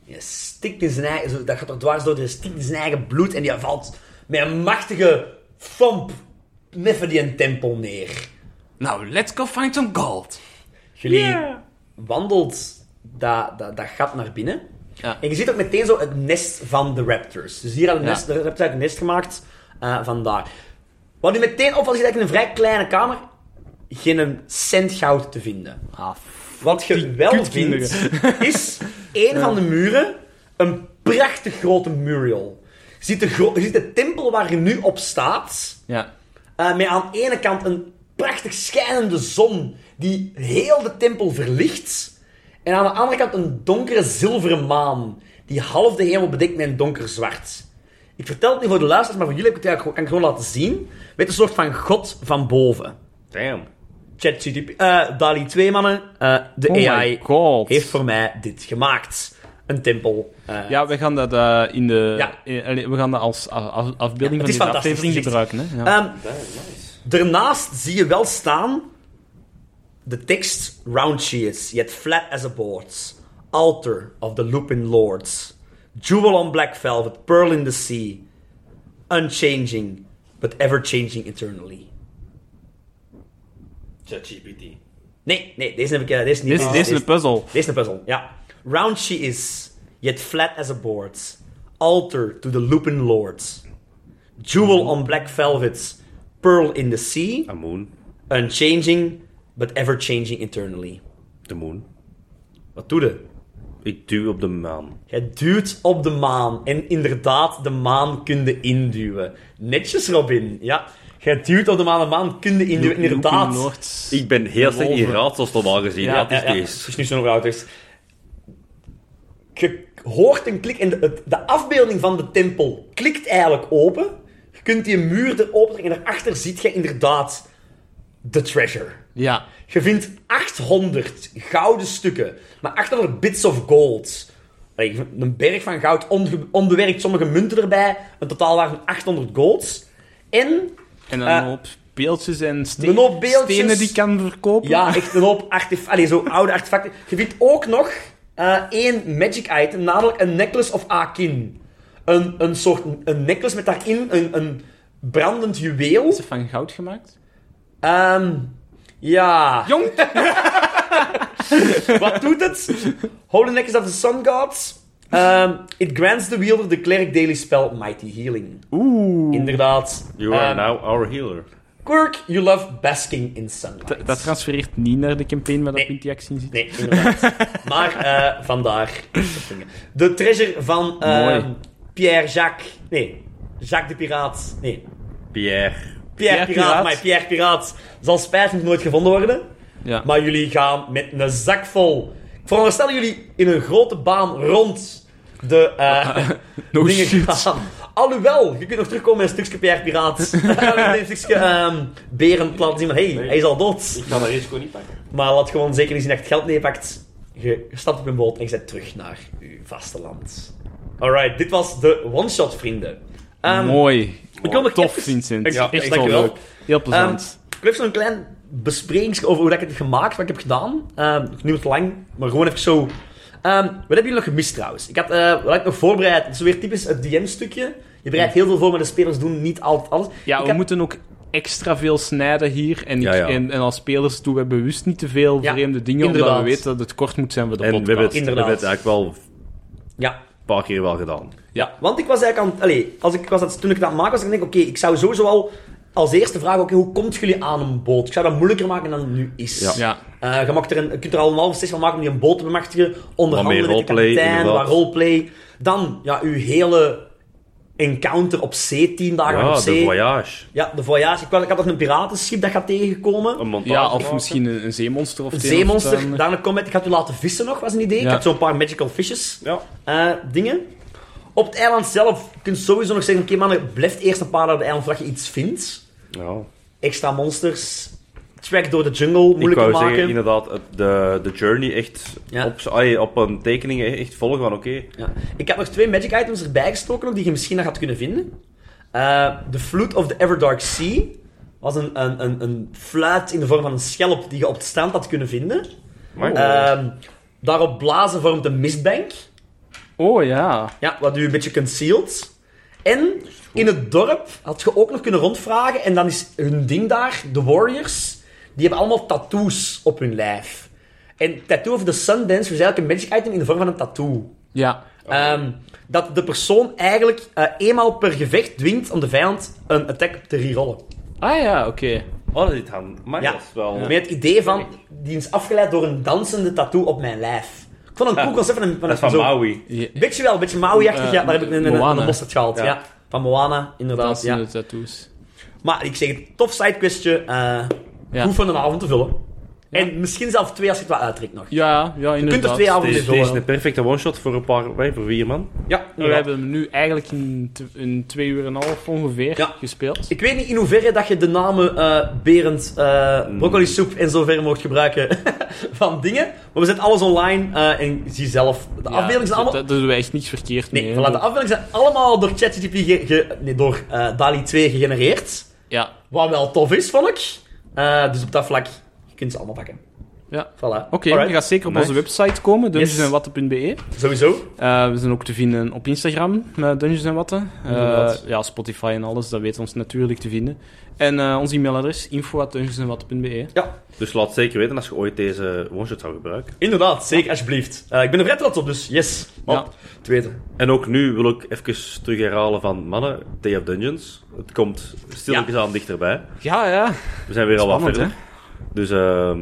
Speaker 2: Je stikt in zijn eigen... zo, Dat gaat er dwars door. Je stikt in zijn eigen bloed en die valt met een machtige fomp neffen die een tempel neer.
Speaker 3: Nou, let's go find some gold.
Speaker 2: Jullie wandelt dat, dat, dat gat naar binnen.
Speaker 5: Ja.
Speaker 2: En je ziet ook meteen zo het nest van de raptors. Dus hier hadden
Speaker 5: Ja.
Speaker 2: nest, de raptors eigenlijk een nest gemaakt eh vandaar. Wat nu meteen opvalt, is dat in een vrij kleine kamer geen een cent goud te vinden. Wat je wel
Speaker 3: kutkinderen.
Speaker 2: vindt, is een van de muren een prachtig grote mural. Je ziet de, gro- je ziet de tempel waar je nu op staat...
Speaker 5: Ja.
Speaker 2: Eh, met aan de ene kant een prachtig schijnende zon die heel de tempel verlicht. En aan de andere kant een donkere zilveren maan die half de hemel bedekt met een donker zwart. Ik vertel het niet voor de luisteraars, maar voor jullie heb ik het eigenlijk gewoon, kan ik gewoon laten zien. Met een soort van god van boven.
Speaker 1: Damn.
Speaker 2: ChatGPT, eh DALI 2 mannen, eh, de
Speaker 3: Oh
Speaker 2: AI
Speaker 3: my god.
Speaker 2: heeft voor mij dit gemaakt. Een tempel. eh,
Speaker 3: Ja, we gaan dat eh, in de...
Speaker 2: Ja.
Speaker 3: eh, allee, we gaan dat als als- als
Speaker 2: Ja, het
Speaker 3: afbeelding van
Speaker 2: is
Speaker 3: deze
Speaker 2: fantastisch
Speaker 3: aflevering
Speaker 2: gezicht.
Speaker 3: gebruiken. Hè? Ja.
Speaker 2: Ehm,
Speaker 1: Damn, nice.
Speaker 2: Daarnaast zie je wel staan de tekst Round she is, yet flat as a board. Altar of the Lupin Lords. Jewel on black velvet, pearl in the sea. Unchanging, but ever changing eternally.
Speaker 1: ChatGPT.
Speaker 2: Nee, nee, deze heb ik eh, deze niet.
Speaker 3: dit, is- dit is een puzzel.
Speaker 2: Dit is een puzzel, ja. Round she is, yet flat as a board. Altar to the Lupin Lords. Jewel on black velvet, pearl in the sea.
Speaker 1: A moon.
Speaker 2: Unchanging, but ever changing eternally.
Speaker 1: De moon.
Speaker 2: Wat doe je?
Speaker 1: Ik duw op de maan.
Speaker 2: Jij duwt op de maan. En inderdaad, de maan kunde induwen. Netjes, Robin. Ja. Jij duwt op de maan, de maan kunde induwen. Inderdaad.
Speaker 3: Looping Lords.
Speaker 1: Ik ben heel slecht in raadsels normaal gezien. Ja, het is
Speaker 2: ja, ja. Het
Speaker 1: deze.
Speaker 2: is nu zo'n oud. is. Je hoort een klik en de, het- de afbeelding van de tempel klikt eigenlijk open. Je kunt die muur erop trekken en daarachter ziet je inderdaad de treasure.
Speaker 3: Ja.
Speaker 2: Je vindt 800 gouden stukken, maar 800 bits of gold. Allee, Een berg van goud, onge- onbewerkt, sommige munten erbij. Een totaalwaarde van 800 golds. En,
Speaker 3: En dan
Speaker 2: Eh,
Speaker 3: een hoop beeldjes en steen-
Speaker 2: een hoop beeldjes.
Speaker 3: stenen die ik kan verkopen.
Speaker 2: ja, echt een hoop artefacten. Allee, zo oude artefacten. Je vindt ook nog eh, één magic item, namelijk een necklace of akin. Een, een soort een necklace met daarin een, een brandend juweel.
Speaker 3: Is het van goud gemaakt?
Speaker 2: Ehm, ja...
Speaker 3: Jong!
Speaker 2: Wat doet het? Holy Necklace of the Sun Gods. Ehm, it grants the wielder the cleric daily spell Mighty Healing.
Speaker 3: Oeh.
Speaker 2: Inderdaad.
Speaker 1: You are
Speaker 2: Ehm,
Speaker 1: now our healer.
Speaker 2: Quirk, you love basking in sunlight.
Speaker 3: Dat, dat transfereert niet naar de campaign waar
Speaker 2: Nee.
Speaker 3: dat Pintiax in zit.
Speaker 2: Nee, inderdaad. maar eh, vandaar. De treasure van ehm,
Speaker 3: Mooi.
Speaker 2: Pierre-Jacques... Nee, Jacques de Piraat. Nee,
Speaker 1: Pierre.
Speaker 2: Pierre,
Speaker 3: Pierre
Speaker 2: Piraat,
Speaker 3: Piraat.
Speaker 2: maar Pierre Piraat zal spijtig nooit gevonden worden.
Speaker 3: Ja.
Speaker 2: Maar jullie gaan met een zak vol. Ik veronderstel dat jullie in een grote baan rond de
Speaker 3: Ah,
Speaker 2: eh,
Speaker 3: No
Speaker 2: dingen
Speaker 3: shit.
Speaker 2: gaan. Alhoewel, je kunt nog terugkomen met een stukje Pierre Piraat. met een stukje ehm Berend laten zien van, hé, hey, hij is al dood.
Speaker 1: Ik ga dat risico niet pakken.
Speaker 2: Maar laat gewoon zeker eens zien dat je het geld meepakt. Je stapt op een boot en je zet terug naar je vasteland. Alright, dit was de one-shot, vrienden. Ehm,
Speaker 3: Mooi. Oh,
Speaker 2: ik wil nog
Speaker 3: Tof,
Speaker 2: even-
Speaker 3: Vincent.
Speaker 2: Ja,
Speaker 3: echt wel
Speaker 2: dankjewel.
Speaker 3: leuk. Heel plezant.
Speaker 2: Ehm, ik heb zo'n klein bespreking over hoe dat ik het heb gemaakt, wat ik heb gedaan. Ehm nu het lang, maar gewoon even zo. Ehm, wat hebben jullie nog gemist trouwens? Ik had, eh, wat had ik nog voorbereid? Het is weer typisch het DM-stukje. Je bereidt heel veel voor, maar de spelers doen niet altijd alles.
Speaker 3: ja,
Speaker 2: ik
Speaker 3: we
Speaker 2: had-
Speaker 3: moeten ook extra veel snijden hier. En, ik-
Speaker 1: Ja, ja.
Speaker 3: en, en als spelers doen we bewust niet te veel
Speaker 2: Ja,
Speaker 3: vreemde dingen,
Speaker 2: inderdaad.
Speaker 3: omdat we weten dat het kort moet zijn voor de
Speaker 1: En we
Speaker 3: podcast.
Speaker 1: hebben het, we
Speaker 2: Inderdaad.
Speaker 1: hebben het eigenlijk wel
Speaker 2: Ja,
Speaker 1: een paar keer wel gedaan.
Speaker 2: Ja, want ik was eigenlijk aan... Allee, als ik was dat, toen ik dat maakte, was ik denk oké, ik zou sowieso al als eerste vragen, oké, hoe komt jullie aan een boot? Ik zou dat moeilijker maken dan het nu is.
Speaker 1: Ja.
Speaker 3: Ja.
Speaker 2: Eh, je, mag er een, je kunt er al een half zes van maken om die een boot te bemachtigen, onderhandelen
Speaker 1: meer
Speaker 2: met de
Speaker 1: roleplay,
Speaker 2: kapitein,
Speaker 1: inderdaad.
Speaker 2: wat roleplay. Dan, ja, uw hele encounter op zee, tien dagen
Speaker 1: Ja,
Speaker 2: op
Speaker 1: de
Speaker 2: zee.
Speaker 1: voyage.
Speaker 2: Ja, de voyage. Ik, wou- ik had nog een piratenschip dat gaat tegenkomen.
Speaker 1: Een montage.
Speaker 3: Ja, of
Speaker 1: maken.
Speaker 3: misschien een, een zeemonster of
Speaker 2: Een
Speaker 3: het een of het
Speaker 2: zeemonster.
Speaker 3: ander.
Speaker 2: Daarna kom ik, ik had u laten vissen nog, was een idee. Ik
Speaker 3: Ja.
Speaker 2: had zo'n paar magical fishes
Speaker 1: Ja.
Speaker 2: eh, dingen. Op het eiland zelf kun je sowieso nog zeggen: oké, mannen, blijf eerst een paar dagen op het eiland voordat je iets vindt.
Speaker 1: ja.
Speaker 2: Extra monsters, track door de jungle,
Speaker 1: Ik
Speaker 2: moeilijker
Speaker 1: wou
Speaker 2: maken.
Speaker 1: zeggen, inderdaad, het- de, de journey echt
Speaker 2: Ja.
Speaker 1: op, z'n- allee, op een tekening e- echt volgen van oké.
Speaker 2: ja. Ik heb nog twee magic items erbij gestoken ook, die je misschien nog had kunnen vinden. Eh the Flute of the Everdark Sea was een, een, een, een fluit in de vorm van een schelp die je op het strand had kunnen vinden.
Speaker 1: maar eh,
Speaker 2: Ehm, daarop blazen vormt een mistbank.
Speaker 3: Oh ja.
Speaker 2: Ja, wat u een beetje concealed. En in het dorp had je ook nog kunnen rondvragen. En dan is hun ding daar, de Warriors, die hebben allemaal tattoos op hun lijf. En Tattoo of the Sundance was eigenlijk een magic item in de vorm van een tattoo.
Speaker 3: Ja.
Speaker 1: Oh.
Speaker 2: Ehm, dat de persoon eigenlijk eh, eenmaal per gevecht dwingt om de vijand een attack te rerollen.
Speaker 3: Ah ja, oké.
Speaker 1: Oh, dat is aan. Maar
Speaker 2: Ja.
Speaker 1: dat is wel...
Speaker 2: Met het idee van, die is afgeleid door een dansende tattoo op mijn lijf. Ik vond het een cool concept van een,
Speaker 1: Dat is van
Speaker 2: zo-
Speaker 1: Maui.
Speaker 3: Ja,
Speaker 2: Beetje wel, een beetje Maui-achtig.
Speaker 3: Eh,
Speaker 2: ja, daar heb ik een, een,
Speaker 3: Moana.
Speaker 2: een mosterd gehaald. Ja.
Speaker 1: Ja.
Speaker 2: Van Moana, inderdaad.
Speaker 3: dansen
Speaker 2: Ja.
Speaker 3: de tattoos.
Speaker 2: Maar ik zeg het, tof sidequestje. eh
Speaker 3: Ja.
Speaker 2: Goed van een avond te vullen. En misschien zelfs twee als je het wat uittrekt nog.
Speaker 3: Ja, ja,
Speaker 2: Je kunt er
Speaker 3: inderdaad.
Speaker 2: twee
Speaker 1: Deze,
Speaker 2: avonden
Speaker 1: deze is
Speaker 2: vullen.
Speaker 1: een perfecte one-shot voor een paar... wij, Voor vier man.
Speaker 2: Ja,
Speaker 3: We hebben hem nu eigenlijk in, tw- in twee uur en een half ongeveer
Speaker 2: Ja.
Speaker 3: gespeeld.
Speaker 2: Ik weet niet in hoeverre dat je de namen eh Berend,
Speaker 3: Hmm.
Speaker 2: eh broccoli soep en zover mocht gebruiken van dingen. Maar we zetten alles online eh, en zie zelf. De
Speaker 3: Ja,
Speaker 2: afbeeldingen zijn
Speaker 3: dat-
Speaker 2: allemaal...
Speaker 3: Dat dat doen wij echt niets verkeerd
Speaker 2: Nee,
Speaker 3: mee.
Speaker 2: voilà, de afbeeldingen zijn allemaal door ChatGPT, ge- ge- nee, door eh, DALI 2 gegenereerd.
Speaker 3: Ja,
Speaker 2: Wat wel tof is, vond ik. Eh, dus op dat vlak, je kunt ze allemaal pakken.
Speaker 3: Ja.
Speaker 2: Voilà.
Speaker 3: oké.
Speaker 2: Alright,
Speaker 3: je gaat zeker op
Speaker 1: Nice.
Speaker 3: onze website
Speaker 2: Yes.
Speaker 3: komen, dungeonsandwatten.be.
Speaker 2: Sowieso.
Speaker 3: Eh, we zijn ook te vinden op Instagram, met Dungeons en Watten. Eh,
Speaker 2: Inderdaad.
Speaker 3: ja, Spotify en alles, dat weten ons natuurlijk te vinden. En eh, ons e-mailadres, info.dungeonsandwatten.be.
Speaker 1: Dus laat zeker weten als je ooit deze one-shot zou gebruiken.
Speaker 2: Inderdaad, zeker, alsjeblieft. Eh, ik ben er vrij trots op, dus yes. Maar,
Speaker 3: Ja.
Speaker 2: Het weten.
Speaker 1: En ook nu wil ik even terug herhalen van... Mannen, Day of Dungeons. Het komt stilletjes aan dichterbij.
Speaker 3: Ja, ja.
Speaker 1: We zijn weer al wat
Speaker 3: Spannend,
Speaker 1: verder.
Speaker 3: hè?
Speaker 1: Dus ehm,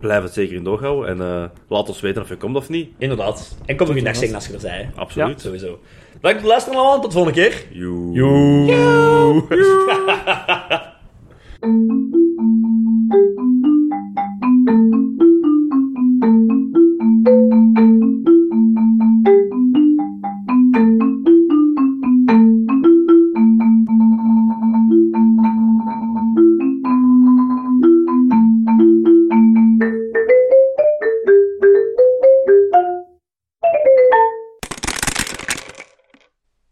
Speaker 1: blijf het zeker in doorhouden. En eh, laat ons weten of je komt of niet.
Speaker 2: Inderdaad. En kom nog een dag zeggen als je er zei. hè.
Speaker 1: Absoluut.
Speaker 2: Sowieso. Bedankt voor het luisteren allemaal, tot de volgende keer.
Speaker 1: Joe.
Speaker 2: Joe.